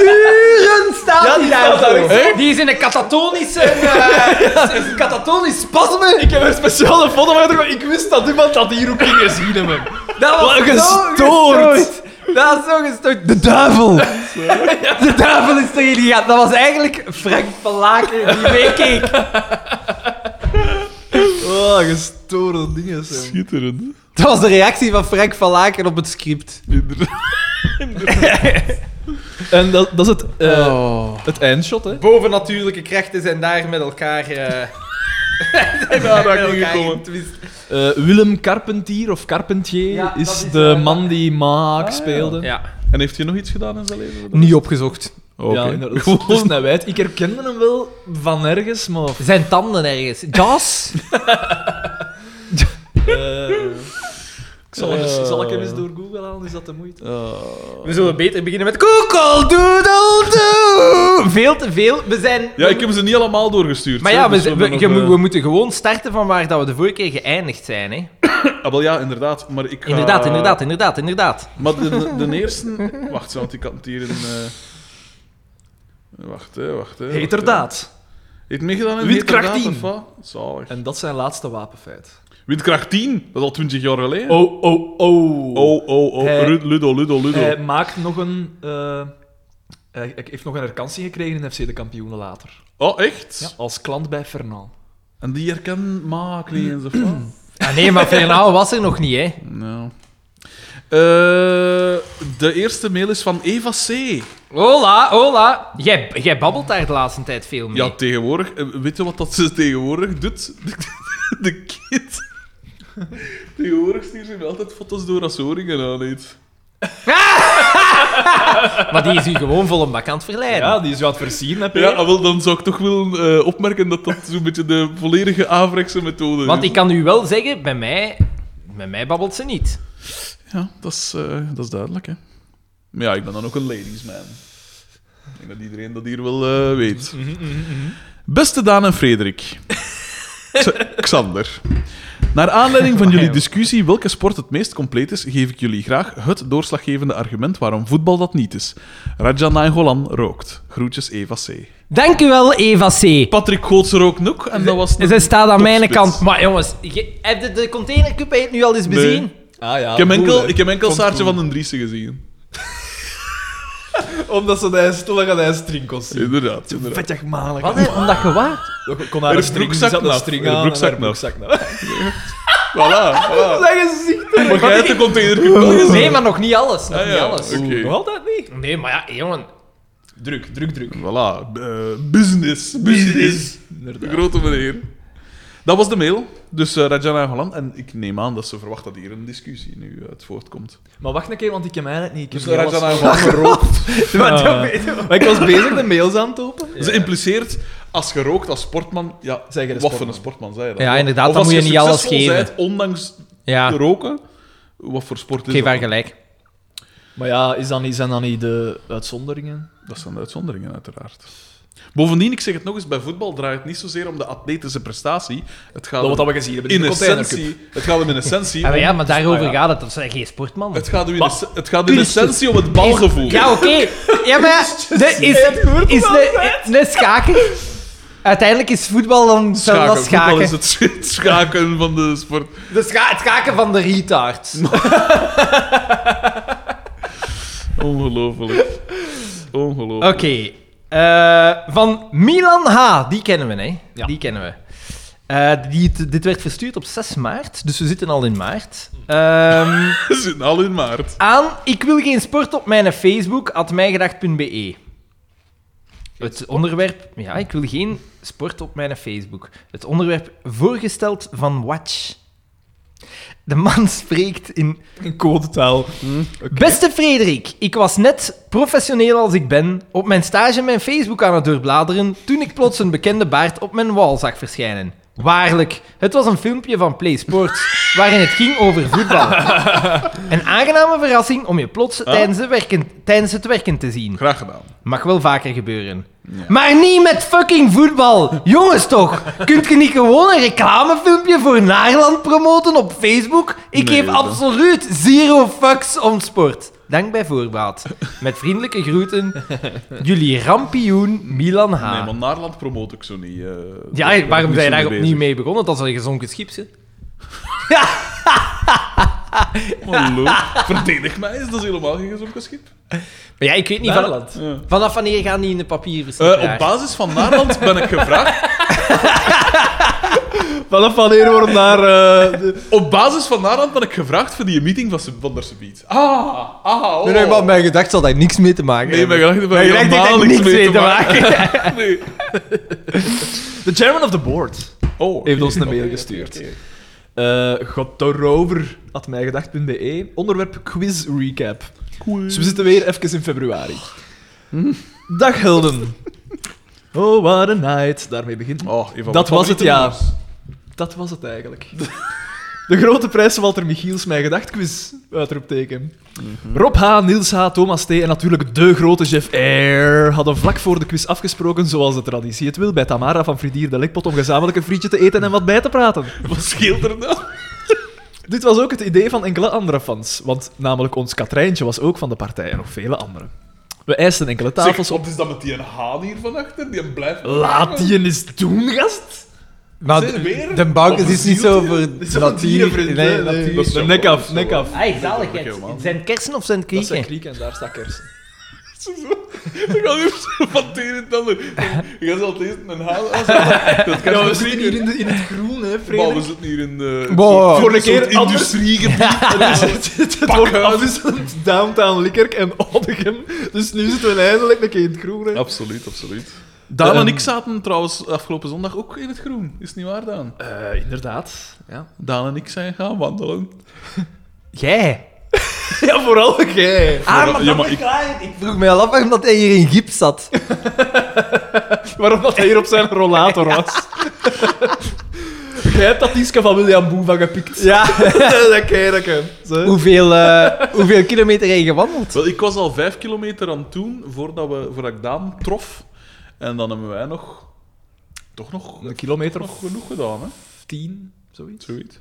B: Uren staat
A: Ja, die
B: die
A: staat daar
B: daarvoor.
A: echt.
B: Hè? Die is in een katatonische... eh, een katatonisch spasme.
A: Ik heb er speciaal een foto van getrokken. Ik wist dat iemand dat hier ook ging gezien hebben.
B: Dat was
A: Wat
B: zo
A: gestoord.
B: Dat was zo gestoord. De duivel. De duivel is erin gegaan. Dat was eigenlijk Frank Verlaken die meekeek.
A: Oh, Ah, gestoorde dingen zijn.
C: Schitterend.
D: Dat was de reactie van Frank van Laken op het script.
C: Inderdaad.
A: En dat, dat is het, eh,
D: Oh.
A: het eindshot, hè?
D: Bovennatuurlijke krachten zijn daar met elkaar... eh zijn daar
C: ging
D: met elkaar
C: gekomen.
D: in twist.
A: Eh, Willem Carpentier of Carpentier
D: Ja, dat
A: is
D: is,
A: de
D: eh,
A: man die Maak
C: Ah, ja.
A: speelde.
D: Ja.
C: En heeft hij nog iets gedaan in zijn leven? Oh,
D: Niet opgezocht.
C: Oké.
A: Ja, inderdaad. dat is- dat is nou wijd. Ik herkende hem wel van ergens, maar.
D: Zijn tanden ergens. Jaws?
A: eh, ik zal,
C: Eh.
A: eens- zal ik hem eens door Google halen? Is dat de moeite?
C: Ah.
D: We zullen beter beginnen met Google Doodle Doo. Veel te veel. We zijn...
C: Ja, ik heb ze niet allemaal doorgestuurd.
D: Maar
C: hè,
D: ja, we,
C: dus
D: we,
C: hebben nog,
D: je moet-
C: eh,
D: we moeten gewoon starten van waar dat we de vorige keer geëindigd zijn. Hè?
C: Ah, wel ja, inderdaad. Maar ik ga...
D: Inderdaad, inderdaad, inderdaad, inderdaad.
C: Maar de, de, de eerste... Wacht, want ik had het hier in... eh, Wacht, hè, wacht. Hè, wacht, hè.
A: Heterdaad.
C: Heeft meegedaan in
A: Windkracht
C: Heterdaad,
A: 10.
C: of wat? Zalig.
A: En dat is zijn laatste wapenfeit.
C: Windkracht 10? Dat is al 20 jaar geleden.
A: Oh, oh, oh.
C: oh, oh. oh.
A: Hij-
C: Ru- Ludo, Ludo, Ludo.
A: Hij maakt nog een. eh, hij hij heeft nog een herkansing gekregen in FC de kampioenen later.
C: Oh, echt?
A: Als klant bij Fernand.
C: En die herken maak niet eens of wat?
D: Ah, nee, maar Fernand was er nog niet, hè?
C: Nou. Eh, de eerste mail is van Eva C.
D: Hola, hola. Jij, jij babbelt daar de laatste tijd veel mee.
C: Ja, tegenwoordig. eh, Weet je wat dat ze tegenwoordig doet? De kid. Tegenwoordig stuurt ze me altijd foto's door als ze oringen aan heeft.
D: Maar die is u gewoon vol een bak aan het verleiden.
A: Ja, die is wat versieren, heb je?
C: Ja, ah, wel, dan zou ik toch willen eh, opmerken dat dat zo'n beetje de volledige Avrekse methode
D: Want
C: is.
D: ik kan u wel zeggen, bij mij, bij mij babbelt ze niet.
C: Ja, dat is, eh, dat is duidelijk, hè. Maar ja, ik ben dan ook een ladies man. Ik denk dat iedereen dat hier wel eh, weet.
D: Mhm,
C: Beste Daan en Frederik. X- Xander. Naar aanleiding van jullie discussie welke sport het meest compleet is, geef ik jullie graag het doorslaggevende argument waarom voetbal dat niet is. Raja Nainggolan rookt. Groetjes Eva C.
D: Dank u wel, Eva C.
C: Patrick Goots rookt ook en dat was... een
D: Ze staat aan mijn
C: topspits.
D: kant. Maar jongens, je- heb je de containercup heb je het nu al eens
C: Nee.
D: bezien?
A: Ah, ja.
C: Ik heb
A: cool, hè.
C: enkel, ik heb enkel
A: Vond
C: Saartje
A: cool.
C: van den Driessen gezien.
A: Omdat ze de stoelen aan de string kon zien.
C: Inderdaad. inderdaad.
A: Vettig malig.
D: Wat, hè? Omdat je wat?
A: Ik kon haar
C: Er
A: een
C: is
A: string
C: broekzak
A: zat een
C: nat.
A: string
C: Er is
A: aan en
C: broekzak
A: haar
C: nat.
A: broekzak nat.
C: Voilà, voilà.
A: Leg eens zicht.
C: Maar jij hebt de containercup wel gezien.
D: Nee, maar nog niet alles. Nog
C: Ah,
D: niet
C: ja.
D: alles.
C: Oké.
A: Nog altijd niet.
D: Nee, maar ja, jongen.
A: Druk, druk, druk.
C: Voilà, eh, business, business. De
A: Inderdaad.
C: grote meneer. Dat was de mail. Dus eh, Rajana Holland. En ik neem aan dat ze verwacht dat hier een discussie nu uit voortkomt.
A: Maar wacht een keer, want ik heb eigenlijk niet. Ik heb
C: Dus
A: niet alles
C: Rajana
A: van-
C: Holland gerookt.
A: Ah. Maar ik was bezig de mails aan het openen.
C: Ze impliceert, als je rookt als sportman, ja,
A: Zeg je de
C: wat voor
A: sportman.
C: een sportman zei je dat?
D: Ja, inderdaad,
C: Of
D: dan
C: als
D: moet je niet alles
C: succesvol
D: geven.
C: zijt, ondanks
D: Ja,
C: te roken, wat voor sport is
D: geef haar
C: dat?
D: gelijk.
A: Maar ja, is dat niet, zijn dat niet de uitzonderingen?
C: Dat zijn de uitzonderingen, uiteraard. Bovendien, ik zeg het nog eens, bij voetbal draait het niet zozeer om de atletische prestatie. Het gaat
A: Dat
C: om-
A: wat we gezien hebben.
C: in
A: de containercup.
C: essentie, het gaat hem in essentie.
D: Ja, maar, ja,
C: om-
D: maar daarover
C: Ah, ja.
D: gaat het. Dat zijn geen sportman.
C: Het gaat, u in,
A: Wat?
C: esse- het gaat in essentie om het balgevoel.
D: Ja, oké. Ja, maar ja, de- is, is, de, de schaker... Uiteindelijk is voetbal
C: Schaken.
D: dan schaken.
C: Voetbal
D: schaken.
C: is het sch- het schaken van de sport.
D: De scha- het schaken van de retards.
C: Ongelooflijk. Ongelooflijk.
D: Oké. eh, van Milan H. Die kennen we, hè?
A: Ja.
D: Die kennen we. Eh, die, dit werd verstuurd op 6 maart, dus we zitten al in maart. Ehm,
C: We zitten al in maart.
D: aan ik wil geen sport op mijn Facebook, at mijgedacht.be. Het onderwerp, ja, ik wil geen sport op mijn Facebook. Het onderwerp voorgesteld van Watch. De man spreekt in
A: Een codetaal.
D: Beste Frederik, ik was net, professioneel als ik ben, op mijn stage mijn Facebook aan het doorbladeren toen ik plots een bekende baard op mijn wal zag verschijnen. Waarlijk, het was een filmpje van Play Sports waarin het ging over voetbal. Een aangename verrassing om je plots tijdens, de werken, tijdens het werken te zien.
C: Graag gedaan.
D: Mag wel vaker gebeuren. Maar niet met fucking voetbal! Jongens toch, kunt je niet gewoon een reclamefilmpje voor Naarland promoten op Facebook? Ik
C: Nee,
D: geef
C: dat-
D: absoluut zero fucks om sport. Dank bij voorbaat. Met vriendelijke groeten, jullie rampioen Milan H.
C: Nee, maar Naarland promoot ik zo niet. eh, daar ben
D: Ah. ja,
C: ik
D: waarom
C: niet
D: zijn
C: zo
D: daar opnieuw
C: bezig.
D: mee begonnen? Dat is een gezonken schipje.
C: Hallo. Verdedig mij eens, dat is helemaal geen gezonken schip.
D: Maar ja, ik weet niet van,
A: Nederland.
C: Ja.
D: vanaf wanneer gaan die in de papieren
C: Eh, op basis van Naarland ben ik gevraagd.
A: Vanaf wanneer worden daar... eh, de-
C: Op basis van daaraan ben ik gevraagd voor die meeting van, Sub- van der Subiet. Ah, ah, oh.
B: Nee, nee, maar mijn gedacht zal daar niks mee te maken
C: Nee, mijn gedachten hebben
B: Mijn
C: helemaal
B: gedacht heeft daar
C: niks
B: niks
C: mee te
B: maken.
C: maken. Nee.
A: De chairman of the board
C: Oh, oké.
A: heeft ons een
C: Oké,
A: mail
C: oké,
A: gestuurd.
C: oké, oké.
A: Eh God daarover, at mijgedacht.be. Onderwerp quiz recap. Dus we zitten weer even in februari.
C: Hm.
A: Dag helden. Oh, what a night. Daarmee begint.
C: Oh, een van mijn
A: Dat was het,
C: favoriete
A: ja.
C: nummers.
A: Dat was het eigenlijk. De grote prijs van Walter Michiels, mijn gedachtquiz. Uitroepteken. Rob H., Niels H., Thomas T. en natuurlijk de grote Jeff Air hadden vlak voor de quiz afgesproken, zoals de traditie het wil, bij Tamara van Fridier de Lekpot om gezamenlijk een frietje te eten en wat bij te praten.
C: Wat scheelt er nou?
A: Dit was ook het idee van enkele andere fans, want namelijk ons Katrijntje was ook van de partij en nog vele anderen. We eisten enkele tafels
C: Zeg,
A: op.
C: Wat is dat met die haan hier van achter? Die blijft.
A: Laat die eens doen, gast!
B: Maar
C: Zijn weer?
B: de, de Bouk
C: Wat
B: is
C: een
B: niet zo voor
A: Dit is een dierenvriend, hè?
B: Nee,
A: Nee,
B: natuur.
C: dat is
A: De
C: zo
A: nek
C: wel,
A: af,
C: dat is
A: nek
C: zo wel.
A: af.
B: Ai,
C: Dat is ook helemaal.
B: zaligheid. Zijn het kersen of zijn het
A: Dat zijn
B: krieken?
A: krieken, daar staat kersen.
C: Dan gaan we zo van het een en het ander. Je zal het eerst een haan. als dat- Dat kan je zeker.
A: in, het groen, hè,
C: Maar we zitten hier in de.
B: Wow.
C: soort-
A: Voor een
C: soort
A: keer anders-
C: industriegebied.
A: het het wordt afwisselend downtown Likkerk en Oddegem. Dus nu zitten we eindelijk een keer in het groen. hè.
C: Absoluut, absoluut. Daan en
A: Ehm,
C: ik zaten trouwens afgelopen zondag ook in het groen. Is het niet waar, Daan?
A: Eh, inderdaad. Ja,
C: Daan en ik zijn gaan wandelen.
B: Jij?
A: ja vooral jij.
C: Ja,
B: Ah, maar
C: ja,
B: dat
C: maar
B: is
C: ik-
B: waar. Ik vroeg mij al af waarom dat hij hier in gips zat.
A: Waarom dat hij hier op zijn rollator was. Jij hebt dat Iska van William Boeva gepikt.
B: Ja.
A: dat ken ik hem. Zo.
B: hoeveel, eh, hoeveel kilometer heb je gewandeld?
C: Wel, ik was al vijf kilometer aan het doen voordat, we, voordat ik Daan trof. En dan hebben wij nog... Toch nog,
A: Een kilometer
C: nog
A: of
C: genoeg gedaan, hè?
A: tien, zoiets.
C: Zoiets.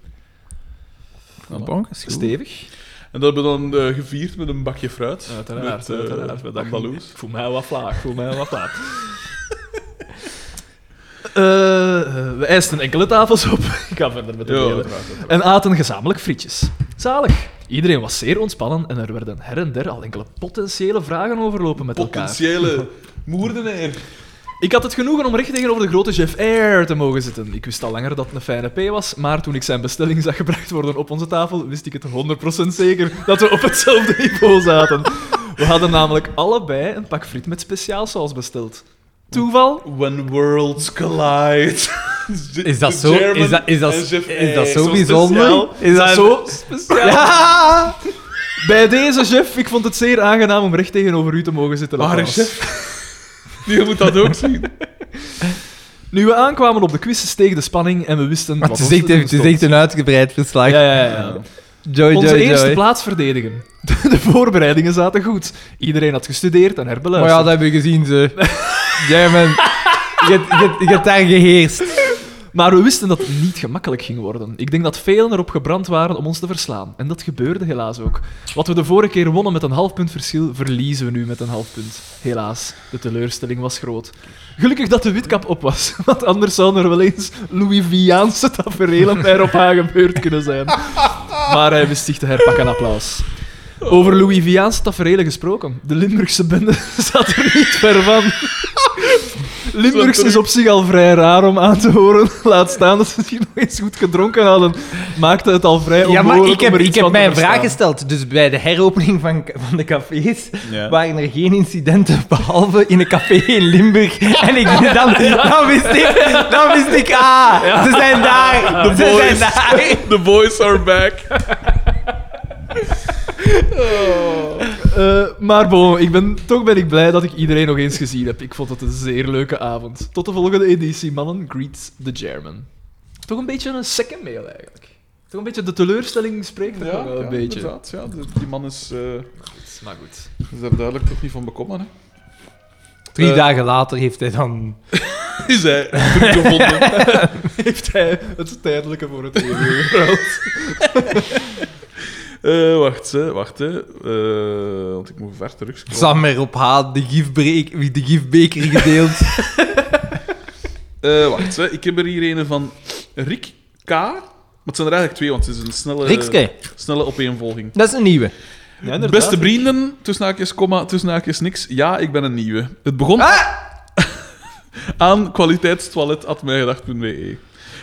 A: Stevig.
C: En dat hebben we dan eh, gevierd met een bakje fruit.
A: Uiteraard,
C: Met, eh,
A: uiteraard.
C: met andaloes.
A: Ik voel mij wat laag, ik voel mij wat laag. Eh, eh, we eisten enkele tafels op. Ik ga verder met de
C: Ja,
A: delen.
C: uiteraard, uiteraard.
A: En aten gezamenlijk frietjes. Zalig. Iedereen was zeer ontspannen en er werden her en der al enkele potentiële vragen overlopen met elkaar.
C: Potentiële moordenaar.
A: Ik had het genoegen om recht tegenover de grote Jeff Air te mogen zitten. Ik wist al langer dat het een fijne P was, maar toen ik zijn bestelling zag gebracht worden op onze tafel, wist ik het 100% zeker dat we op hetzelfde niveau zaten. We hadden namelijk allebei een pak friet met speciaalsaus besteld. Toeval?
C: When worlds collide.
B: Is dat zo? Is dat, is dat,
C: en Jeff
B: is dat
C: Eyre.
B: zo
A: Zo
B: bijzonder?
A: speciaal.
B: Is dat
A: zo speciaal?
B: Ja!
A: Bij deze, chef, ik vond het zeer aangenaam om recht tegenover u te mogen zitten.
C: Waar is
A: Laplace.
C: chef? Je moet dat ook zien.
A: Nu we aankwamen op de quiz, steeg de spanning en we wisten
B: Maar
A: wat
B: het is,
A: ons
B: echt,
A: te doen
B: het is
A: stond.
B: echt een uitgebreid verslag.
A: Ja, ja, ja. ja.
B: Joy,
A: Onze
B: joy,
A: eerste
B: joy.
A: plaats verdedigen. De voorbereidingen zaten goed. Iedereen had gestudeerd
B: Maar
A: en
B: ja,
A: herbeluisterd.
B: dat hebben we gezien, ze. Jij bent... Je hebt- je hebt- je hebt daar geheerst.
A: Maar we wisten dat het niet gemakkelijk ging worden. Ik denk dat velen erop gebrand waren om ons te verslaan. En dat gebeurde helaas ook. Wat we de vorige keer wonnen met een half punt verschil, verliezen we nu met een half punt. Helaas, de teleurstelling was groot. Gelukkig dat de witkap op was, want anders zouden er wel eens Louis Viaanse tafereelen bij Rob H. gebeurd kunnen zijn. Maar hij wist zich te herpakken, applaus. Over Louis Viaanse tafereelen gesproken. De Limburgse bende zat er niet ver van. Limburgs is op zich al vrij raar om aan te horen. Laat staan dat ze het hier nog eens goed gedronken hadden. Maakte het al vrij
B: Ja,
A: onmogelijk
B: maar ik
A: om
B: heb,
A: er
B: ik
A: iets
B: heb
A: van te
B: mij een vraag
A: verstaan.
B: gesteld. Dus bij de heropening van, van de cafés
C: Ja.
B: waren er geen incidenten, behalve in een café in Limburg. En ik, dan, dan, wist ik, dan wist ik, ah, ze zijn daar.
C: The
B: ze
C: boys.
B: zijn daar.
C: The boys are back.
A: Eh, maar bon, ik ben, toch ben ik blij dat ik iedereen nog eens gezien heb. Ik vond het een zeer leuke avond. Tot de volgende editie, mannen. Greet the German. Toch een beetje een second mail, eigenlijk. Toch een beetje de teleurstelling spreekt er nog wel een beetje.
C: inderdaad. Ja, de- die man is, eh,
A: Maar goed.
C: is daar duidelijk toch niet van bekomen. Hè?
B: Drie
C: Eh,
B: dagen later heeft hij dan...
C: Is hij teruggevonden.
A: Heeft hij het tijdelijke voor het eeuwige geruild?
C: Eh, wacht, hè, wacht. Hè. Eh, want ik moet ver terug scrollen.
B: Sam erop haat, de, gifbreek- de gifbeker gedeeld.
C: Eh, wacht, hè. ik heb er hier een van Rick K. Maar het zijn er eigenlijk twee, want het is een snelle,
B: Rikske.
C: snelle opeenvolging.
B: Dat is een nieuwe.
A: Ja, inderdaad.
C: Beste vrienden, tussen haakjes, komma, tussen haakjes, niks. Ja, ik ben een nieuwe. Ah, Het begon aan kwaliteitstoilet.mijgedacht.be. e.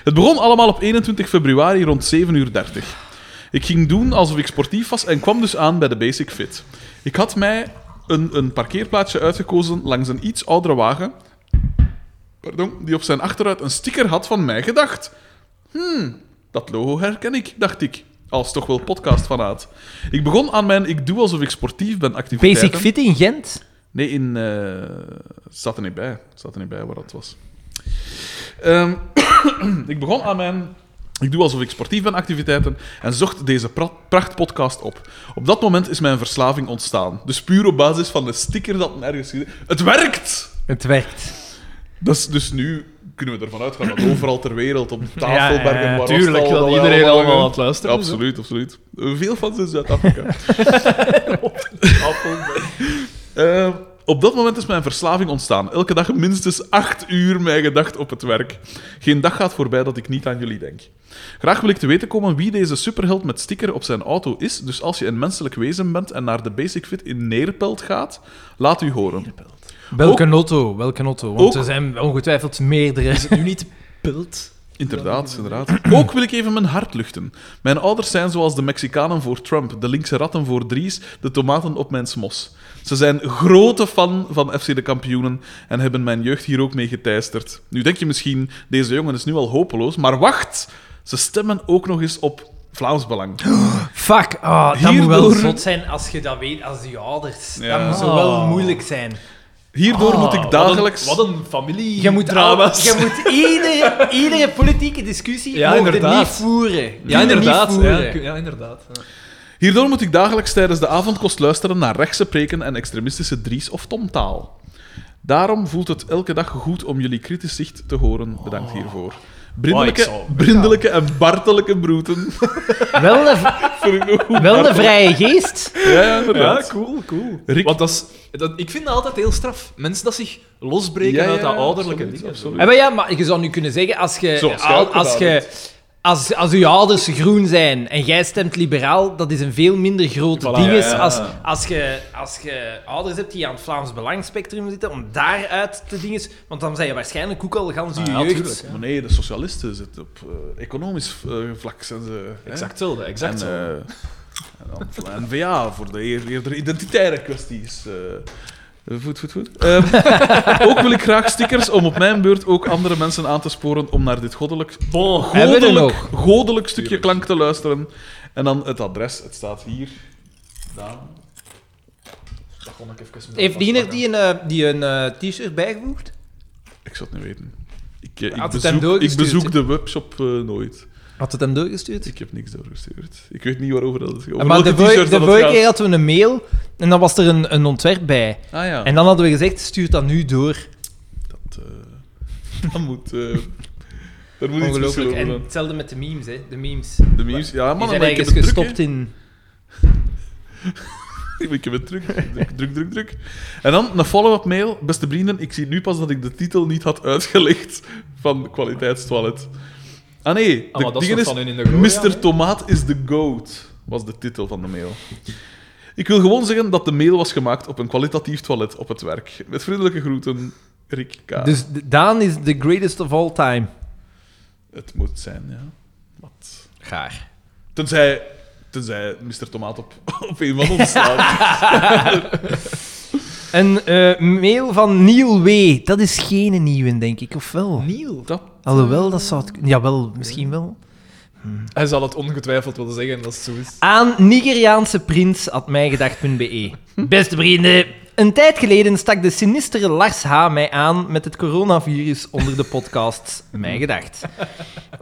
C: Het begon allemaal op 21 februari rond 7.30 uur. Ik ging doen alsof ik sportief was en kwam dus aan bij de Basic Fit. Ik had mij een, een parkeerplaatsje uitgekozen langs een iets oudere wagen, pardon, die op zijn achteruit een sticker had van mij gedacht. Hmm, Dat logo herken ik, dacht ik. Als toch wel podcast fanaat. Ik begon aan mijn ik doe alsof ik sportief ben activiteiten.
D: Basic Fit in Gent.
C: Nee, in, eh, het staat er niet bij. Het staat er niet bij waar dat was. Ehm, ik begon aan mijn ik doe alsof ik sportief ben activiteiten en zocht deze pra- prachtpodcast op. Op dat moment is mijn verslaving ontstaan. Dus puur op basis van de sticker dat ergens... gezien- Het werkt!
D: Het werkt.
C: Dat is dus nu kunnen we ervan uitgaan dat overal ter wereld, op tafelbergen,
D: Ja, ja, ja,
C: waar was het
A: Tuurlijk,
C: allemaal,
A: dat iedereen
C: allemaal
A: allemaal aan
C: hangen?
A: het luisteren is, hè.
C: Absoluut, absoluut. Eh, Veel fans in Zuid-Afrika. Eh, op dat moment is mijn verslaving ontstaan. Elke dag minstens acht uur mijn gedacht op het werk. Geen dag gaat voorbij dat ik niet aan jullie denk. Graag wil ik te weten komen wie deze superheld met sticker op zijn auto is. Dus als je een menselijk wezen bent en naar de Basic Fit in Neerpelt gaat, laat u horen.
D: Welke auto? Welke auto? Want
C: Ook-
D: er zijn ongetwijfeld meerdere.
A: Nu niet pult.
C: Inderdaad, inderdaad. Ook wil ik even mijn hart luchten. Mijn ouders zijn zoals de Mexicanen voor Trump, de linkse ratten voor Dries, de tomaten op mijn smos. Ze zijn grote fan van FC de kampioenen en hebben mijn jeugd hier ook mee geteisterd. Nu denk je misschien, deze jongen is nu al hopeloos, maar wacht! Ze stemmen ook nog eens op Vlaams Belang.
D: Fuck, ah, dat moet wel
C: Hierdoor-
D: zot zijn als je dat weet als je ouders.
C: Ja.
D: Dat moet zo wel moeilijk zijn.
C: Hierdoor moet ik dagelijks...
A: Ah, Wat een, wat een familie. Ah,
D: Je moet, al,
A: drama's.
D: je moet iedere, iedere politieke discussie
A: Ja,
D: ja,
A: inderdaad.
D: niet voeren.
A: Ja,
D: Mogen
A: inderdaad.
D: Niet
A: Ja,
D: voeren.
A: kun- ja, inderdaad. Ja.
C: Hierdoor moet ik dagelijks tijdens de avondkost luisteren naar rechtse preken en extremistische Dries- of Tomtaal. Daarom voelt het elke dag goed om jullie kritisch zicht te horen. Bedankt hiervoor. Brindelijke,
A: Wow, ik zal-
C: brindelijke en bartelijke broeten.
D: Wel, de,
C: Vind ik nog goed.
D: wel de vrije geest.
C: Ja, ja, inderdaad.
A: Ja, cool, cool.
C: Rick-
A: Want dat is, dat, ik vind dat altijd heel straf. Mensen dat zich losbreken
C: Ja,
A: uit
C: ja,
A: dat ouderlijke
C: absoluut,
A: ding.
C: absoluut.
D: Ja, maar, ja, maar je zou nu kunnen zeggen, als je...
C: Zoals jij
D: al-
C: ook
D: als,
C: gedaan
D: je als, als je ouders groen zijn en jij stemt liberaal, dat is een veel minder grote
A: Voilà.
D: ding
A: Ja,
D: is
A: ja.
D: als, als, je, als je ouders hebt die aan het Vlaams Belangspectrum zitten, om daaruit te dingen... Want dan zijn je waarschijnlijk ook al gans je
A: Ah, ja,
D: jeugd...
A: tuurlijk, ja.
C: Maar nee, de socialisten zitten op eh, economisch eh, vlak. Zijn ze, hè?
A: Exact hetzelfde, exact
C: En,
A: hetzelfde.
C: eh, en dan N-VA voor de eer- eerder identitaire kwesties. eh. Goed, goed, goed. Ehm, ook wil ik graag stickers om op mijn beurt ook andere mensen aan te sporen om naar dit goddelijk,
A: Bon.
D: Hebben we er
C: goddelijk,
D: nog?
C: goddelijk stukje klank te luisteren. En dan het adres, het staat hier. Daar.
A: Dat kon ik even
D: Heeft Diener die een, eh, die een eh, t-shirt bijgevoegd?
C: Ik zou het niet weten. Ik, eh, ik,
D: Had het hem
C: bezoek, ik
D: doorgestuurd,
C: bezoek
D: hè?
C: de webshop eh, nooit.
D: Had het hem doorgestuurd?
C: Ik heb niks doorgestuurd. Ik weet niet waarover dat is. Over
D: maar de,
C: welke
D: vorige-
C: t-shirt
D: de
C: dat het
D: vorige
C: gaat.
D: keer hadden we een mail en dan was er een, een ontwerp bij.
C: Ah ja.
D: En dan hadden we gezegd, stuur dat nu door.
C: Dat, eh, dat moet. eh er moet iets
D: Ongelooflijk.
C: verschil
D: En
C: worden.
D: hetzelfde met de memes, hè. De memes.
C: De memes, ja,
D: Die
C: man,
D: zijn
C: maar ik heb
D: ergens
C: het druk.
D: gestopt in...
C: hè. Ik heb het druk. Druk, druk, druk, druk. En dan een follow-up mail. Beste vrienden, ik zie nu pas dat ik de titel niet had uitgelegd van kwaliteitstoilet. Ah nee,
A: Ah,
C: de
A: maar dat is
C: dingen
A: nog
C: is,
A: van hun in de gloria,
C: Mr.
A: hè?
C: Tomaat is the goat, was de titel van de mail. Ik wil gewoon zeggen dat de mail was gemaakt op een kwalitatief toilet op het werk. Met vriendelijke groeten, Rick K.
D: Dus D- Daan is the greatest of all time.
C: Het moet zijn, ja. Wat...
D: Gaar.
C: Tenzij, tenzij Mr. Tomaat op, op een van ons staat.
D: Een eh, mail van Neil W. Dat is geen nieuwe, denk ik, of wel?
A: Neil.
C: Dat,
D: Alhoewel, dat zou het... kun- Jawel, misschien wel.
A: Hij zal het ongetwijfeld willen zeggen dat het zo is.
D: Aan Nigeriaanse prins at mijgedacht.be. Beste vrienden, een tijd geleden stak de sinistere Lars H. mij aan met het coronavirus onder de podcast Mijn Gedacht.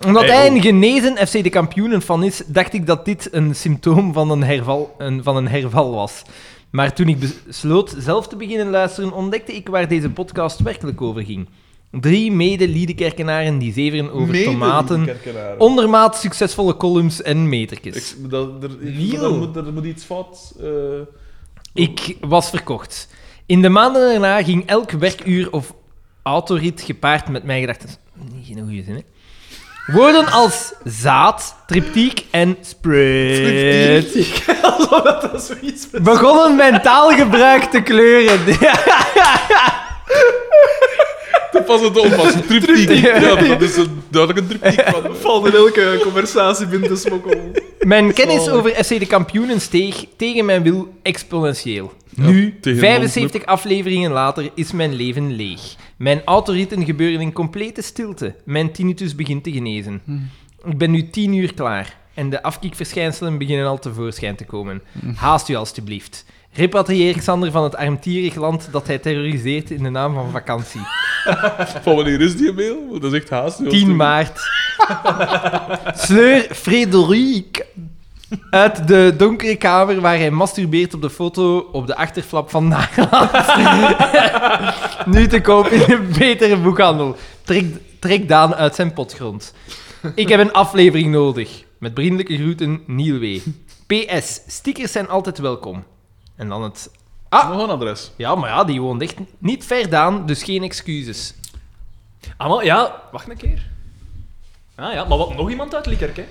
D: Omdat hij een genezen FC de kampioenen van is, dacht ik dat dit een symptoom van een herval, een, van een herval was. Maar toen ik besloot zelf te beginnen luisteren, ontdekte ik waar deze podcast werkelijk over ging. Drie mede-liedekerkenaren die zeveren over
C: Mede
D: tomaten,
C: Liedekerkenaren.
D: ondermaat succesvolle columns en metertjes.
C: Ik, dat, er, ik-
D: Niel.
C: daar moet, er moet iets fout. eh,
D: Ik was verkocht. In de maanden daarna ging elk werkuur of autorit gepaard met mijn gedachten. Niet Geen goede zin, hè? Woorden als zaad, triptiek en spread
A: Alsof dat zoiets is.
D: begonnen mijn taalgebruik te kleuren.
C: de Pas het op, pas een triptiek. Ja, dat is een duidelijk een triptiek van.
A: Valt in elke conversatie binnen de smokkel.
D: Mijn kennis over FC de kampioenen steeg tegen mijn wil exponentieel.
C: Ja,
D: nu,
C: tegen de
D: 75 afleveringen later, is mijn leven leeg. Mijn autoritten gebeuren in complete stilte. Mijn tinnitus begint te genezen. Ik ben nu 10 uur klaar en de afkikverschijnselen beginnen al tevoorschijn te komen. Haast u alstublieft. Repatrieer Xander van het armtierig land dat hij terroriseert in de naam van vakantie.
C: Van wanneer is die mail? Want Dat is echt haast. heel
D: 10
C: stil.
D: maart. Sleur Frederik uit de donkere kamer waar hij masturbeert op de foto op de achterflap van Nagaland. nu te koop in een betere boekhandel. Trek, trek Daan uit zijn potgrond. Ik heb een aflevering nodig. Met vriendelijke groeten, Niel W. PS, stickers zijn altijd welkom. En dan het... Ah,
C: Nog een adres.
D: ja, maar ja, die woont echt niet ver, Daan, dus geen excuses.
A: Allemaal, Ah, ja, wacht een keer. Ah ja, maar wat nog iemand uit Likkerk, hè?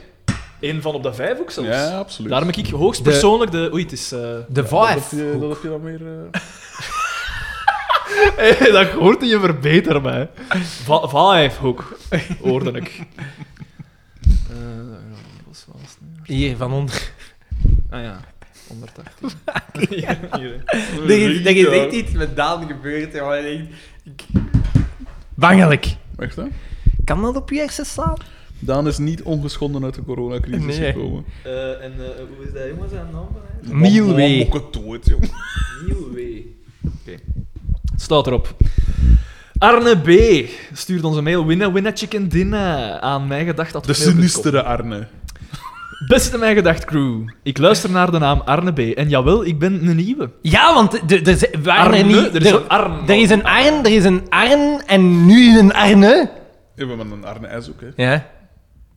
A: Eén van op de vijf ook zelfs.
C: Ja, absoluut.
A: Daarom heb ik hoogst persoonlijk de... Oei, het is... eh
D: De
C: Dat heb
D: Vive.
C: je, dat heb je dan meer... eh,
A: Hey, dat hoort in je verbeter mij. Va vijf ook, hoorde ik. Eh, wat was het?
D: Hier, van onder.
A: ah ja, 180.
D: Er is, er is
C: ja.
D: echt iets met Daan gebeurd, jongen. En ik- ik- Bangelijk.
C: Echt, hè?
D: Kan dat op je hersen slaan?
C: Daan is niet ongeschonden uit de coronacrisis
D: Nee.
C: gekomen.
A: Eh, en hoe is dat jongen zijn naam van hem?
D: Neil W.
C: Man, mok het Oh, dood, jong.
A: Nieuw W. Oké. Staat erop. Arne B. stuurt ons een mail. Winna, winna, chicken dinner. Aan mijn gedacht.
C: De sinistere Arne.
A: Beste mijn gedacht crew. Ik luister naar de naam Arne B. En jawel, ik ben een nieuwe.
D: Ja, want de- de- ze- waren
A: Arne,
D: er niet...
A: er is een Arne.
D: Er is een Arn, er is een Arn en nu een Arne.
C: Ja, maar met een Arne S ook, hè.
D: Ja.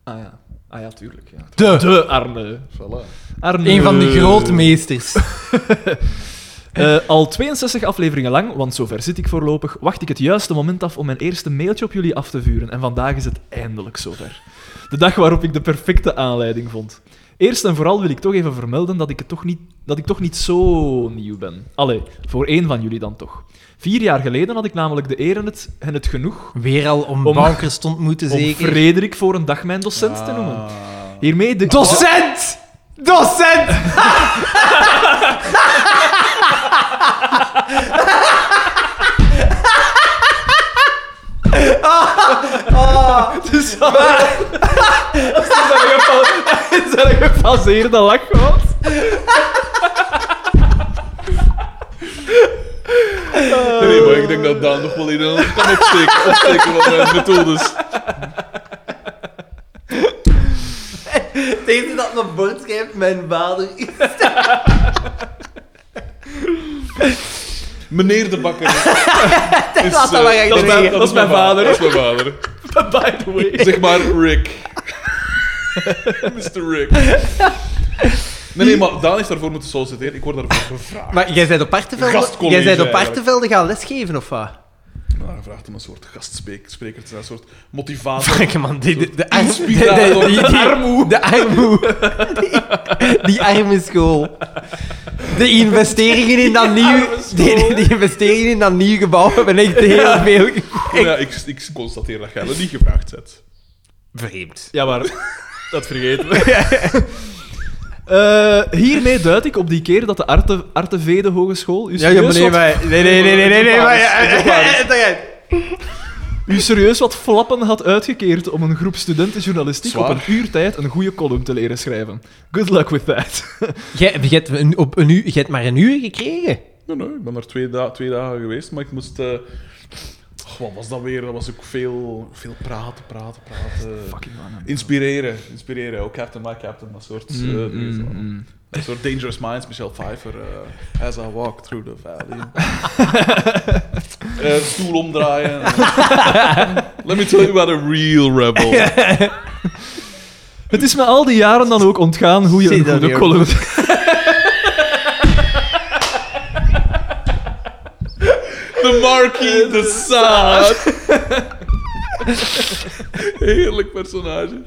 A: Ah ja. Ah ja, tuurlijk. Ja.
D: De.
A: De Arne.
C: Voilà.
A: Arne.
D: Een van de grootmeesters.
A: Eh, al 62 afleveringen lang, want zover zit ik voorlopig, wacht ik het juiste moment af om mijn eerste mailtje op jullie af te vuren. En vandaag is het eindelijk zover. De dag waarop ik de perfecte aanleiding vond. Eerst en vooral wil ik toch even vermelden dat ik, het toch, niet, dat ik toch niet zo nieuw ben. Allee, voor één van jullie dan toch. Vier jaar geleden had ik namelijk de eer en het, en het genoeg
D: Weer al om,
A: Om-
D: bankers te ontmoeten,
A: om
D: zeker.
A: Frederik voor een dag mijn docent te noemen.
C: Ah.
A: Hiermee de...
D: Docent! Docent!
A: Dus dat is dat een gefaseerde lach was.
C: Nee, maar ik denk dat Daan nog wel in een ander kan opsteken, opsteken van mijn methodes.
D: Tegen dat mijn bord schrijft, mijn vader.
C: Meneer de Bakker. is,
D: laat
C: eh,
D: dat maar echt
C: dat is
D: zeggen.
C: mijn-
A: Dat is mijn vader.
C: Dat is mijn vader.
A: By the way.
C: Zeg maar Rick. Mr. Rick. Nee, nee, maar Daan heeft daarvoor moeten solliciteren. Ik word daarvoor gevraagd.
D: Maar jij bent op Artevelde,
C: Gastcollege
D: jij bent op
C: eigenlijk.
D: Artevelde gaan lesgeven, of wat?
C: Maar gevraagd om een soort gastspreker te zijn, een soort motivator.
D: Frank, man, die, de, de, arm- de,
C: Inspirator.
D: de- die- die- De armoe. Die, die arme school. De investeringen in dat nieuw... Die, die investeringen in dat nieuw gebouw hebben echt heel veel...
C: Maar ja, ik, ik constateer dat jij dat niet gevraagd hebt.
D: Vreemd.
A: Ja, maar dat vergeten we. Eh, hiermee duid ik op die keer dat de Arte, Artevede Hogeschool u
D: Ja,
A: serieus,
D: ja, meneer,
A: wat,
D: maar... Nee, nee, nee, nee, nee, nee, maar... ja, ja, ja, ja, ja.
A: u serieus wat flappen had uitgekeerd om een groep studenten journalistiek
C: Zwaar.
A: op een uur tijd een goede column te leren schrijven. Good luck with that.
D: Jij jij hebt een- op een uur- jij hebt maar een uur gekregen.
C: Nee, nee, ik ben er twee, da- twee dagen geweest, maar ik moest... eh, och, wat was dat weer? Dat was ook veel, veel praten, praten, praten.
A: Fucking man.
C: Inspireren, inspireren. Ook Captain My Captain, dat soort... eh,
A: Mm,
C: dingen is
A: mm,
C: wel.
A: mm.
C: Een soort Dangerous Minds, Michelle Pfeiffer. eh, as I walk through the valley. Eh, stoel omdraaien. Let me tell you about a real rebel.
A: Het is me al die jaren dan ook ontgaan hoe je
D: Zie
A: een
D: dat
A: goede
D: weer.
A: column...
C: The Marquis de Saad. Heerlijk personage.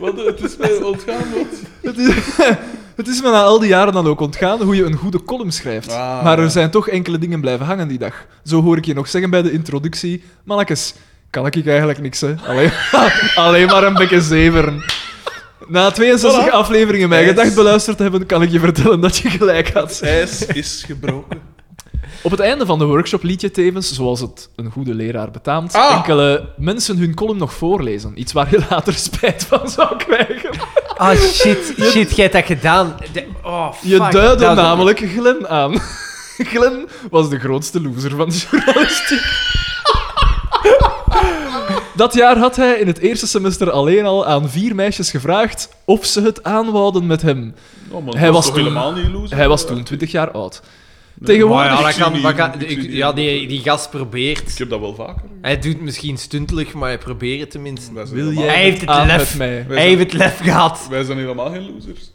C: Wat, eh, het is mij ontgaan, wat?
A: Het is, Het is me na al die jaren dan ook ontgaan hoe je een goede column schrijft.
C: Ah,
A: maar er
C: ja.
A: zijn toch enkele dingen blijven hangen die dag. Zo hoor ik je nog zeggen bij de introductie. Mannekes, kan ik eigenlijk niks, hè? Alleen, alleen maar een beetje zeveren. Na 62
C: Voilà.
A: afleveringen mijn
C: Yes.
A: gedacht beluisterd te hebben, kan ik je vertellen dat je gelijk had.
C: Het ijs is gebroken.
A: Op het einde van de workshop liet je tevens, zoals het een goede leraar betaamt,
C: Ah.
A: enkele mensen hun column nog voorlezen. Iets waar je later spijt van zou krijgen.
B: Ah, shit, shit, jij hebt dat gedaan. De- oh, fuck.
A: Je duidde
B: Dat-
A: namelijk Glen aan. Glen was de grootste loser van de journalistiek. Dat jaar had hij in het eerste semester alleen al aan vier meisjes gevraagd of ze het aanwouden met hem.
C: Oh, maar
A: Hij
C: dat
A: was
C: toch
A: toen-
C: helemaal niet loser?
A: Hij was toen 20 jaar oud.
B: Maar
A: Tegenwoordig
B: ja, dat
C: Ik zie
B: kan,
C: niet,
B: dat kan-
C: ik
B: ik-
C: zie niet.
B: ja, die, die gast probeert.
C: Ik heb dat wel vaker.
B: Hij doet misschien stuntelig, maar hij probeert het tenminste.
C: Wij zijn,
A: wil
C: helemaal,
A: jij
B: Hij heeft het
A: aan
B: lef.
A: met mij.
C: wij
B: Hij
C: zijn-
B: heeft het lef gehad.
C: wij zijn helemaal geen losers.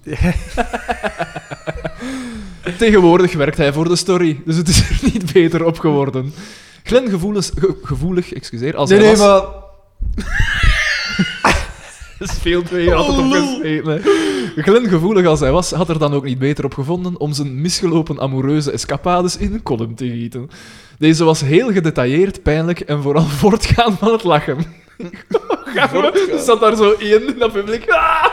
A: Tegenwoordig werkt hij voor de story, dus het is er niet beter op geworden. Glen gevoelens, ge- gevoelig, excuseer, als hij was...
B: maar...
A: Dat is veel twee altijd
C: Oh,
A: op
C: lul.
A: geschreven. Glenn, gevoelig als hij was, had er dan ook niet beter op gevonden om zijn misgelopen amoureuze escapades in een column te gieten. Deze was heel gedetailleerd, pijnlijk en vooral voortgaan van het lachen. Gaan we? Er zat daar zo één in dat publiek. Ah!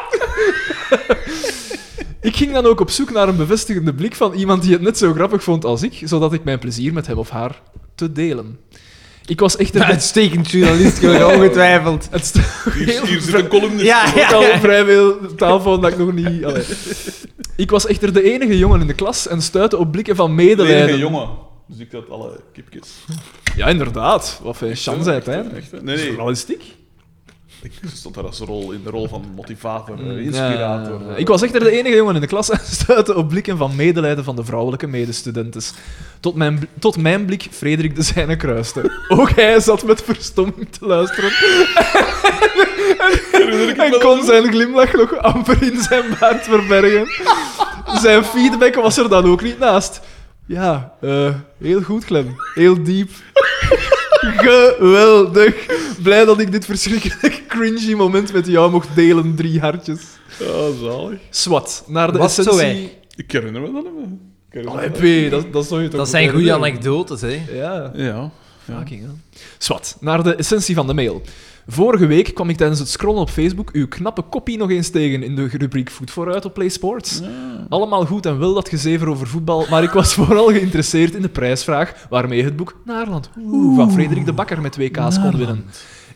A: Ik ging dan ook op zoek naar een bevestigende blik van iemand die het net zo grappig vond als ik, zodat ik mijn plezier met hem of haar te delen. Ik was echter...
B: Uitstekend journalist, gewoon, ongetwijfeld.
A: Het st-
C: Hier,
A: heel
C: hier zit een columnist.
B: Ja, ja,
A: ook al
B: ja.
A: vrij veel taal van dat ik nog niet. allee. Ik was echter de enige jongen in de klas en stuitte op blikken van
C: De
A: medelijden.
C: enige jongen. Dus ik had alle kipjes.
A: Ja, inderdaad. Wat een chance
C: hè?
A: uit, hè?
C: Echt, hè? Nee, nee.
A: Journalistiek.
C: Ik stond daar als rol in de rol van motivator,
B: Mm.
C: eh, inspirator.
A: Ja. Ik was echter de enige jongen in de klas en stuitte op blikken van medelijden van de vrouwelijke medestudentes. Tot mijn, bl- tot mijn blik Frederik de zijne kruiste. Ook hij zat met verstomming te luisteren. en, en kon zijn glimlach nog amper in zijn baard verbergen. Zijn feedback was er dan ook niet naast. Ja, eh, heel goed, Clem. Heel diep. Geweldig. Blij dat ik dit verschrikkelijk cringy moment met jou mocht delen, drie hartjes.
C: Ja, zalig.
A: Swat, naar de
B: Was zo
A: essentie...
C: Ik herinner me dat nog. Ik herinner me dat.
A: Allee, P, dat, dat zou je toch
B: Dat zijn
A: moeten
B: goede
A: herinneren.
B: anekdotes, hè.
A: Ja,
C: Ja. ja.
A: fucking hell. Swat, naar de essentie van de mail. Vorige week kwam ik tijdens het scrollen op Facebook uw knappe kopie nog eens tegen in de rubriek Voet vooruit op Play Sports. Allemaal goed en wel dat gezever over voetbal, maar ik was vooral geïnteresseerd in de prijsvraag waarmee het boek Naarland oeh, van Frederik de Bakker met WK's kon winnen.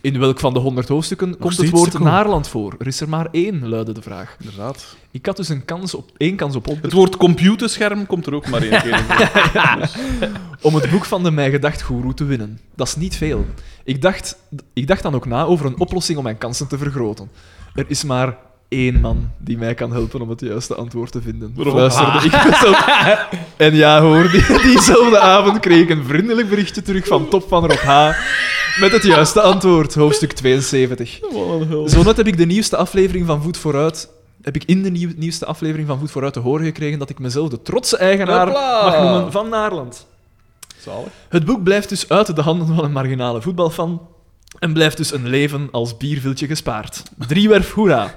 A: In welk van de 100 hoofdstukken komt het
C: steeds te
A: woord
C: komen.
A: Naarland voor? Er is er maar één, luidde de vraag.
C: Inderdaad.
A: Ik had dus een kans op, één kans op op
C: Het woord computerscherm komt er ook maar één keer in voor.
A: om het boek van de Mij Gedacht Guru te winnen. Dat is niet veel. Ik dacht, ik dacht dan ook na over een oplossing om mijn kansen te vergroten. Er is maar één man die mij kan helpen om het juiste antwoord te vinden.
C: Waarom?
A: Fluisterde ik mezelf. En ja hoor, die, diezelfde avond kreeg ik een vriendelijk berichtje terug van Top van Rob H. Met het juiste antwoord, hoofdstuk 72.
C: Wat een hel.
A: Zo net heb ik de nieuwste aflevering van Voet Vooruit. Heb ik in de nieuw- nieuwste aflevering van Voet Vooruit te horen gekregen dat ik mezelf de trotse eigenaar
C: Hopla.
A: mag noemen van Naarland.
C: Zalig.
A: Het boek blijft dus uit de handen van een marginale voetbalfan en blijft dus een leven als bierviltje gespaard. Driewerf, hoera.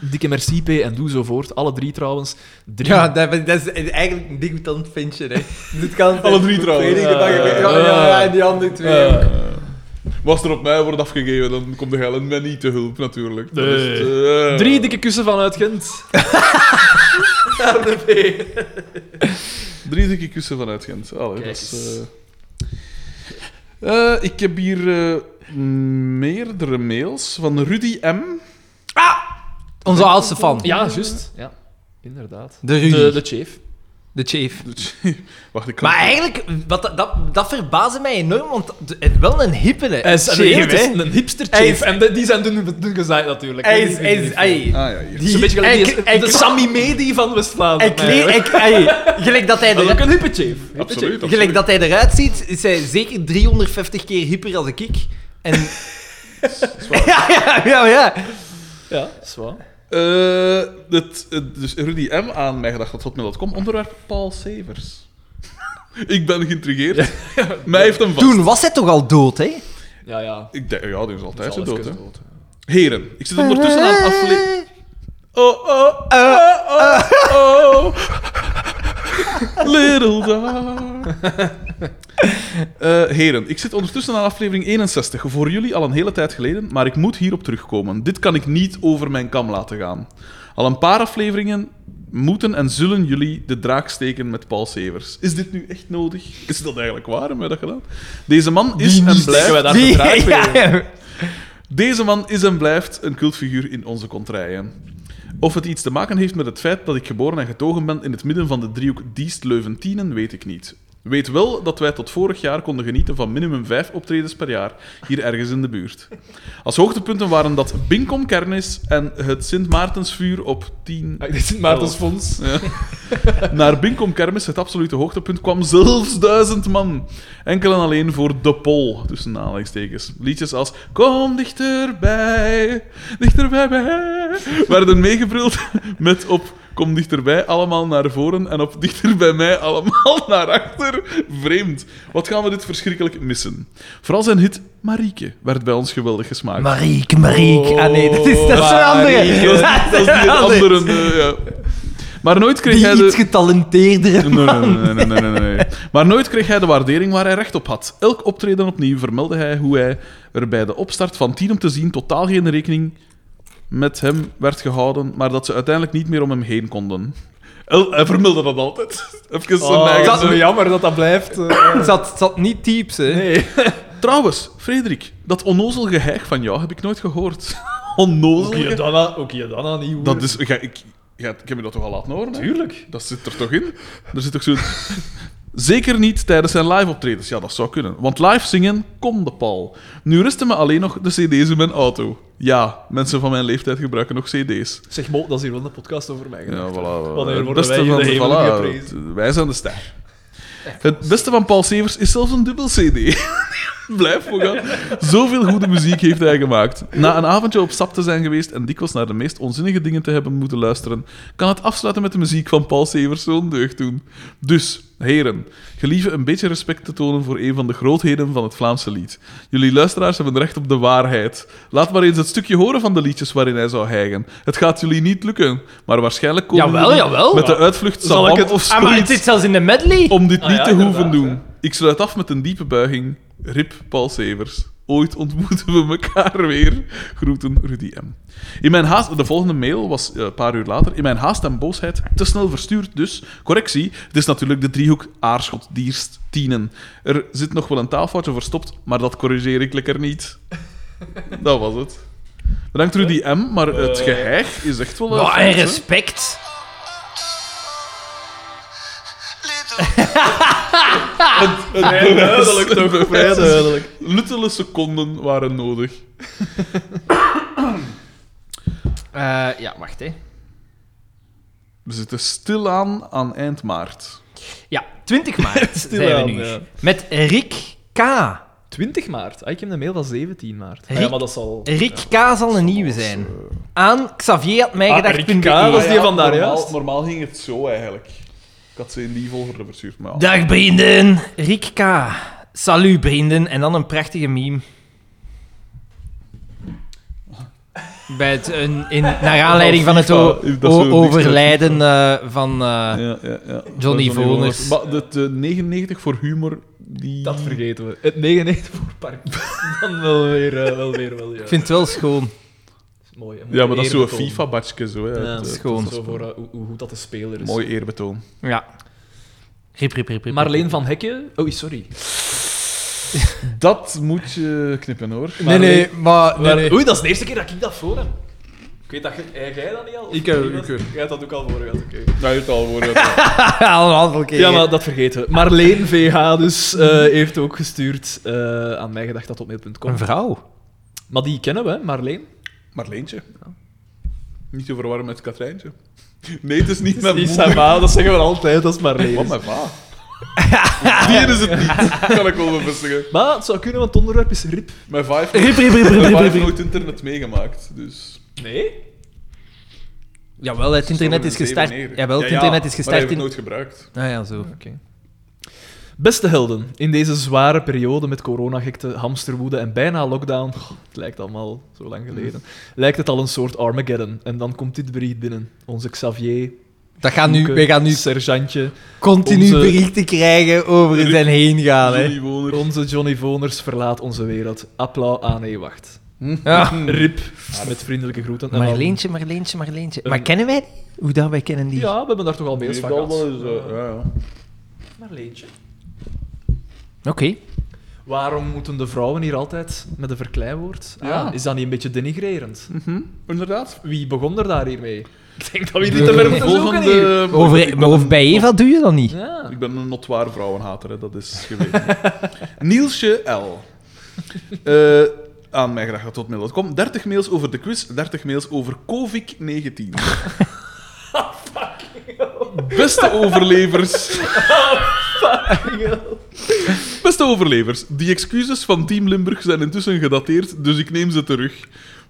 A: Dikke merci, P, en doe zo voort. Alle drie trouwens. Drie...
B: Ja, dat, dat is eigenlijk een degoutant ventje, hè. Dit kan...
C: Alle drie trouwens.
A: eh,
B: Frederik de Bakker,
A: Ja.
B: Ja, ja, ja, en die andere twee ook.
C: Eh, was er op mij wordt afgegeven, dan komt de geld mij niet te hulp natuurlijk. Dat is het, eh.
A: Drie dikke kussen vanuit Gent.
B: Naar de P.
C: Drie dikke kussen vanuit Gent. Allee,
B: Kijk
C: dat is,
B: eens.
C: eh. Eh, ik heb hier eh, meerdere mails van Rudy M.
B: Onze oudste fan.
A: Ja, juist. Ja, inderdaad.
B: De Rudy.
A: De,
B: De,
A: de chief.
B: chief.
C: Wacht, ik kan
B: Maar eigenlijk, wat, dat- dat, dat verbaasde mij enorm, want het wel een hippe, hè.
A: Hij is
B: chief,
A: een,
B: hè.
A: een hipster
B: Hij
A: chief.
B: is-
A: En de- die zijn dun, dun gezaaid natuurlijk.
B: Hij
A: Die-
B: is...
A: die-
B: Hij
A: die-
B: is... ai.
C: Ah ja, hier.
A: Het is een beetje
B: hij-
A: gelijk die is-
B: hij-
A: de Sammy Medi van West-Vlaanderen.
B: Hij kleed...
A: eigenlijk.
B: ik- ai. Gelijk dat hij
A: Dat is ook
B: er...
A: een hippe chief. Hippe
C: Absoluut,
A: chief.
C: absoluut.
B: Gelijk dat hij eruit ziet, is hij zeker 350 keer hipper als ik. En... ja, ja, ja, Oh ja.
A: Ja, zwaar.
C: Eh, het, het- dus Rudy M. aan mij gedacht dat hotmail.com. Onderwerp Paul Severs. ik ben geïntrigeerd. Mij heeft hem vast.
B: Toen was hij toch al dood, hè?
A: Ja, ja.
C: Ik denk, ja, die is altijd
A: Dat
C: zo
A: is
C: dood, hè.
A: alles dood, hè.
B: Eh.
D: Eh.
C: Heren, ik zit ondertussen aan aflevering... Oh, oh, oh, oh, oh. Little dark. Eh, heren, ik zit ondertussen aan aflevering 61, voor jullie al een hele tijd geleden, maar ik moet hierop terugkomen. Dit kan ik niet over mijn kam laten gaan. Al een paar afleveringen moeten en zullen jullie de draak steken met Paul Severs. Is dit nu echt nodig? Is dat eigenlijk waar? Hebben wij dat gedaan? Deze man is en blijft...
A: wij daar de draak mee?
C: Deze man is en blijft een cultfiguur in onze contraien. Of het iets te maken heeft met het feit dat ik geboren en getogen ben in het midden van de driehoek Diest-Leuventienen, weet ik niet. Weet wel dat wij tot vorig jaar konden genieten van minimum vijf optredens per jaar, hier ergens in de buurt. Als hoogtepunten waren dat Binkom Kernis en het Sint Maartensvuur op 10
A: Ah, dit is het Maartensfonds.
C: naar Binkom Kermis, het absolute hoogtepunt, kwam zelfs duizend man. Enkel en alleen voor de pol, tussen aanhalingstekens. Liedjes als Kom dichterbij, dichterbij bij, werden meegebruld met op Kom dichterbij allemaal naar voren en op dichter bij mij allemaal naar achter. Vreemd. Wat gaan we dit verschrikkelijk missen? Vooral zijn hit Marieke werd bij ons geweldig gesmaakt.
B: Marieke, Marieke. Ah nee, dat is, dat is een andere.
C: Dat
B: Dat
C: is-
B: is
C: dat is
B: een
C: die
B: andere.
C: andere. eh, ja. Maar nooit kreeg hij
B: Die
C: de...
B: iets getalenteerdere
C: Nee, nee, nee, nee, nee, nee. Maar nooit kreeg hij de waardering waar hij recht op had. Elk optreden opnieuw vermeldde hij hoe hij er bij de opstart van Tien om te zien totaal geen rekening met hem werd gehouden, maar dat ze uiteindelijk niet meer om hem heen konden. Oh. El- hij vermeldde dat altijd. Even zijn eigen...
A: dat is zo jammer Oh, dat dat blijft. eh.
B: Het zat, het zat niet types, hè?
A: nee.
C: Trouwens, Frederik, dat onnozel geheig van jou heb ik nooit gehoord. onnozel
A: Ook je
C: geheig?
A: dan aan- Ook je dan aan die hoer.
C: Dat is... Ga, ik, ja, ik heb je dat toch al laten horen? hè?
A: Tuurlijk.
C: Dat zit er toch in? Er zit toch zo'n... Zeker niet tijdens zijn live optredens. Ja, dat zou kunnen. Want live zingen kon de pal. Nu resten me alleen nog de cd's in mijn auto. Ja, mensen van mijn leeftijd gebruiken nog cd's.
A: Zeg, Mo, dat is hier wel een podcast over mij.
C: Ja,
A: gedacht.
C: voilà.
A: Wanneer
C: Het
A: worden
C: beste
A: wij hier
C: van
A: de hemel
C: voilà,
A: geprezen?
C: Wij zijn de ster. Het beste van Paul Severs is zelfs een dubbel cd. Blijf voorgaan. Zoveel goede muziek heeft hij gemaakt. Na een avondje op sap te zijn geweest en dikwijls naar de meest onzinnige dingen te hebben moeten luisteren, kan het afsluiten met de muziek van Paul Severs zo'n deugd doen. Dus, heren, gelieve een beetje respect te tonen voor een van de grootheden van het Vlaamse lied. Jullie luisteraars hebben recht op de waarheid. Laat maar eens het stukje horen van de liedjes waarin hij zou hijgen. Het gaat jullie niet lukken, maar waarschijnlijk komen
B: Jawel,
C: jullie
B: jawel.
C: met de uitvlucht
A: Zal ik
C: Sabam
A: het-
C: of
B: Ah, maar het
C: zoiets
B: zit zelfs in de medley.
C: om dit
A: Ah,
C: niet
A: ja,
C: te hoeven
A: inderdaad,
C: doen.
A: hè.
C: Ik sluit af met een diepe buiging. Rip Paul Severs. Ooit ontmoeten we elkaar weer. Groeten, Rudy M. In mijn haast, de volgende mail was eh, een paar uur later. In mijn haast en boosheid te snel verstuurd, dus correctie. Het is natuurlijk de driehoek Aarschot, Dierst, Tienen. Er zit nog wel een taalfoutje verstopt, maar dat corrigeer ik lekker niet. Dat was het. Bedankt Rudy M, maar
A: Eh,
C: het geheig is echt wel... eh,
B: Oh, en
C: fout, hè?
B: respect.
A: Vrij duidelijk toch? Vrij duidelijk.
C: Luttele seconden waren nodig.
B: Eh, ja, wacht, hè.
C: We zitten stilaan aan eind maart.
B: Ja, 20 maart zijn we
A: Stilaan,
B: nu.
A: ja.
B: Met Rick K.
A: 20 maart. Ah, ik heb een mail van 17 maart. Ah, ja,
B: Riek-
A: maar dat zal...
B: Rick K zal een nieuwe zijn. Aan
A: Ah, Rick K, dat
B: xavierhatmijgedacht.be.
A: is die van daar,
C: normaal,
A: juist.
C: normaal ging het zo eigenlijk. Ik had ze in die volgorde verstuurd, maar ja.
B: Dag vrienden, Rick K. Salut vrienden, en dan een prachtige meme. Bij het, een, in, naar aanleiding van het o-
C: Dat is
B: o-
C: zo'n
B: overlijden eh, van... eh,
C: Ja, ja, ja.
B: Johnny Voners.
C: Maar de, de 99 voor humor, die...
A: Dat vergeten we. Het 99 voor Park. Dan wel weer, eh, wel weer, wel ja.
B: ik vind het wel schoon.
A: Mooi, hè. Mooi
C: Ja, maar dat is zo'n
A: eerbetoon.
C: FIFA-badje, zo. Hè.
A: Ja,
C: Het,
A: dat
C: eh,
A: is
B: schoon.
A: Zo voor eh, hoe, hoe goed dat de speler is.
C: Mooi eerbetoon.
B: Ja. Rip, rip, rip, rip.
A: Marleen van Hekken... Oh, sorry.
C: Dat moet je knippen, hoor.
B: Nee, nee, maar... Nee,
A: Maar-
B: nee.
A: Oei, dat is de eerste keer dat ik dat voor hem. Ik weet dat... je- eh, Jij dat niet al?
C: Ik, eh,
A: Jij dat-
C: ik, eh.
A: Jij hebt dat ook al voor gehad, oké.
C: Nou, je het al voor. ja.
B: Al een aantal keer.
A: Ja, maar dat vergeten we. Marleen VH dus eh, heeft ook gestuurd eh aan mijgedacht.hotmail.com.
B: Een vrouw.
A: Maar die kennen we, hè, Marleen.
C: Marleentje. Niet te verwarren met Katrijntje. Nee, het is niet
A: Dat
C: mijn
A: is niet
C: moeder.
A: zijn ma, dat zeggen we altijd als Marleen.
C: Wat
A: is.
C: mijn va. Die is het niet. Kan ik wel bevestigen.
A: Maar het zou kunnen, want het onderwerp is RIP.
C: Mijn va heeft
B: Rip, rip, rip, rip,
C: Mijn
B: rip,
C: pa
B: rip,
C: heeft
B: rip.
C: nooit internet meegemaakt, dus...
A: Nee?
B: Jawel, het internet is
C: Zo'n
B: gestart.
C: zeven, negen.
B: Jawel, het
C: Ja, ja,
B: internet is Ah,
C: Maar hij
B: gestart
C: heeft
B: in...
C: nooit gebruikt.
B: Ah ja, zo.
A: Oké. Beste helden, in deze zware periode met coronagekte, hamsterwoede en bijna lockdown, oh, het lijkt allemaal zo lang geleden, lijkt het al een soort Armageddon. En dan komt dit bericht binnen. Onze Xavier,
D: Dat gaan nu,
A: Koeken,
D: wij gaan nu
A: Sergeantje,
D: continu
A: onze-
D: berichten krijgen over
C: Ru-
D: zijn heen gaan. Hè.
C: Johnny Woner.
A: onze Johnny Voners verlaat onze wereld. Applaus aan, nee, wacht.
D: Ja.
A: Rip, met vriendelijke groeten. En dan-
D: Marleentje, Marleentje, Marleentje. Maar kennen wij die? Hoe dan, wij kennen die?
A: Ja, we hebben daar toch al mails
C: Die
A: van
C: heeft al
A: gehad.
C: wel eens, eh, ja, ja.
A: Marleentje.
D: Oké.
A: Waarom moeten de vrouwen hier altijd met een verkleiwoord? Ah,
C: Ja.
A: Is dat niet een beetje denigrerend?
C: Inderdaad.
A: Wie begon er daar hiermee? Ik denk dat we hier niet te ver moeten zoeken hier.
C: Volgende...
D: Over, maar over bij Eva doe je dat niet.
A: Ja.
C: Ik ben een notwaar vrouwenhater, hè, dat is geweten. Nielsje L. Eh, aan mij graag tot mail.com. 30 mails over de quiz, 30 mails over COVID-19.
B: Ah,
C: Beste overlevers. Beste overlevers, die excuses van Team Limburg zijn intussen gedateerd, dus ik neem ze terug.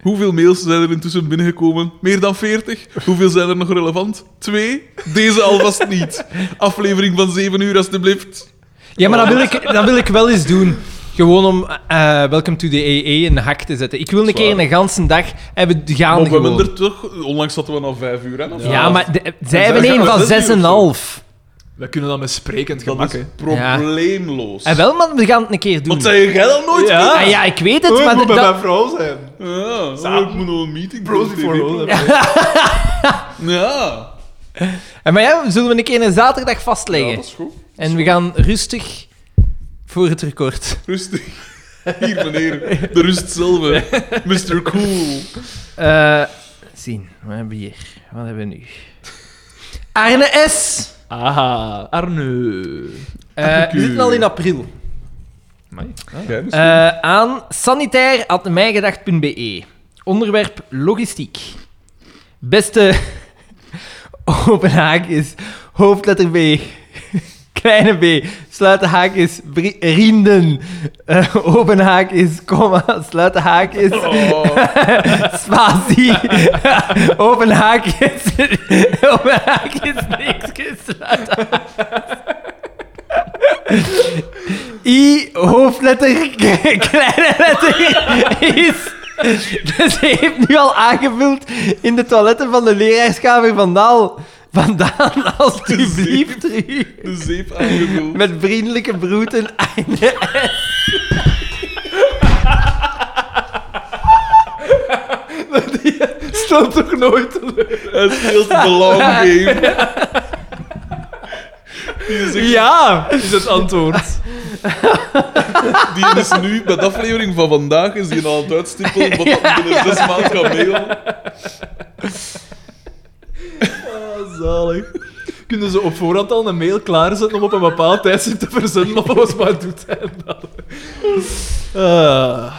C: Hoeveel mails zijn er intussen binnengekomen? Meer dan 40. Hoeveel zijn er nog relevant? Twee. Deze alvast niet. Aflevering van 7 uur, alstublieft.
D: Ja, maar dat wil ik, dat wil ik wel eens doen. Gewoon om eh Welcome to the AA een hak te zetten. Ik wil een
C: Zwaar.
D: keer een ganse dag hebben gaan
C: Maar we
D: gewoon.
C: hebben er toch... Onlangs zaten we al 5 uur, hè? of
D: Ja,
C: zo?
D: maar de- zij
C: daar
D: hebben
C: gaan
D: een
C: we
D: van
C: zes uur
D: zes en
C: of
D: een
C: zo.
D: half.
A: We kunnen dat met sprekend
C: Dat
A: gemak.
C: is
A: hè.
C: probleemloos.
D: En Eh, wel, man, we gaan het een keer doen.
C: Wat zei jij dan nooit?
A: Ja.
D: Ah, ja, ik weet het, maar... dat-
A: vrouw zijn.
C: Ja, oh,
A: Samen.
C: ik moet nog een meeting
A: Bros
C: doen,
A: before
C: TV.
A: all.
C: Ja.
D: En eh, maar ja, zullen we een keer een zaterdag vastleggen.
C: ja, dat is goed.
D: en we gaan rustig voor het record.
C: Rustig. Hier, meneer. De rust zelf. hè. Mr. Cool.
D: Eh, zien, wat hebben we hier? Wat hebben we nu? Arne S.
A: Aha, Arne.
D: Eh, we zitten al in april.
C: Ja, dus-
D: Eh, aan sanitair.mijgedacht.be. Onderwerp logistiek. Beste open haakjes, hoofdletter B, kleine b, sluit de haakjes, bri- rienden, Eh, open haakjes, komma, sluit de haakjes,
C: Oh,
D: spatie, open haakjes, open haakjes, niks, sluit de haakjes. I, hoofdletter, k- kleine letter, is... Dus hij heeft nu al aangevuld in de toiletten van de leraarskamer vandaan. Vandaan, alstublieft, u.
C: de zeep aangevuld.
D: Met vriendelijke broeten, einde
A: Stel toch nooit teleur.
C: Het speelt de long game. Die is,
A: Ja, is het antwoord.
C: die is nu, bij de aflevering van vandaag, is die al aan het uitstippelen wat dat binnen zes maanden kan mailen.
A: Ah, zalig. Kunnen ze op voorhand al een mail klaarzetten om op een bepaald tijdstip te verzenden? Of wat maar doet hij dan? Eh,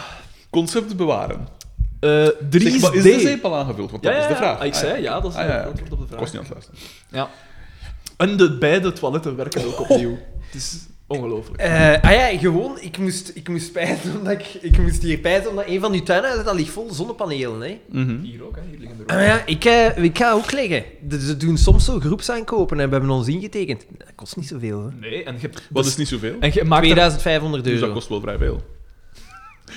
C: Concept bewaren.
A: eh,
C: Zeg,
A: 3
C: maar is de zeep al aangevuld? Want dat
A: Ja,
C: is
A: ja,
C: de
A: ja.
C: vraag.
A: Ah, ik zei ja, dat is
C: Ah,
A: het
C: ja, ja.
A: antwoord op de vraag.
C: Ik was niet aan het luisteren.
A: Ja. En de beide toiletten werken ook opnieuw. Het is ongelooflijk.
D: Eh, ah ja, gewoon, ik moest, ik moest pijzen omdat ik, ik moest hier pijzen omdat een van uw tuinhuizen dat ligt vol zonnepanelen, hè.
C: Mhm.
A: Hier ook, hè. hier liggen er
D: Ah ja, ik, eh, ik ga ook leggen. De- Ze doen soms zo groepsaankopen en we hebben ons ingetekend. Dat kost niet zoveel, hè.
A: Nee, en je dus- hebt...
C: Wat is niet zoveel?
A: En je maakt er...
D: 2500
C: Dus dat
D: euro.
C: kost wel vrij veel.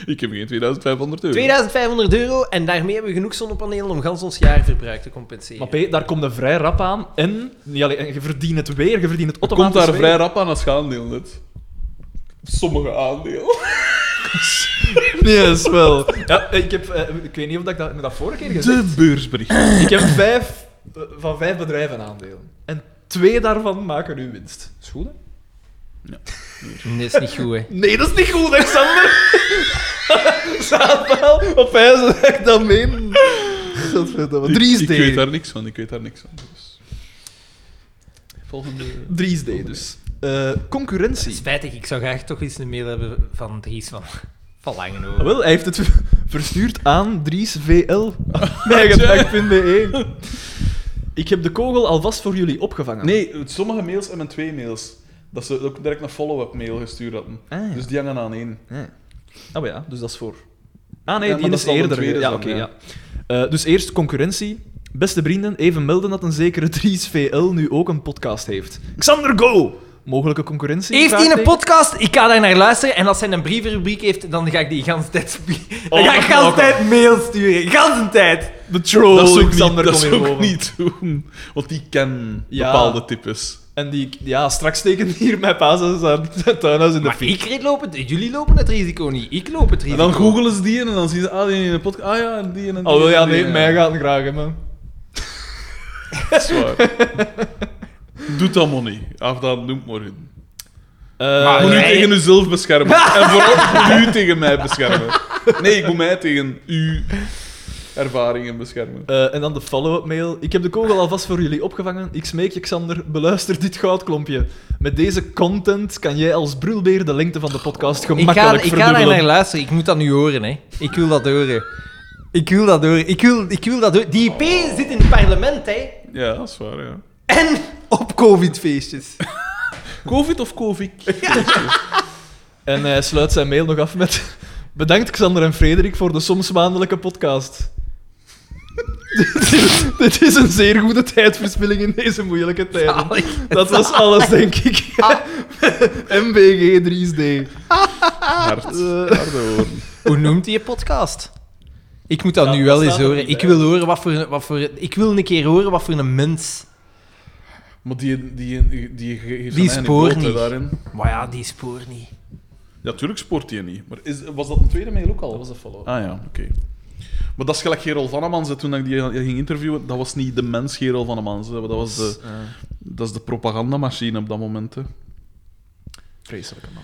C: Ik heb geen 2500 euro.
D: 2500 euro en daarmee hebben we genoeg zonnepanelen om gans ons jaarverbruik te compenseren.
A: Maar P, daar komt een vrij rap aan. En, niet alleen, en je verdient het weer, je verdient het automatisch
C: Komt daar
A: weer.
C: vrij rap aan als je aandeel net. Sommige aandeel.
A: Nee, is wel. Ja, ik, heb, eh, ik weet niet of ik dat, ik heb dat vorige keer gezegd
C: De beursbrief.
A: Ik heb vijf, eh, van vijf bedrijven aandelen. En twee daarvan maken nu winst. Is goed, hè?
D: Nee, dat is niet goed, hè.
A: Nee, dat is niet goed, Alexander. Staat wel op ijzer dat ik dat meen. Godverdomme.
C: Ik-
A: Dries
C: ik,
A: D.
C: weet daar niks van. Ik weet daar niks van. Dus.
A: Volgende. Dries D dus. Eh, concurrentie.
D: Spijtig, ik zou graag toch eens een mail hebben van Dries van, van
A: Ah,
D: Langenhoven.
A: wel, hij heeft het verstuurd aan driesvl. Mijgedag.be. Ik heb de kogel alvast voor jullie opgevangen.
C: Nee, sommige mails en mijn twee mails. Dat ze ook direct een follow-up mail gestuurd hadden.
A: Ah, ja.
C: Dus die hangen aan één.
A: Oh ja, dus dat is voor. Ah nee,
C: Ja, maar
A: die
C: dat
A: is
C: zal de
A: eerder.
C: tweede
A: ja,
C: zijn,
A: oké,
C: ja.
A: ja. Eh, dus eerst concurrentie. Beste vrienden, even melden dat een zekere Dries VL nu ook een podcast heeft. Xander Go! mogelijke concurrentie.
B: Heeft hij een
A: vraagteken?
B: podcast? Ik ga daar naar luisteren. En als hij een brievenrubriek heeft, dan ga ik die gans tijd, dan ga ik
A: Oh,
B: gans
A: oké.
B: tijd mail sturen. Gans een tijd.
A: De troll,
C: dat zou ik
A: Xander,
C: niet, dat
A: kom
C: zou
A: hier
C: ik
A: boven.
C: niet doen. Want die kennen
A: Ja.
C: bepaalde types.
A: En die, ja, straks steken hier mijn paas en zijn tuinhuis in de
B: Maar
A: fik.
B: ik loop het, jullie lopen het risico niet. Ik loop het
C: En
B: risico.
C: dan googelen ze die en dan zien ze, ah, die in de podcast. Ah ja, en die en die.
A: Oh, wel, ja,
C: en die,
A: nee, mij gaat het graag, hè, man.
C: Dat is waar. Doe dat maar niet. Af dat noemt maar in.
A: Eh,
B: Maar-
C: Moet u
B: nee.
C: tegen uzelf beschermen. en vooral moet u tegen mij beschermen. Nee, ik moet mij tegen uw ervaringen beschermen.
A: eh, en dan de follow-up mail. Ik heb de kogel alvast voor jullie opgevangen. Ik smeek je, Xander, beluister dit goudklompje. Met deze content kan jij als brulbeer de lengte van de podcast
B: ik ga,
A: gemakkelijk
B: ik ga daar
A: verdubbelen.
B: naar luisteren. Ik moet dat nu horen, hè. Ik wil dat horen. Ik wil dat horen. Ik wil, ik wil dat horen. Die IP zit in het parlement, hè.
C: Ja, dat is waar, ja.
B: En op covid-feestjes.
C: Covid of Covid?
A: En hij sluit zijn mail nog af met... Bedankt Xander en Frederik voor de soms maandelijke podcast. dit, is, dit is een zeer goede tijdverspilling in deze moeilijke tijden. Dat was alles, denk ik.
B: Ah.
A: MBG 3D.
C: Hard. Harde woorden.
B: Hoe noemt die je podcast? Ik moet dat
A: Ja,
B: nu
A: dat
B: wel
A: staat
B: eens
A: er
B: horen.
A: niet
B: Ik
A: bij.
B: wil, horen wat voor, wat voor, ik wil een keer horen wat voor een mens...
C: Maar die, die, die, die geeft
B: Die
C: een
B: spoort
C: anekdote
B: niet.
C: daarin.
B: Maar ja, die spoor niet.
C: Ja, tuurlijk spoort die niet. Maar is, was dat een tweede mail ook al?
A: Dat was de follow-up.
C: Ah ja, oké. Maar dat is gelijk Gerald Vannemans, hè, toen ik die ging interviewen, dat was niet de mens Gerald Vannemans. hè. Dat, was de, dat is de propagandamachine op dat moment. Hè.
A: Vreselijke man.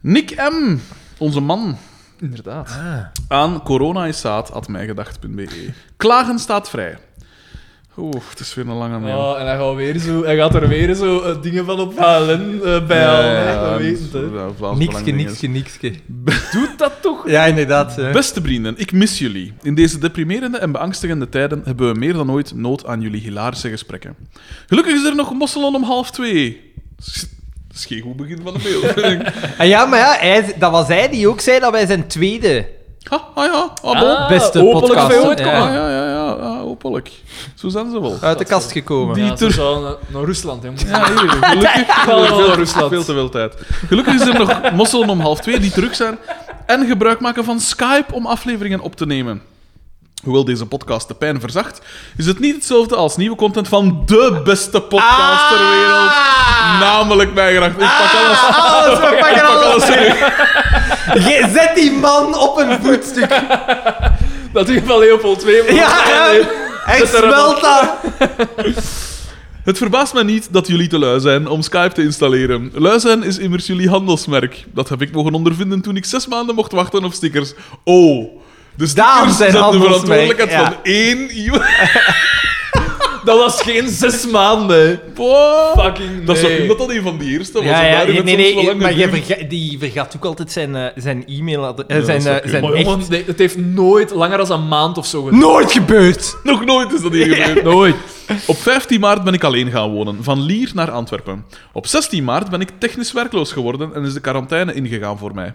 C: Nick M., onze man, Ah.
A: Inderdaad.
C: aan coronaisaat.mijgedacht.be. E. Klagen staat vrij. Oeh, het is weer een lange mail.
A: Oh, en hij gaat, weer zo, hij gaat er weer zo eh, dingen van op HLN eh, bij halen. hè. dat weet het, hè.
B: Nikske, nikske, nikske.
A: Doet dat toch?
B: Ja, inderdaad. hè.
C: Beste vrienden, ik mis jullie. In deze deprimerende en beangstigende tijden hebben we meer dan ooit nood aan jullie hilarische gesprekken. Gelukkig is er nog Mosselon om half twee. S- Dat is geen goed begin van de mail.
B: En Ah, ja, maar ja, hij, dat was hij die ook zei dat wij zijn tweede
C: ha, ah ja, ah, bon.
A: Ah,
B: beste
A: hopelijk
B: podcast.
A: veel ooit
B: Ja.
A: komen.
C: Ah, ja, ja, ja, ah, hopelijk. Zo zijn ze
D: Ah,
C: wel.
B: uit de kast gekomen.
A: Die
C: Die
A: ja, ze
C: ter-
A: zou naar, naar Rusland, hè. moeten.
C: Ja, hier, gelukkig.
A: Wel
C: Veel-
A: naar Rusland.
C: Veel te veel tijd. Gelukkig is er nog mosselen om half twee die terug zijn en gebruik maken van Skype om afleveringen op te nemen. Hoewel deze podcast de pijn verzacht, is het niet hetzelfde als nieuwe content van de beste podcast
D: Ah!
C: ter wereld. Namelijk Mijgedacht. Ik pak Oh, alles.
B: Ah! Alles, we pakken
D: Ah!
B: alles
C: alles
B: terug. Je- Zet die man op een voetstuk.
A: Dat in geval Leopold 2. maar-
B: Ja, ja. Hij
A: Zet er een
B: smelt dat.
C: Het verbaast mij niet dat jullie te lui zijn om Skype te installeren. Lui zijn is immers jullie handelsmerk. Dat heb ik mogen ondervinden toen ik zes maanden mocht wachten op stickers. Oh, de
B: Daarom
C: stickers
B: zijn
C: zijn de
B: handelsmerk,
C: verantwoordelijkheid
B: ja.
C: van één iemand.
A: Dat was geen zes maanden.
C: Wow.
A: Fucking
C: Dat is
A: nee.
C: toch dat dat een van de eerste was?
B: Ja,
C: En
B: ja,
C: daarin
B: nee,
C: het
B: nee,
C: soms wel langer
B: maar jij
C: duurt.
B: verga- die vergat ook altijd zijn, eh, zijn e-mailadres. eh,
C: Ja,
B: zijn,
C: dat zou
B: eh, zijn
C: kunnen.
A: Maar
B: echt-
A: jongen, nee, het heeft nooit langer dan een maand of zo geduurd.
B: Nooit gebeurd!
C: Nog nooit is dat hier gebeurd.
A: Nooit.
C: Op 15 maart ben ik alleen gaan wonen, van Lier naar Antwerpen. Op 16 maart ben ik technisch werkloos geworden en is de quarantaine ingegaan voor mij.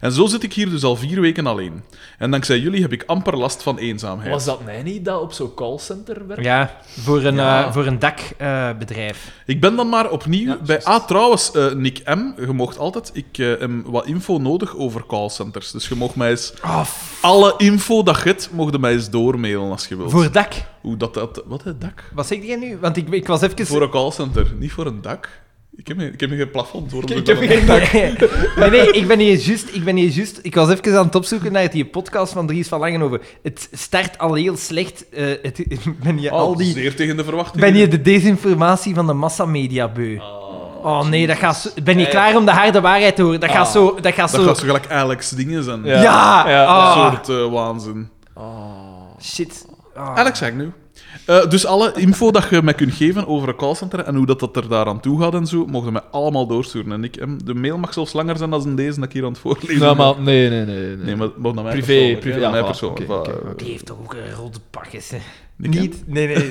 C: En zo zit ik hier dus al vier weken alleen. En dankzij jullie heb ik amper last van eenzaamheid.
A: Was dat mij niet dat op zo'n callcenter werkt?
B: Ja, voor een,
C: Ja.
B: eh, voor een dakbedrijf.
C: Ik ben dan maar opnieuw
A: Ja,
C: bij...
A: juist.
C: Ah, trouwens, eh, Nick M, je mocht altijd... Ik eh, heb wat info nodig over callcenters. Dus je mocht mij eens...
B: Oh,
C: alle info dat je hebt, mocht je mij eens doormailen als je wilt.
B: voor dak.
C: Hoe dat... dat wat, hè, dak?
B: Wat zeg jij nu? Want ik, ik was even...
C: Voor een callcenter, niet voor een dak. Ik heb, geen- ik heb geen plafond. Waarom
A: Ik-
C: doe
A: ik heb
C: dat
A: geen
C: dan?
B: nee, nee, ik ben hier juist... Ik ben hier juist... Ik was even aan het opzoeken naar die podcast van Dries van Langenhoven. Het start al heel slecht. eh, het, ik ben je
C: Oh,
B: al die...
C: Zeer tegen de verwachtingen.
B: Ben je de desinformatie van de massamedia beu? Oh, nee, dat gaat zo- ben je
A: Ja, ja.
B: klaar om de harde waarheid te horen? Dat gaat
A: Ah.
B: zo... Dat gaat
C: Dat
B: zo...
C: gaat zo gelijk Alex dingen zijn.
A: Ja.
B: Ja!
A: Ja,
C: Dat
B: Ah,
C: soort eh, waanzin.
B: Shit. Ah.
C: Alex, zeg ik nu. Eh, dus alle info dat je mij kunt geven over een callcenter en hoe dat, dat er daaraan toe gaat en zo, mogen mij allemaal doorsturen. En ik, em, de mail mag zelfs langer zijn dan deze dat ik hier aan het voorlezen
A: Nou,
C: ben.
A: maar nee, nee, nee. nee.
C: Nee, maar maar naar mij
A: Privé,
C: persoonlijk,
A: privé,
C: hè, naar
A: ja,
C: mij
A: voilà,
C: persoonlijk.
A: oké,
C: voilà.
B: Die heeft toch ook een rode pakjes, hè?
C: Nick M?
B: Niet... Nee, nee.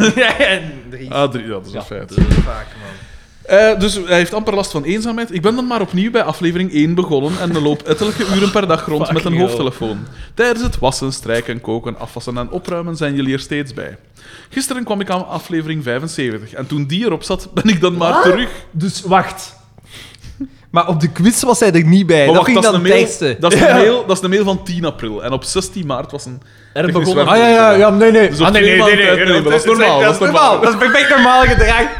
B: Dries.
C: Ah, drie, ja, dat is
A: Ja.
C: een feit.
B: Vaak, man.
C: Eh, dus hij heeft amper last van eenzaamheid. Ik ben dan maar opnieuw bij aflevering 1 begonnen en loop ettelijke uren per dag rond met een
A: Fucking
C: hoofdtelefoon. Tijdens het wassen, strijken, koken, afwassen en opruimen zijn jullie er steeds bij. Gisteren kwam ik aan aflevering 75 en toen die erop zat, ben ik dan maar terug. Oh,
A: Dus wacht.
B: Maar op de quiz was hij er niet bij.
C: Maar
B: dat
C: wacht,
B: vind
C: dat
B: ik
C: is,
B: dan
C: een
B: het
C: mail,
B: ergste.
C: dat, is
A: Ja.
C: een mail, dat is een mail van 10 april. En op 16 maart was een...
A: Er
C: technisch
A: begonnen-
C: werk.
B: Ah ja, ja, ja, nee, nee.
C: Dus op twee maanden tijd- nee, maar dat is normaal,
B: Dat is normaal. Oh, Dat is perfect normaal gedrag.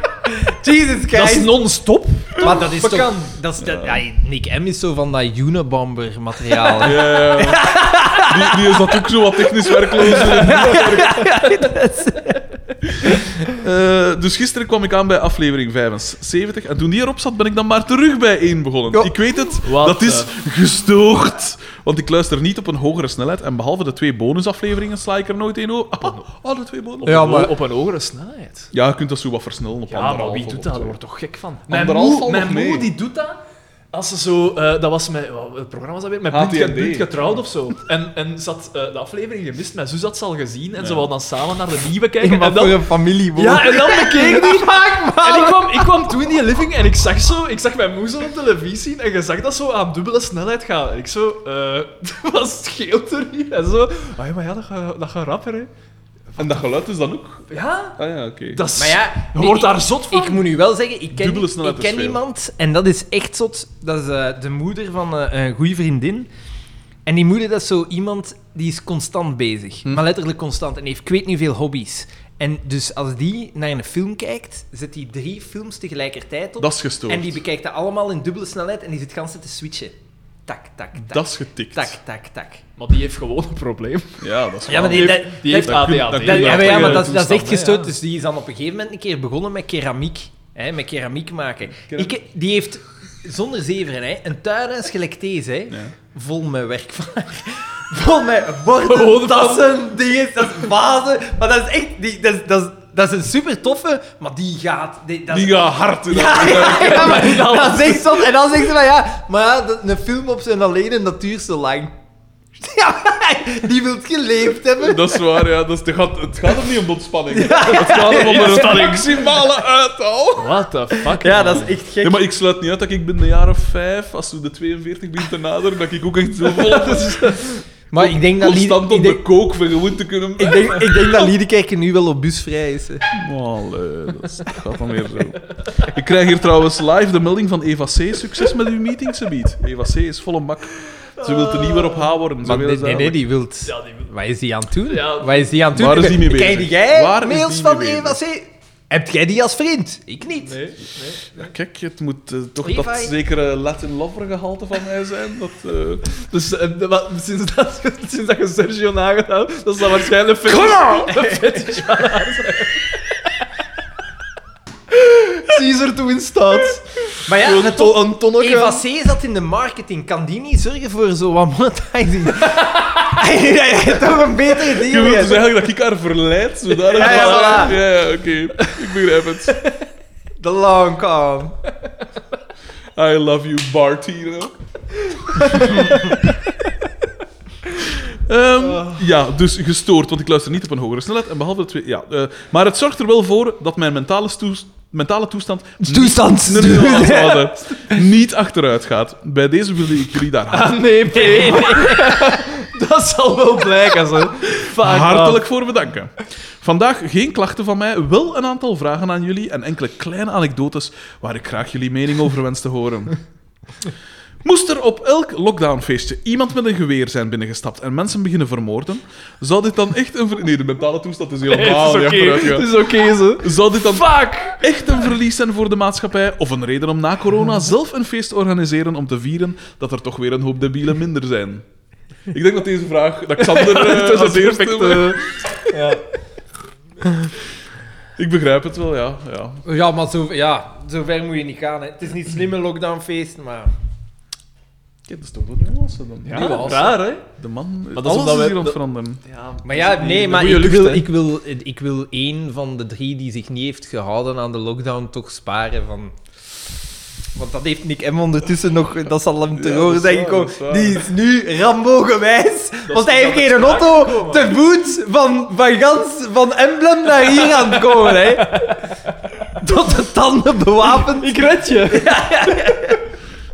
B: Jesus
A: Dat is
B: Christ.
A: non-stop.
B: Maar dat is
A: Bekan.
B: toch... Dat is, dat, ja, Nick M is zo van dat Unabomber materiaal. hè.
C: Ja, ja, ja. Die, die is dat ook zo wat technisch werkloos. Eh, dus gisteren kwam ik aan bij aflevering 75 en toen die erop zat ben ik dan maar terug bij 1 begonnen.
B: Ja.
C: Ik weet het,
A: Wat
C: dat
A: de-
C: is gestoord. Want ik luister niet op een hogere snelheid en behalve de twee bonusafleveringen sla ik er nooit één over. Ah, alle twee bonus.
B: Ja,
A: Ja,
B: maar-
A: maar... Op een hogere snelheid.
C: Ja, je kunt dat zo wat versnellen op
A: Ja,
C: anderhalf
A: maar wie
C: of
A: doet
C: op
A: dat? Daar
C: twee.
A: wordt toch gek van. Mijn
C: Anderhalf
A: moe,
C: valt
A: mijn
C: nog mee.
A: moe die doet dat als ze zo... eh, dat was met... wat- Het programma was dat weer? Met
C: HTND.
A: Blind Get- Blind Getrouwd of zo. En, en ze had eh, de aflevering gemist. Mijn zus had ze al gezien. En ze wilde dan samen naar de nieuwe kijken.
B: Maar
A: en dan,
B: voor een familie
A: ja, en dan bekeek die...
B: Maak
A: En ik kwam, ik kwam toen in die living en ik zag zo... Ik zag mijn moe zo op televisie en je zag dat zo aan dubbele snelheid gaan. En ik zo... eh wat scheelt er hier? En zo... Ah ja, maar ja, dat gaat, dat gaat rapper, hè.
C: En dat geluid is dan ook?
A: Ja?
C: Ah ja, oké.
A: Dat is...
B: Maar ja,
A: je
B: nee,
A: wordt
B: ik-
A: daar zot van.
B: Ik moet nu wel zeggen, ik ken,
C: Dubbele snelheid
B: ik ken
C: is veel.
B: iemand, en dat is echt zot, dat is eh, de moeder van eh, een goede vriendin. En die moeder, dat is zo iemand, die is constant bezig. Maar letterlijk constant, en heeft ik weet niet veel hobby's. En dus als die naar een film kijkt, zet die drie films tegelijkertijd op.
C: Dat is gestoord.
B: en die bekijkt dat allemaal in dubbele snelheid en die zit gans te switchen. Tak, tak, tak.
C: Dat is getikt.
B: Tak, tak, tak.
A: Maar die heeft gewoon een probleem.
C: Ja, dat is
B: Ja, maar
C: waar.
B: die- dat-
A: Die heeft
C: dat kun- dat
A: ADHD.
C: kun
B: Ja,
C: je
B: ja, maar,
C: wel
B: ja,
C: tegen
B: maar dat, is-
C: de
B: dat is echt
A: toestanden,
B: gestoord.
A: ja.
B: Dus die is dan op een gegeven moment een keer begonnen met keramiek. Hè, met keramiek maken.
C: Keramiek.
B: Ik, die heeft, zonder zeveren, hè, een tuinhuis gelijk deze. Hè,
C: Ja.
B: Vol met werk van haar. Vol met borden, tassen, dingen, dat is
D: Ah,
B: bazen. Maar dat is echt... Die, dat, is, dat, is, dat is een super toffe, maar die gaat... Die, dat is-
C: Die gaat hard. in
B: ja,
C: dat-
B: ja, ja, maar dat is echt zot. En dan zegt ze van ja, maar ja, dat- een film op zijn alleen een natuur zo lang. Ja, die wilt geleefd hebben.
C: Dat is waar, ja. Dat is, het, gaat, het gaat er niet om de ontspanning. Het gaat erom om
A: Ja.
C: er een maximale uithaal.
A: What the fuck?
B: Ja,
A: man.
B: dat is echt gek.
C: Ja, maar ik sluit niet uit dat ik binnen een jaar of vijf, als we de 42 begint te naderen, dat ik ook echt zo vol
B: Dus, Maar ik denk dat
C: constant
B: Liede,
C: op
B: ik
C: de
B: denk,
C: kook vergewoond te kunnen
B: ik denk, ik denk dat Liedekerken nu wel op busvrij is. hè.
C: Allee, dat is- dat gaat dan weer zo. Ik krijg hier trouwens live de melding van Eva C. Succes met uw meeting, ze biedt. Eva C. is volle mak. Ze wil er niet meer op haar worden. Ze
B: Maar
C: wil
B: nee,
C: ze
B: nee, nee, die wilt...
A: Ja, die-
B: Wat is die aan het doen?
A: Ja.
B: Wat is die aan het doen?
C: Waar is die mee bezig?
B: Krijg jij
C: Waar is
B: mails
C: die
B: van
C: mee
B: Eva C? Heb jij die als vriend? Ik niet.
A: Nee, nee.
C: Ja, kijk, het moet eh, toch
B: Levi?
C: dat zekere Latin lover gehalte van mij zijn. Dat, eh,
A: Dus eh, de- wat- sinds, dat, sinds dat je Sergio nagedaan hebt, dat is dat waarschijnlijk veel.
B: nou!
A: Zie je er toe in staat.
B: Maar ja,
A: Gewoon
B: het-
A: to- een tonnetje.
B: Eva C zat in de marketing. Kan die niet zorgen voor zo wat monetizing? Hij heeft toch een betere
C: Je
B: deal.
C: wilt dus
B: hè?
C: eigenlijk dat ik haar verleid, zodat
B: Ja, ja,
C: ja,
B: voilà.
C: ja, oké. Ik begrijp het.
B: The long con.
C: I love you, Bartino. Ehm
B: Ah.
C: Ja, dus gestoord, want ik luister niet op een hogere snelheid. En behalve de twee, ja, eh, maar het zorgt er wel voor dat mijn mentale, stoes- mentale toestand
B: Toestand.
C: Nee, nee, nee, wacht, wacht, hè. niet achteruit gaat. Bij deze wilde ik jullie daar hart-
A: Ah, nee, P. Dat zal wel blijken, zo. Fuck,
C: hartelijk voor bedanken. Vandaag geen klachten van mij, wel een aantal vragen aan jullie en enkele kleine anekdotes waar ik graag jullie mening over wens te horen. Moest er op elk lockdownfeestje iemand met een geweer zijn binnengestapt en mensen beginnen vermoorden, zou dit dan echt een... ver- Nee, de mentale toestand is helemaal
A: man.
C: niet
A: Het is oké,
C: achteruit
A: het
C: gegaan.
A: is oké, zo.
C: Zou dit dan
A: Fuck!
C: echt een verlies zijn voor de maatschappij of een reden om na corona zelf een feest te organiseren om te vieren dat er toch weer een hoop debielen minder zijn? Ik denk dat deze vraag, dat Xander eh,
A: Het is eh.
C: als
A: het
C: eerste...
A: perfecte...
C: Ik begrijp het wel, ja. ja.
B: Ja, maar zo, ja, zo ver moet je niet gaan. Hè. Het is niet slim een lockdownfeest, maar...
C: dat is toch de nuance dan?
A: Ja,
B: Die was.
A: raar, hè?
C: De man,
A: dat is
C: alles
A: omdat
C: is
A: wij-
C: hier aan het
A: dat-
C: veranderen.
A: Ja,
B: Maar ja, nee, maar
A: goeie
B: ik
A: lucht,
B: wil,
A: hè.
B: ik, wil, ik wil één van de drie die zich niet heeft gehouden aan de lockdown toch sparen van... Want dat heeft Nick M. ondertussen nog... Dat zal hem te
C: Ja,
B: horen
C: dat is
B: zijn
C: waar,
B: gekomen.
C: dat is waar.
B: Die is nu Rambo-gewijs. Want hij heeft
A: dat is
B: geen
A: waar
B: auto
A: gekomen.
B: te voet van, van, gans, van Emblem naar hier aan het komen, hè. Tot de tanden bewapend.
A: Ik red je.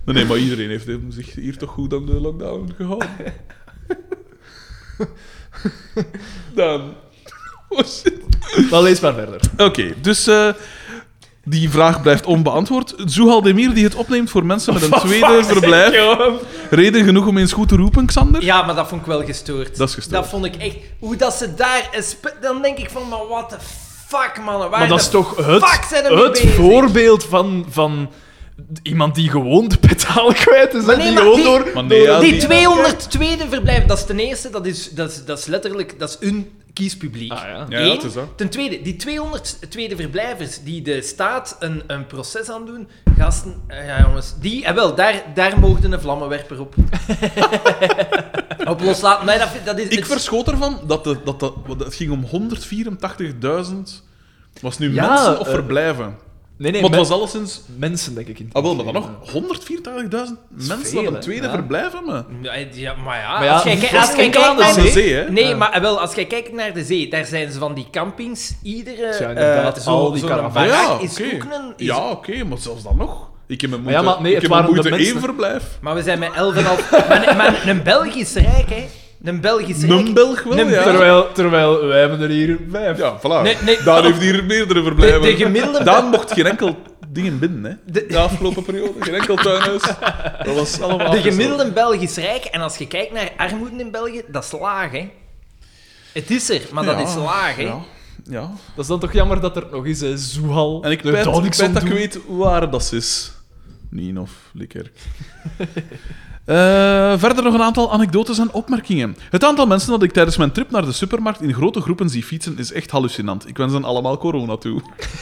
C: Nee, nee, maar iedereen heeft hem zich hier toch goed aan de lockdown gehouden. Dan. Oh shit.
B: Oh,
A: Dan lees maar verder.
C: Oké, dus eh, Die vraag blijft onbeantwoord. Zohaldemir die het opneemt voor mensen met een tweede verblijf. Reden genoeg om eens goed te roepen, Xander?
B: Ja, maar dat vond ik wel gestoord.
C: Dat is gestoord.
B: Dat vond ik echt... Hoe dat ze daar... een spe- Dan denk ik van, maar what the fuck, mannen. Waar
A: Maar dat
B: de
A: is toch het,
B: fuck zijn er mee
A: het
B: bezig?
A: voorbeeld van, van iemand die gewoon de pedaal kwijt is. hè,
B: nee,
A: die
B: maar
A: gewoon
B: die-
A: door...
C: Maar nee, ja,
B: Die
C: die-
B: 202e verblijf, dat is ten eerste, dat is, dat is, dat is letterlijk, dat is een kiespubliek.
A: Ah, ja.
C: Ja, ja,
B: Eén.
C: het is dat.
B: Ten tweede, die 202e verblijvers die de staat een, een proces aan doen, gasten, eh, ja jongens, die, eh, wel, daar, daar mogen een vlammenwerper op. op loslaten. Nee, dat, vind- dat is,
C: Ik
B: het-
C: verschoot ervan dat, de, dat, dat, want het ging om 184.000... Was nu
A: Ja,
C: mensen of
A: eh,
C: verblijven?
A: Nee, nee,
C: Want
A: men-
C: het was alleszins...
A: mensen, denk ik. in het
C: Ah, wel, maar dan nog
A: algemeen.
C: 184.000 mensen
A: veel,
C: op een
A: hè?
C: tweede
A: Ja.
C: verblijven, me.
B: Nee, Ja, maar ja,
A: Maar ja,
B: als jij
A: het
B: ki-
A: was
B: als jij
A: enkel aan
B: kijkt
A: de
B: naar
C: zee. Zee, hè?
B: Nee,
A: Ja.
B: maar eh, wel, als jij kijkt naar de zee, daar zijn ze van die campings. Iedere
A: Ja, inderdaad,
B: eh,
A: al
B: zo,
A: die
B: zo'n
A: caravans.
B: barak
C: ja,
B: is
C: oké.
B: ook een... is-
C: Ja, oké, maar zelfs dan nog. Ik heb mijn
A: Maar
C: moeite,
A: ja, maar nee,
C: ik heb
A: het
C: mijn
A: waren de
C: moeite één
A: mensen.
C: verblijf.
B: Maar we zijn met 11,5... maar, maar een Belgisch rijk, hè. Een Belgisch rijk.
C: Een Belg wel,
B: Een
C: ja.
A: Terwijl, terwijl wij hebben er hier vijf.
C: Ja, voilà.
B: Nee, nee.
C: Daan heeft hier meerdere verblijven.
B: De- de gemiddelde-
C: Daan mocht geen enkel dingen binnen, hè.
B: De-
C: De, afgelopen periode. Geen enkel tuinhuis. Dat was allemaal
B: De gemiddelde Belgisch rijk. En als je kijkt naar armoede in België, dat is laag, hè. Het is er, maar dat
C: Ja,
B: is laag, hè.
C: Ja. ja.
A: Dat is dan toch jammer dat er nog eens eh, Zoehal...
C: En ik
A: de
C: weet dat ik
A: Daniksson
C: spijt dat ik
A: doet.
C: weet waar dat is. Nien of Likkerk. Eh, verder nog een aantal anekdotes en opmerkingen. Het aantal mensen dat ik tijdens mijn trip naar de supermarkt in grote groepen zie fietsen is echt hallucinant. Ik wens hen allemaal corona toe.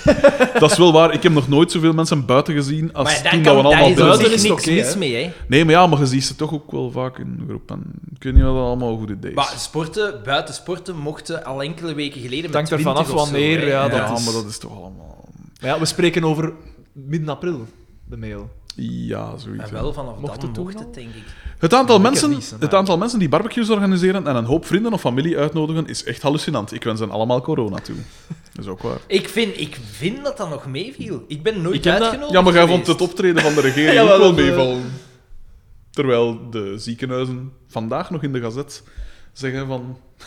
C: dat is wel waar. Ik heb nog nooit zoveel mensen buiten gezien als
B: Maar daar,
C: toen
B: kan,
C: dat we
B: daar
C: allemaal
B: is op
C: buiten
A: buiten
B: zich
A: is
B: niks
A: het oké,
B: mis
A: hè.
B: mee, hè.
C: Nee, maar ja, maar je ziet ze toch ook wel vaak in groepen. Ik weet niet wat dat allemaal een goed idee is.
B: Maar sporten, buiten sporten, mochten al enkele weken geleden met
A: Het hangt ervan
B: 20
A: af
B: of zo,
A: wanneer,
B: hè.
A: ja,
C: ja,
A: dat is-
C: maar dat is toch allemaal...
A: Maar ja, we spreken over midden april, de mail.
C: Ja, zoiets.
B: En wel, vanaf
A: Mocht
B: dan
A: het toen
B: mocht
A: al?
B: het, denk ik.
C: Het aantal,
A: Ik heb
C: mensen,
A: niets, hè, maar-
C: het aantal mensen die barbecues organiseren en een hoop vrienden of familie uitnodigen is echt hallucinant. Ik wens hen allemaal corona toe. Dat is ook waar.
B: Ik vind, ik vind dat dat nog meeviel. Ik ben nooit
A: Ik heb dat-
B: uitgenodigd
C: Ja, maar jij
B: geweest.
C: vond het optreden van de regering
A: Ja,
C: ook wel
A: dat, eh,
C: meevallen. Terwijl de ziekenhuizen vandaag nog in de gazet zeggen van...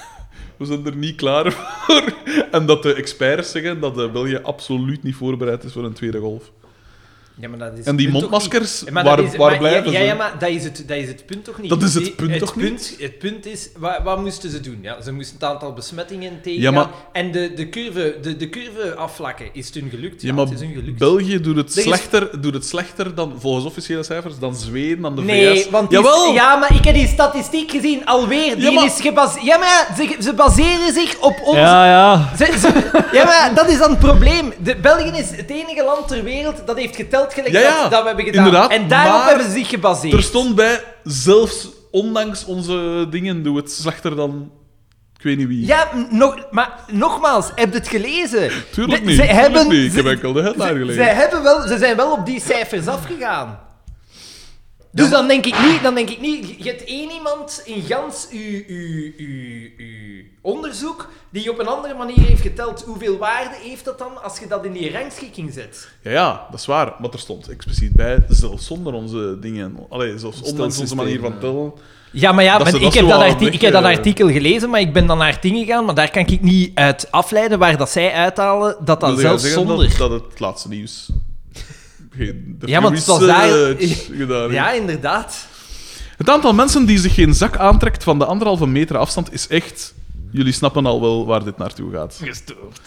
C: We zijn er niet klaar voor. En dat de experts zeggen dat eh, België absoluut niet voorbereid is voor een tweede golf.
B: Ja, maar dat is
C: En die
B: het punt toch
C: mondmaskers,
B: niet.
C: waar-
B: dat is-
C: waar blijven
B: ja, Ja,
C: ze?
B: ja, maar dat is, het, dat is het punt toch niet?
C: Dat is het
B: Die-
C: punt toch
B: punt,
C: niet?
B: Het punt is, wat, wat moesten ze doen? Ja, ze moesten het aantal besmettingen tegen.
C: maar-
B: En de, de, curve, de, de curve afvlakken, is het hun gelukt?
C: Ja, maar
B: het is hun gelukt.
C: België doet het,
B: Er is-
C: slechter, doet het slechter dan, volgens officiële cijfers, dan Zweden, dan de
B: Nee,
C: VS.
B: want die-
C: Jawel!
B: ja, maar ik heb die statistiek gezien, alweer. Die
C: Ja, maar-
B: is gebaseerd. Ja, maar ze, ze baseren zich op ons.
A: Ja, ja.
B: Ze- ze- ja, maar dat is dan het probleem. De, België is het enige land ter wereld dat heeft geteld gelijk
C: Ja, ja,
B: dat, dat we hebben gedaan.
C: inderdaad,
B: en daarop
C: maar-
B: hebben ze zich gebaseerd.
C: Er stond bij, zelfs ondanks onze dingen doen we het slechter dan ik weet niet wie.
B: Ja, m- nog, maar nogmaals, heb je het gelezen?
C: Tuurlijk
B: De-
C: niet.
B: Ze
C: tuurlijk
B: hebben,
C: niet. Ik
B: ze-
C: heb enkel de headline
B: ze,
C: gelezen.
B: ze hebben wel, ze zijn wel op die cijfers afgegaan. Dus dan denk ik niet, dan denk ik niet. Je hebt één iemand in gans uw, uw, uw, uw onderzoek die op een andere manier heeft geteld. Hoeveel waarde heeft dat dan als je dat in die rangschikking zet?
C: Ja, ja, dat is waar. Maar er stond expliciet bij, zelfs zonder onze dingen. Allee, zelfs ondanks onze
A: systeem,
C: manier van
A: dus ja.
C: tellen.
B: Ja, maar ja,
C: Dat
B: want
C: ze
B: ik,
C: dat
B: heb
C: zo
B: dat
C: aan
B: arti-
C: weg,
B: ik heb dat
C: eh,
B: artikel gelezen, maar ik ben dan naar het ding gegaan. Maar daar kan ik niet uit afleiden waar dat zij uithalen dat dat
C: Wil jij
B: zelfs
C: zeggen
B: zonder...
C: Dat, dat het laatste nieuws... Geen- de
B: Ja, want het was
C: research gedaan heeft.
B: Ja, inderdaad.
C: Het aantal mensen die zich geen zak aantrekt van de anderhalve meter afstand is echt... Jullie snappen al wel waar dit naartoe gaat.
A: Gestoord.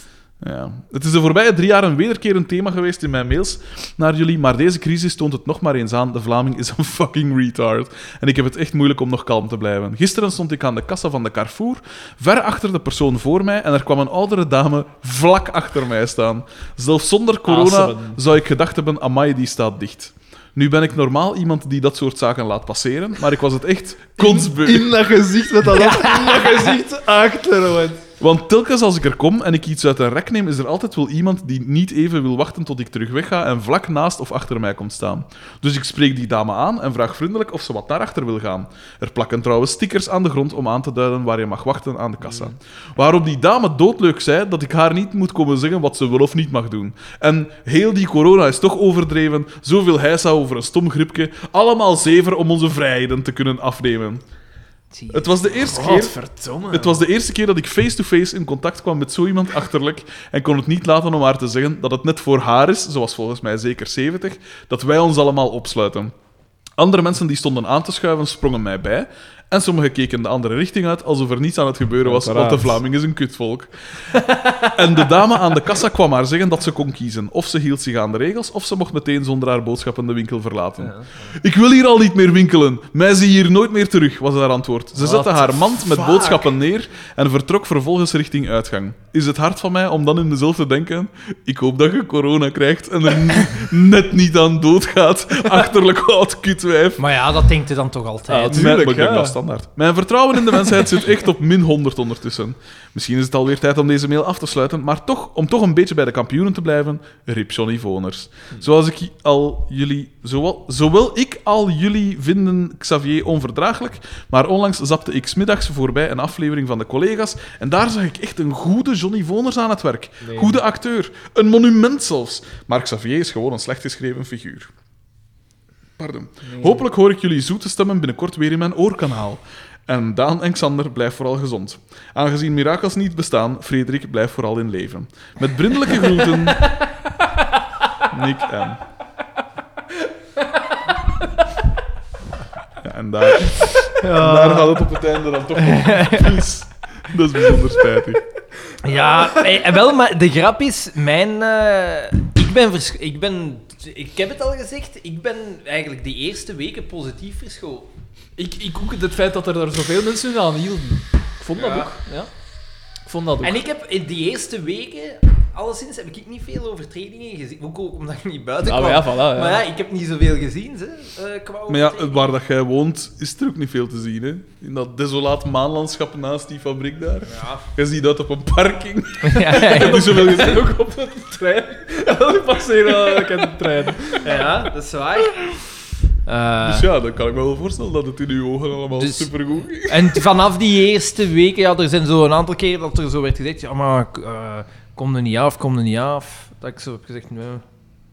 C: Ja. Het is de voorbije drie jaar een wederkerend thema geweest in mijn mails naar jullie, maar deze crisis toont het nog maar eens aan. De Vlaming is een fucking retard. En ik heb het echt moeilijk om nog kalm te blijven. Gisteren stond ik aan de kassa van de Carrefour, ver achter de persoon voor mij, en er kwam een oudere dame vlak achter mij staan. Zelfs zonder corona
A: Awesome.
C: zou ik gedacht hebben, amai, die staat dicht. Nu ben ik normaal iemand die dat soort zaken laat passeren, maar ik was het echt kotsbeu.
A: In dat gezicht met dat in dat gezicht achter. Want...
C: Want telkens als ik er kom en ik iets uit een rek neem, is er altijd wel iemand die niet even wil wachten tot ik terug wegga en vlak naast of achter mij komt staan. Dus ik spreek die dame aan en vraag vriendelijk of ze wat naar achter wil gaan. Er plakken trouwens stickers aan de grond om aan te duiden waar je mag wachten aan de kassa. Waarop die dame doodleuk zei dat ik haar niet moet komen zeggen wat ze wel of niet mag doen. En heel die corona is toch overdreven, zoveel heisa over een stom griepje, allemaal zever om onze vrijheden te kunnen afnemen.
B: Zie je. Oh,
C: Het was de eerste keer...
A: Godverdomme.
C: Het was de eerste keer dat ik face-to-face in contact kwam met zo iemand achterlijk en kon het niet laten om haar te zeggen dat het net voor haar is, zoals volgens mij zeker 70, dat wij ons allemaal opsluiten. Andere mensen die stonden aan te schuiven sprongen mij bij en sommigen keken de andere richting uit alsof er niets aan het gebeuren was, want de
A: Uiteraard.
C: Vlaming is een kutvolk. En de dame aan de kassa kwam haar zeggen dat ze kon kiezen. Of ze hield zich aan de regels, of ze mocht meteen zonder haar boodschappen de winkel verlaten. Ik wil hier al niet meer winkelen. Mij zie je hier nooit meer terug, was haar antwoord. Ze zette haar mand met
A: fuck?
C: boodschappen neer en vertrok vervolgens richting uitgang. Is het hard van mij om dan in mezelf te denken... Ik hoop dat je corona krijgt en er n- net niet aan doodgaat. Achterlijk oud kutwijf.
B: Maar ja, dat denkt hij dan toch
A: Ah,
B: altijd.
A: het- tuurlijk,
C: Mijn, maar ik denk
A: ja.
C: dat standaard. Mijn vertrouwen in de mensheid zit echt op min 100 ondertussen. Misschien is het alweer tijd om deze mail af te sluiten, maar toch, om toch een beetje bij de kampioenen te blijven, rip Johnny Voners. Zoals ik al jullie, zowel, zowel ik al jullie vinden Xavier onverdraaglijk, maar onlangs zapte ik 's middags voorbij een aflevering van de collega's en daar zag ik echt een goede Johnny Voners aan het werk. Goede acteur, een monument zelfs. Maar Xavier is gewoon een slecht geschreven figuur. Pardon. Hopelijk hoor ik jullie zoete stemmen binnenkort weer in mijn oorkanaal. En Daan en Xander, blijf vooral gezond. Aangezien mirakels niet bestaan, Frederik, blijf vooral in leven. Met vriendelijke groeten... Nick M. Ja, en daar, en daar gaat het op het einde dan toch om. Please. Dat is bijzonder spijtig.
B: Ja, eh, wel, maar de grap is, mijn... eh, ik ben... vers- Ik ben... Ik heb het al gezegd, ik ben eigenlijk die eerste weken positief verscholen.
A: Ik, ik ook het feit dat er daar zoveel mensen aan hielden. Ik vond
B: Ja.
A: dat ook. Ja. Ik vond dat ook.
B: En ik heb in die eerste weken, alleszins, heb ik niet veel overtredingen gezien. Ook ook omdat ik niet buiten
A: Ah,
B: kwam.
A: maar ja, voilà, ja.
B: Maar ja, ik heb niet zoveel gezien, ze, eh, qua
C: Maar ja,
B: overtredingen.
C: waar dat jij woont, is er ook niet veel te zien. Hè? In dat desolaat maanlandschap naast die fabriek daar.
B: Ja.
C: Je ziet dat op een parking.
B: ja,
C: Heb je zoveel gezien?
A: ook op de trein. Dat passeren ik de trein.
B: ja, dat is waar. Eh,
C: Dus ja, dan kan ik me wel voorstellen dat het in uw ogen allemaal
B: Dus-
C: supergoed ging.
B: En t- vanaf die eerste weken, ja, er zijn zo een aantal keren dat er zo werd gezegd, ja, maar eh, kom er niet af, kom er niet af. Dat ik zo heb gezegd, nee.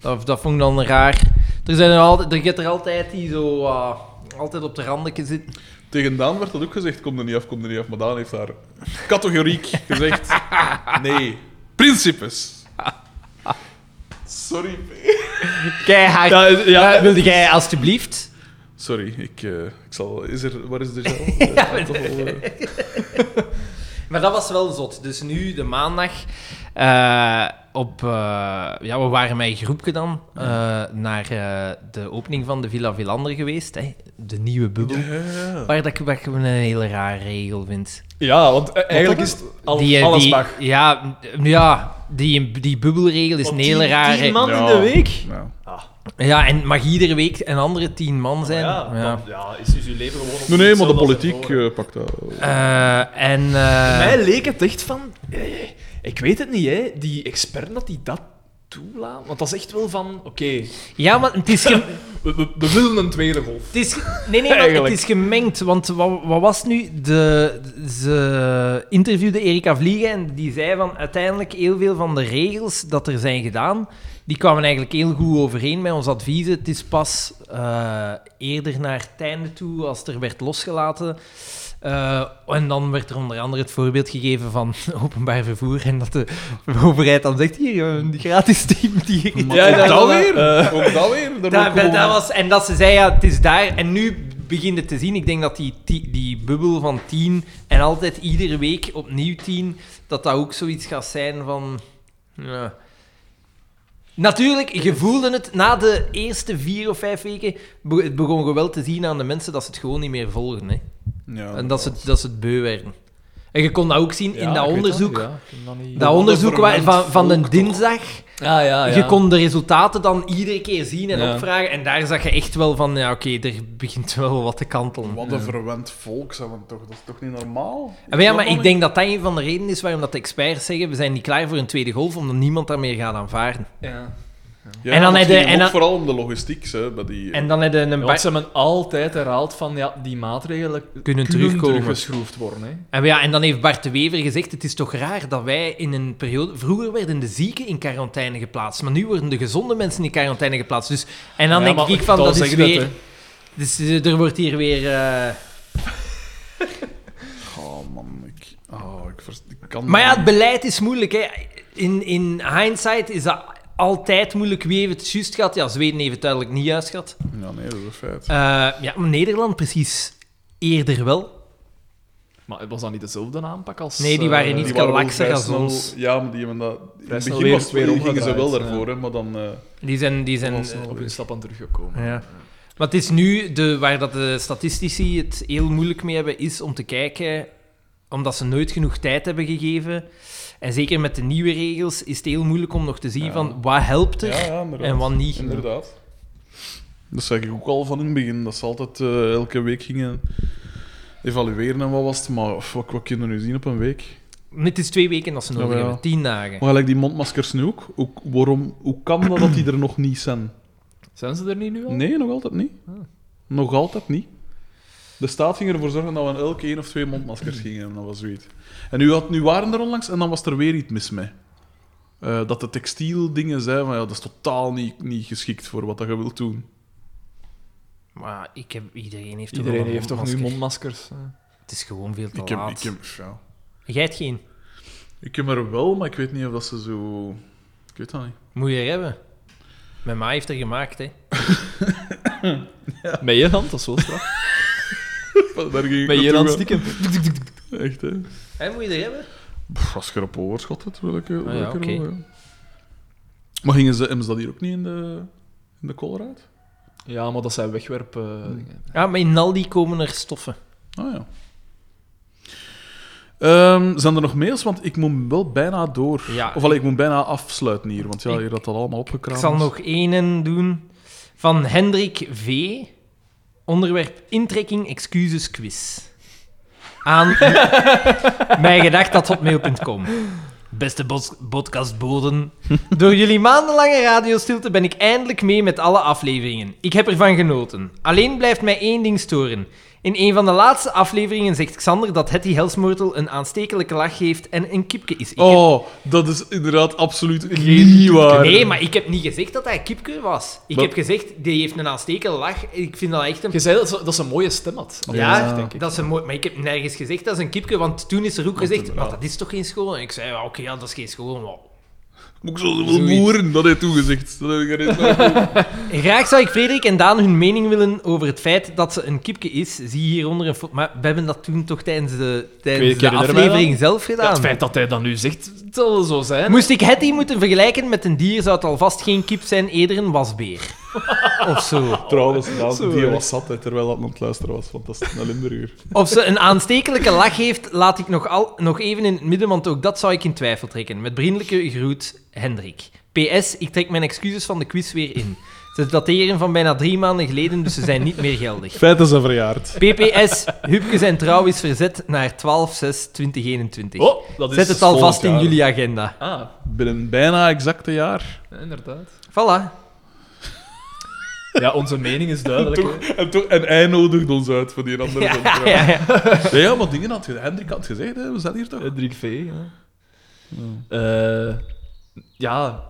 B: Dat, dat vond ik dan raar. Er zijn er altijd, er gaat er altijd die zo, ah, altijd op de randen zitten.
C: Tegen Daan werd dat ook gezegd, kom er niet af, kom er niet af. Maar Daan heeft daar categoriek gezegd, nee, principes. Sorry. P.
B: Keihard.
A: Ja, ja.
B: Eh, wilde jij alstublieft?
C: Sorry, ik, eh, ik zal... Is er, waar is de zaal? Eh, toch wel, eh,
B: Maar dat was wel zot. Dus nu, de maandag, eh, op, eh, ja, we waren met een groepje dan eh, naar eh, de opening van de Villa Villander geweest. Hè? De nieuwe bubbel.
C: ja.
B: Waar dat ik waar ik een hele rare regel vind.
A: Ja, want eh, eigenlijk
C: dat
A: is het al,
B: eh,
A: alles
B: die,
A: mag.
B: Ja, m- ja die, die bubbelregel is een hele rare
A: Tien
B: regel.
A: man in
C: Ja.
A: de week.
C: Nou.
B: Ja, en mag iedere week een andere tien man zijn.
A: Oh Ja,
B: Ja.
A: want, ja, is, is uw leven gewoon... op
C: Nee, nee, maar de
A: hetzelfde als
C: politiek
A: ervoor.
C: eh, pakt dat.
B: Eh, en... eh,
A: Mij leek het echt van... eh, Ik weet het niet, hè. Die expert dat die dat toelaat... Want dat is echt wel van... Oké,
B: ja, maar het is... ge-
A: we, we, we willen een tweede golf.
B: Het is, ge- nee, nee, maar het
A: Eigenlijk.
B: is gemengd. Want wat, wat was nu? De, ze interviewde Erika Vliegen en die zei van uiteindelijk heel veel van de regels dat er zijn gedaan, die kwamen eigenlijk heel goed overeen met ons adviezen. Het is pas eh, eerder naar het einde toe, als het er werd losgelaten. eh, en dan werd er onder andere het voorbeeld gegeven van openbaar vervoer en dat de overheid dan zegt, hier, eh, gratis team, die
A: Ja, dat-
C: dat weer?
A: eh,
C: Ook dat weer? Daar
B: dat,
C: wordt gewoon-
B: dat, dat was, en dat ze zei, ja, het is daar. En nu begint het te zien. Ik denk dat die, ti- die bubbel van tien en altijd iedere week opnieuw tien, dat dat ook zoiets gaat zijn van... Ja. Natuurlijk, je voelde het na de eerste vier of vijf weken. be- Het begon je wel te zien aan de mensen dat ze het gewoon niet meer volgen. Hè.
C: Ja,
B: En dat ze, het- dat ze het beu werden. En je kon dat ook zien in dat onderzoek. Dat,
A: Dat
B: onderzoek
C: Dat vermengt
B: waar- van, van de
C: volk toch?
B: dinsdag.
A: ja, ja, ja.
B: Je kon de resultaten dan iedere keer zien en
A: Ja.
B: opvragen. En daar zag je echt wel van, ja, oké, er begint wel wat te kantelen.
C: Wat een verwend volk zijn we toch? Dat is toch niet normaal?
B: Ah, Maar ja,
C: snap
B: maar
C: dat
B: ik
C: niet.
B: denk dat dat een van de redenen is waarom dat de experts zeggen, we zijn niet klaar voor een tweede golf, omdat niemand daar meer gaat aanvaarden.
A: Ja.
C: Ja,
B: En dan
C: want
B: heb je-
C: het ging
B: en dan-
C: ook vooral om de logistiek, hè, bij die...
B: En dan heb je een...
A: Ja,
B: ba-
A: want ze hebben altijd herhaald van ja, die maatregelen kunnen,
B: terugkomen.
A: teruggeschroefd worden. Hè.
B: En ja, en dan heeft Bart de Wever gezegd, het is toch raar dat wij in een periode... Vroeger werden de zieken in quarantaine geplaatst, maar nu worden de gezonde mensen in quarantaine geplaatst. Dus, en dan
A: Ja,
B: denk
A: maar
B: ik van,
A: dan
B: dat is
A: zeggen
B: weer...
A: hè.
B: dus eh, er wordt hier weer... eh,
C: Oh, ik, vers- ik kan...
B: Maar ja, het beleid is moeilijk. Hè. In, in hindsight is dat altijd moeilijk. Wie heeft het juist gehad? Ja, Zweden heeft het duidelijk niet juist gehad.
C: Ja, nee, dat is een feit.
B: Eh, ja, maar Nederland precies eerder wel.
A: Maar was dat niet dezelfde aanpak als...
B: Nee, die waren
A: eh,
B: niet
C: Die
B: kan
C: waren wel
B: lakser
C: vrij
B: als
C: snel-
B: ons.
C: Ja, maar die hebben dat... In
A: Vrij
C: het
A: snel
C: begin
A: weer
C: was,
A: twee
C: gingen ze wel
A: omgedraaid,
C: daarvoor, hè, maar dan... eh,
B: Die zijn... Die zijn eh,
C: Wel
A: die
C: snel.
A: op hun stap aan teruggekomen.
B: ja. Maar het is nu, de, waar dat de statistici het heel moeilijk mee hebben, is om te kijken, omdat ze nooit genoeg tijd hebben gegeven. En zeker met de nieuwe regels is het heel moeilijk om nog te zien
C: Ja.
B: van wat helpt er
C: ja, ja, inderdaad.
B: en wat niet.
C: Inderdaad. Dat zeg ik ook al van in het begin. Dat ze altijd eh, elke week gingen evalueren en wat was het. Maar of, wat, wat kunnen we nu zien op een week?
B: Het is twee weken dat ze nodig
C: Jawel.
B: hebben, tien dagen.
C: Maar gelijk die mondmaskers nu ook. Hoe, waarom, hoe kan dat dat die er nog niet zijn?
A: Zijn ze er niet nu al?
C: Nee, nog altijd niet.
B: Ah.
C: Nog altijd niet. De staat ging ervoor zorgen dat we elke één of twee mondmaskers gingen hebben, dat was zoiets. En nu, had, nu waren er onlangs en dan was er weer iets mis mee. Eh, dat de textieldingen zijn, maar ja, dat is totaal niet, niet geschikt voor wat dat je wilt doen.
B: Maar ik heb, iedereen heeft toch
A: Iedereen
B: wel een
A: heeft toch nu
B: mondmasker?
A: mondmaskers? eh.
B: Het is gewoon veel te
C: Ik heb,
B: laat.
C: ik, heb, ja.
B: Jij hebt geen.
C: ik heb er wel, maar ik weet niet of dat ze zo. Ik weet dat niet.
B: Moet je er hebben. Mijn ma heeft er gemaakt, hè.
A: Met je hand, dat is wel straf.
C: Daar ging ik
A: Met je
C: naartoe,
A: hand
C: hè.
A: stiekem.
C: Echt, hè?
B: Hè, moet je er hebben?
C: Pff, als je erop overschot hebt, wil ik eh, wil
B: Ah ja,
C: ik er
B: oké.
C: wel, ja. Maar gingen ze, hebben ze dat hier ook niet in de, in de Colorado?
A: Ja, maar dat zijn wegwerpdingen.
B: Ja, Ah, maar in Aldi komen er stoffen.
C: Ah ja. Ehm, zijn er nog mails? Want ik moet wel bijna door.
B: Ja.
C: Of allee, ik moet bijna afsluiten hier, want ja,
B: Ik-
C: hier dat al allemaal opgekraamd.
B: Ik zal
C: is.
B: nog één doen. Van Hendrik V. Onderwerp intrekking excuses quiz. Aan mijngedacht.hotmail.com Beste bos- podcastboden. Door jullie maandenlange radiostilte ben ik eindelijk mee met alle afleveringen. Ik heb ervan genoten. Alleen blijft mij één ding storen. In een van de laatste afleveringen zegt Xander dat Hetty Helsmoortel een aanstekelijke lach heeft en een kipke is. Ik heb-
C: Oh, dat is inderdaad absoluut geen waar.
B: Nee, maar ik heb niet gezegd dat hij kipke was. Ik
C: Wat?
B: heb gezegd, die heeft een aanstekelijke lach. Ik vind dat echt een...
A: Je zei dat ze, dat ze een mooie stem had.
B: Ja,
C: Ja, denk
A: ik.
B: dat is een mooi... Maar ik heb nergens gezegd dat is een kipke, want toen is er ook gezegd,
C: inderdaad.
B: maar dat is toch geen school? En ik zei, ja, oké, ja, dat is geen school, maar...
C: Ook zoveel
A: Zoiets.
C: boeren, dat heeft toegezegd. Dat heb ik er niet aan.
B: Graag zou ik Frederik en Daan hun mening willen over het feit dat ze een kipke is. Zie hieronder een foto... Maar we hebben dat toen toch tijdens de,
A: weet-
B: tijdens
A: ik
B: de
A: herinner mij
B: aflevering
A: dat.
B: zelf
A: Ja, het
B: gedaan.
A: feit dat hij dat nu zegt, het zal zo zijn.
B: Moest ik Hetty moeten vergelijken met een dier, zou het alvast geen kip zijn, eerder een wasbeer. of zo.
C: Trouwens, dat-
A: Zo
C: die
A: erg.
C: was zat, hè, terwijl dat aan het luisteren was, want dat is een Limburger.
B: Of ze een aanstekelijke lach heeft, laat ik nog, al, nog even in het midden, want ook dat zou ik in twijfel trekken. Met vriendelijke groet, Hendrik. PS, ik trek mijn excuses van de quiz weer in. Ze dateren van bijna drie maanden geleden, dus ze zijn niet meer geldig.
C: Feit is een verjaard.
B: PPS, Hupke zijn trouw is verzet naar 12-6-2021.
A: Oh, dat is...
B: Zet het alvast in
C: volgend jaar.
B: jullie agenda.
A: Ah,
C: Binnen bijna exacte jaar.
A: ja, inderdaad.
B: Voilà.
A: Ja, onze mening is duidelijk.
C: Toch, en, toch, en hij nodigde ons uit voor die andere.
B: Ja,
C: Ja, ja.
B: ja, ja.
C: ja maar dingen had gezegd. Hendrik had gezegd, hè, we zijn hier toch?
A: Hendrik Eh, V. Ja. Eh, ja.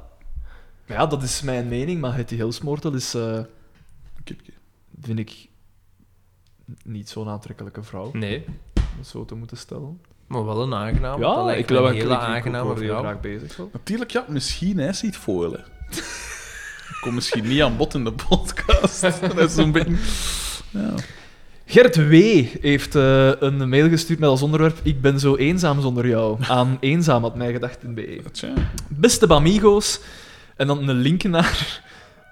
A: Maar ja, dat is mijn mening, maar Hetty Hillsmortel is, eh,
C: Kipke.
A: vind ik, niet zo'n aantrekkelijke vrouw, om
B: Nee,
A: het zo te moeten stellen.
B: maar wel een aangename. dat
A: ja,
B: lijkt
A: ik
B: me
A: wil
B: een hele aangename
A: heel
B: vrouw.
A: graag bezig. Zo.
C: Natuurlijk, ja, misschien hij ziet foilen. Kom misschien niet aan bod in de podcast. Dat is zo'n beetje... Ja.
A: Gert W. heeft eh, een mail gestuurd met als onderwerp Ik ben zo eenzaam zonder jou, aan eenzaam.mijgedachten.be.
C: Tja.
A: Beste Bamigo's, en dan een link naar...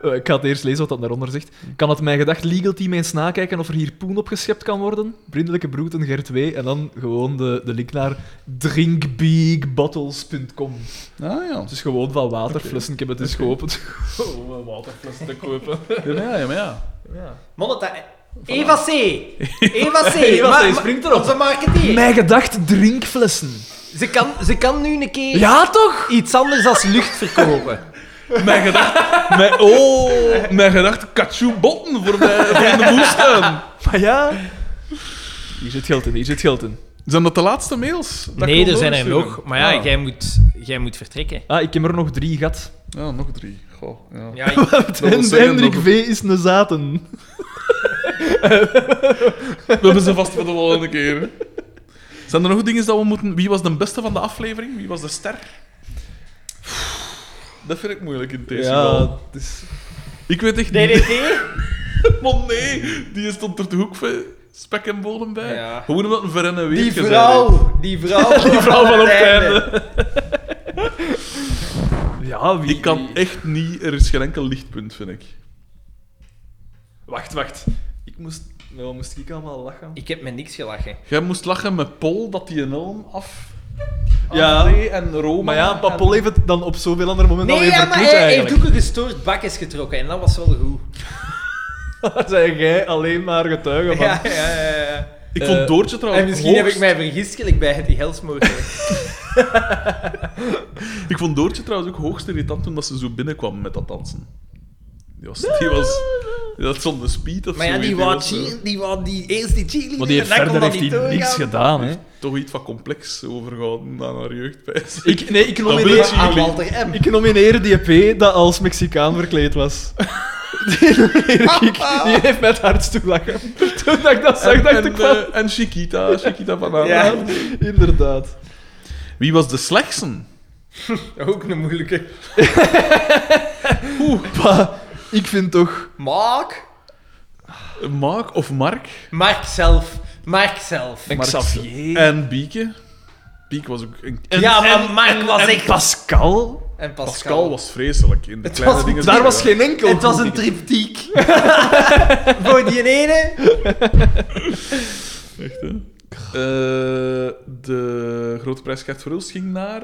A: Eh, ik ga het eerst lezen wat dat daaronder zegt. Kan het mijn gedacht legal team eens nakijken of er hier poen op geschept kan worden? Vriendelijke broeten Gert W. En dan gewoon de, de link naar drinkbigbottles.com.
C: Ah ja.
A: Het is gewoon van waterflessen. Ik heb het eens geopend. Gewoon een waterfles te kopen.
C: Ja, maar ja, ja, maar ja.
A: Ja.
B: Moneta. Eva C. Eva C.
A: Eva C,
B: Ma- ma-
A: springt erop.
B: Onze marketeer.
A: Mijn gedacht drinkflessen.
B: Ze kan, ze kan nu een keer
A: Ja, toch?
B: iets anders als lucht verkopen.
C: Mijn gedacht... Mijn, oh, mijn gedacht... Katjoe botten voor, mij, voor in de moestuin.
A: Maar ja... Hier zit geld in, hier zit geld in.
C: Zijn dat de laatste mails? Dat ik
B: nee,
C: wil
B: er zijn er
C: doorsturen?
B: nog. Maar ja,
C: Ah.
B: jij, moet, jij moet vertrekken.
A: Ah, ik heb er nog drie gat.
C: Ja, nog drie. Goh, ja.
B: Ja, ik-
C: wil zeggen
A: Hendrik
C: dat-
A: V. is een zaten.
C: We hebben ze vast voor de volgende keer. hè. Zijn Zijn er nog dingen dat we moeten... Wie was de beste van de aflevering? Wie was de ster? Dat vind ik moeilijk in deze geval.
A: het is...
C: Ik weet echt niet...
B: DDT?
C: Want nee, die stond er de hoek van spek en bonen bij.
B: Ja.
C: Gewoon omdat een verrenne weer
B: Die vrouw. Die vrouw.
C: Die vrouw van op het
B: einde.
C: einde.
A: Ja, wie...
C: Ik kan echt niet... Er is geen enkel lichtpunt, vind ik.
A: Wacht, wacht. Ik moest... Nou, wat moest ik allemaal lachen?
B: Ik heb me niks gelachen.
C: Jij moest lachen met Paul dat die een helm af...
A: Ja.
C: afdeed en Roma...
A: Maar ja,
C: en-
A: Papol heeft het dan op zoveel andere momenten
B: Nee,
A: al even
B: ja, maar
A: verkloot,
B: hij heeft
A: eigenlijk.
B: ook een gestoord bakjes getrokken en dat was wel goed.
A: Daar zijn jij alleen maar getuige van.
B: Ja, ja, ja, ja.
C: Ik vond
A: Eh,
C: Doortje trouwens
B: En misschien heb ik
C: hoogst-
B: mij vergist gelijk bij die helsmoord.
C: Ik vond Doortje trouwens ook hoogst irritant toen dat ze zo binnenkwam met dat dansen. Die was... Die was dat zonder speed of
B: Maar ja,
C: zoiets,
B: die wou
C: was, eh,
B: cheer- die wou die eerst die cheerleader
A: Maar die heeft
B: en dan kon
A: verder
B: dat
A: heeft
B: niet
A: hij niks
B: doorgaan.
A: gedaan, hè.
C: Toch iets van complex overgehouden aan haar jeugdpijs.
A: Ik, nee, ik
C: wil
A: nomineer,
C: je
B: Aan
C: niet.
B: Walter M.
A: ik nomineer die EP dat als Mexicaan verkleed was. Die nomineer ik. Die heeft met hart toelachen. Toen dat ik dat zag, dacht
C: en,
A: ik van...
C: eh, en Chiquita, Chiquita van haar.
B: Ja.
A: Inderdaad.
C: Wie was de slechtste?
B: Ook een moeilijke.
A: Oeh, pa, ik vind toch...
B: Mark?
C: Mark of Mark?
B: Mark zelf. Mark zelf.
A: Mark Xavier.
C: En Bieke. Bieke was ook... Een...
B: ja, maar
A: en-
B: Mark was
A: en
B: echt...
A: Pascal?
B: en Pascal.
C: Pascal was vreselijk in de
B: Het
C: kleine
B: was-
C: dingen.
A: Daar was geen enkel.
B: Het was een triptiek. Voor die ene.
C: Echt, hè? Eh, de grote prijs Gert Verhulst ging naar...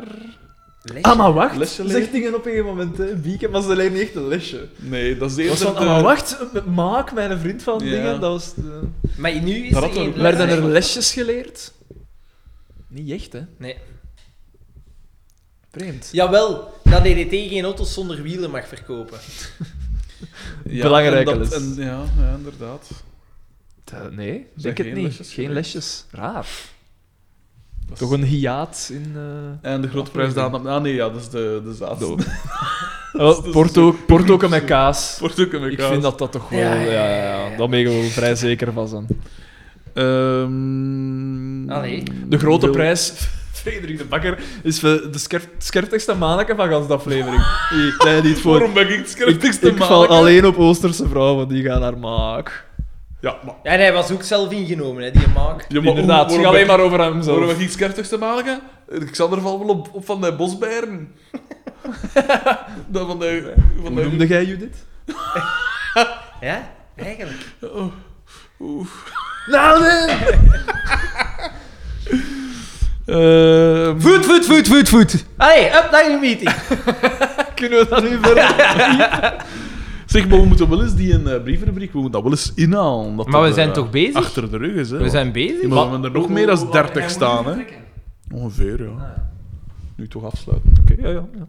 A: Ah, maar wacht.
C: Lesje
A: Zeg dingen op een gegeven moment, hè. Bieke was alleen niet echt een lesje.
C: Nee, dat is de
A: Was
C: eerste...
A: van, ah, maar wacht, Maak, mijn vriend van
C: eh, Ja.
A: dingen, dat was... eh, de-
B: Maar nu is
C: Dat
B: er
C: had wel
B: geen...
C: goed.
A: Werden er lesjes geleerd? Niet echt, hè.
B: Nee.
A: Vreemd.
B: Jawel, dat DDT geen auto's zonder wielen mag verkopen.
C: Ja,
A: Belangrijke
C: en dat-
A: les.
C: en- ja, ja, inderdaad.
A: Eh, nee,
C: Zijn
A: denk het
C: geen
A: niet.
C: lesjes
A: geen
C: geweest?
A: lesjes. Raar.
C: Dat
A: Toch
C: is-
A: een hiaat in... eh,
C: En de grote prijs Daan... Ah nee, ja, dat is de, de zaad.
A: De- Oh, Porto, Porto ook met kaas.
C: Wordt ook in
A: Ik
C: elkaar.
A: vind dat dat toch wel...
B: Ja,
A: Ja,
B: ja,
A: ja,
B: ja, ja.
A: ja. Daar ben ik wel vrij zeker van. zijn.
C: Ehm,
B: Allee.
A: De grote
C: Wil-
A: prijs... Frederik de Bakker is de scherp- scherptigste manneke van gans de aflevering. Die, nee, niet voor...
C: Waarom ben ik het
A: Ik,
C: scherptigste
A: ik val
C: manneke?
A: alleen op Oosterse vrouwen, die gaan naar maak.
C: Ja, maar...
B: Ja, en hij was ook zelf ingenomen, hè, die Mark.
C: Ja, maar hoe-
A: Inderdaad, het
C: waarom
A: gaat alleen
C: ben-
A: maar over hem
C: Zullen we
A: zelf.
C: geen scherptigste maken? Xander valt wel op, op van de bosbeieren. dat van de... Van
A: Hoe
C: de,
A: noemde jij Judith?
B: Ja, eigenlijk.
C: Oh, oeh.
A: Nou, nee!
C: Ehm,
B: Voet, voet, voet, voet, voet. Allee, up naar je meeting.
A: Kunnen we dat nu verder?
C: zeg, maar we moeten wel eens die een eh, brievenrubriek, we moeten dat wel eens inhalen. Dat
B: Maar we
C: dat,
B: zijn
C: eh,
B: toch bezig?
C: Achter de rug is, hè.
B: bezig.
C: Ja, maar we hebben er nog meer dan 30 staan, hè. Ongeveer,
B: Ah,
C: ja.
B: ja.
C: Nu toch afsluiten. Oké, ja, ja, ja.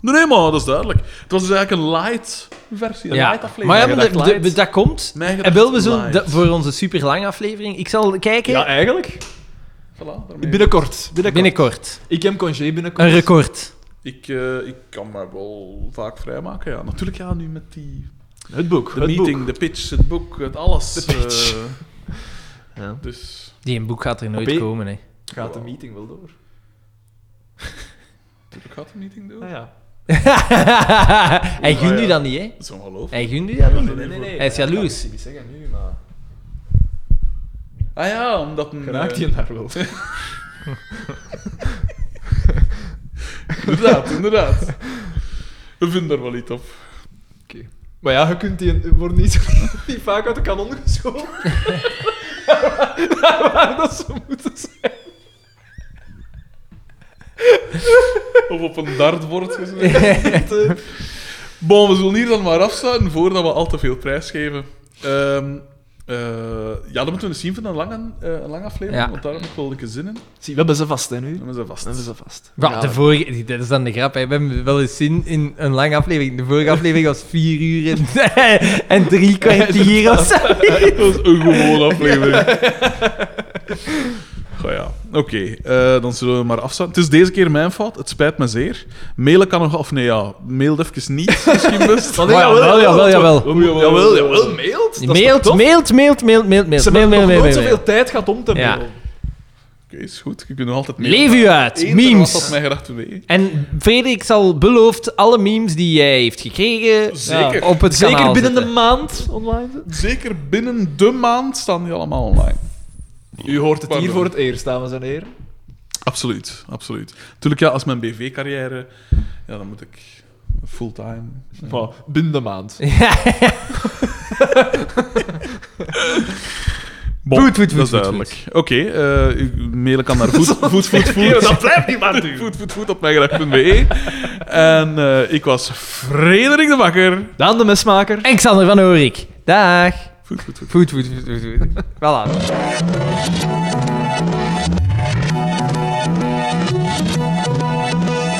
C: Nee, nee, maar dat is duidelijk. Het was dus eigenlijk een light versie, een light aflevering.
B: Maar ja,
A: Mijn
B: maar
A: gedacht
B: de- de- dat komt.
C: Mijn
B: En
C: gedacht
B: wil we zo
C: light.
B: dat- voor onze superlange aflevering. Ik zal kijken
A: Ja, eigenlijk.
C: Voilà, daarmee.
A: Binnenkort. Binnenkort.
B: binnenkort.
A: Ik heb congé binnenkort.
B: Een record.
C: Ik, eh, ik kan me wel vaak vrijmaken, ja. Natuurlijk, ja, nu met die...
A: Het boek.
C: De
A: het
C: meeting,
A: boek.
C: de pitch, het boek, het alles.
A: De pitch.
C: eh,
A: Ja.
C: dus...
B: Die een boek gaat er nooit
A: Op-
B: komen, hè.
A: Gaat de meeting wel door?
C: Natuurlijk gaat de meeting doen.
A: Ah, ja.
B: Hij gunt
C: ja.
B: u dat niet, hè.
C: Dat is ongelooflijk.
B: Hij gunt u dat niet.
C: nee, nee, nee.
B: Hij is jaloers.
A: Ik zeggen nu, maar...
C: Ah ja, omdat... Een,
A: Geraakt
C: eh,
A: je daar wel?
C: Inderdaad, inderdaad. We vinden er wel iets op.
A: Oké. Maar ja, je kunt die... Wordt niet, niet vaak uit de kanon geschoten. daar waar dat ze moeten zijn.
C: Of op een dartbord gezet. Bon, we zullen hier dan maar afsluiten voordat we al te veel prijs geven. Ehm, eh, ja, dat moeten we eens zien van een lange, eh, een lange aflevering,
B: Ja.
C: want daar heb ik wel een keer zin in.
A: Zie, we hebben ze vast, hè, nu.
C: Dan is dat vast.
A: We hebben ze vast.
B: Wel,
A: Ja.
B: de vorige, dat is dan de grap. Hè. We hebben wel eens zin in een lange aflevering. De vorige aflevering was vier uur en, en drie kwartier of zo.
C: Dat is een gewone aflevering. Goh ja, oké. eh, dan zullen we maar afsluiten. Het is deze keer mijn fout. Het spijt me zeer. Mailen kan nog... Of nee, ja. Mail even niet, misschien best.
A: Maar
B: Maar ja, wel, jawel, jawel.
A: We moeten- Jawel, jawel, mailt. Dat is toch
B: Mailt,
A: tof?
B: mailt, mailt, mailt, mailt, mailt.
A: Ze
B: mail,
A: hebben
B: mail, mail, mail,
A: nog nooit
B: mail.
A: zoveel tijd gehad om te
B: Ja.
A: mailen.
C: Oké, is goed. Je kunt nog altijd mee.
D: Leef u uit,
C: Eender was dat
D: memes.
C: mij gedacht mee.
D: En Frederik zal beloofd alle memes die jij heeft gekregen
C: Zeker.
D: op het
A: Zeker
D: kanaal
A: binnen de
D: zetten.
A: maand online.
C: Zeker binnen de maand staan die allemaal online.
A: U hoort het
C: Pardon.
A: hier voor het eerst, dames en heren.
C: Absoluut, absoluut. Tuurlijk, ja, als mijn BV-carrière... Ja, dan moet ik fulltime...
A: Maar binnen de maand.
D: Ja.
C: Bon,
D: Voet, voet, voet,
C: Dat is
D: voet,
C: duidelijk. Oké, eh, u mailen kan naar voet, voet, voet, voet.
A: Dat blijft niet maar duur.
C: voet, voet, voet op mijngedacht.be. E. En eh, ik was Frederik de Bakker.
A: Daan de mesmaker.
D: En Xander van Oorik. Dag.
C: Voet, voet, voet.
D: Voet, voet, voet, voet. voet. Voilà.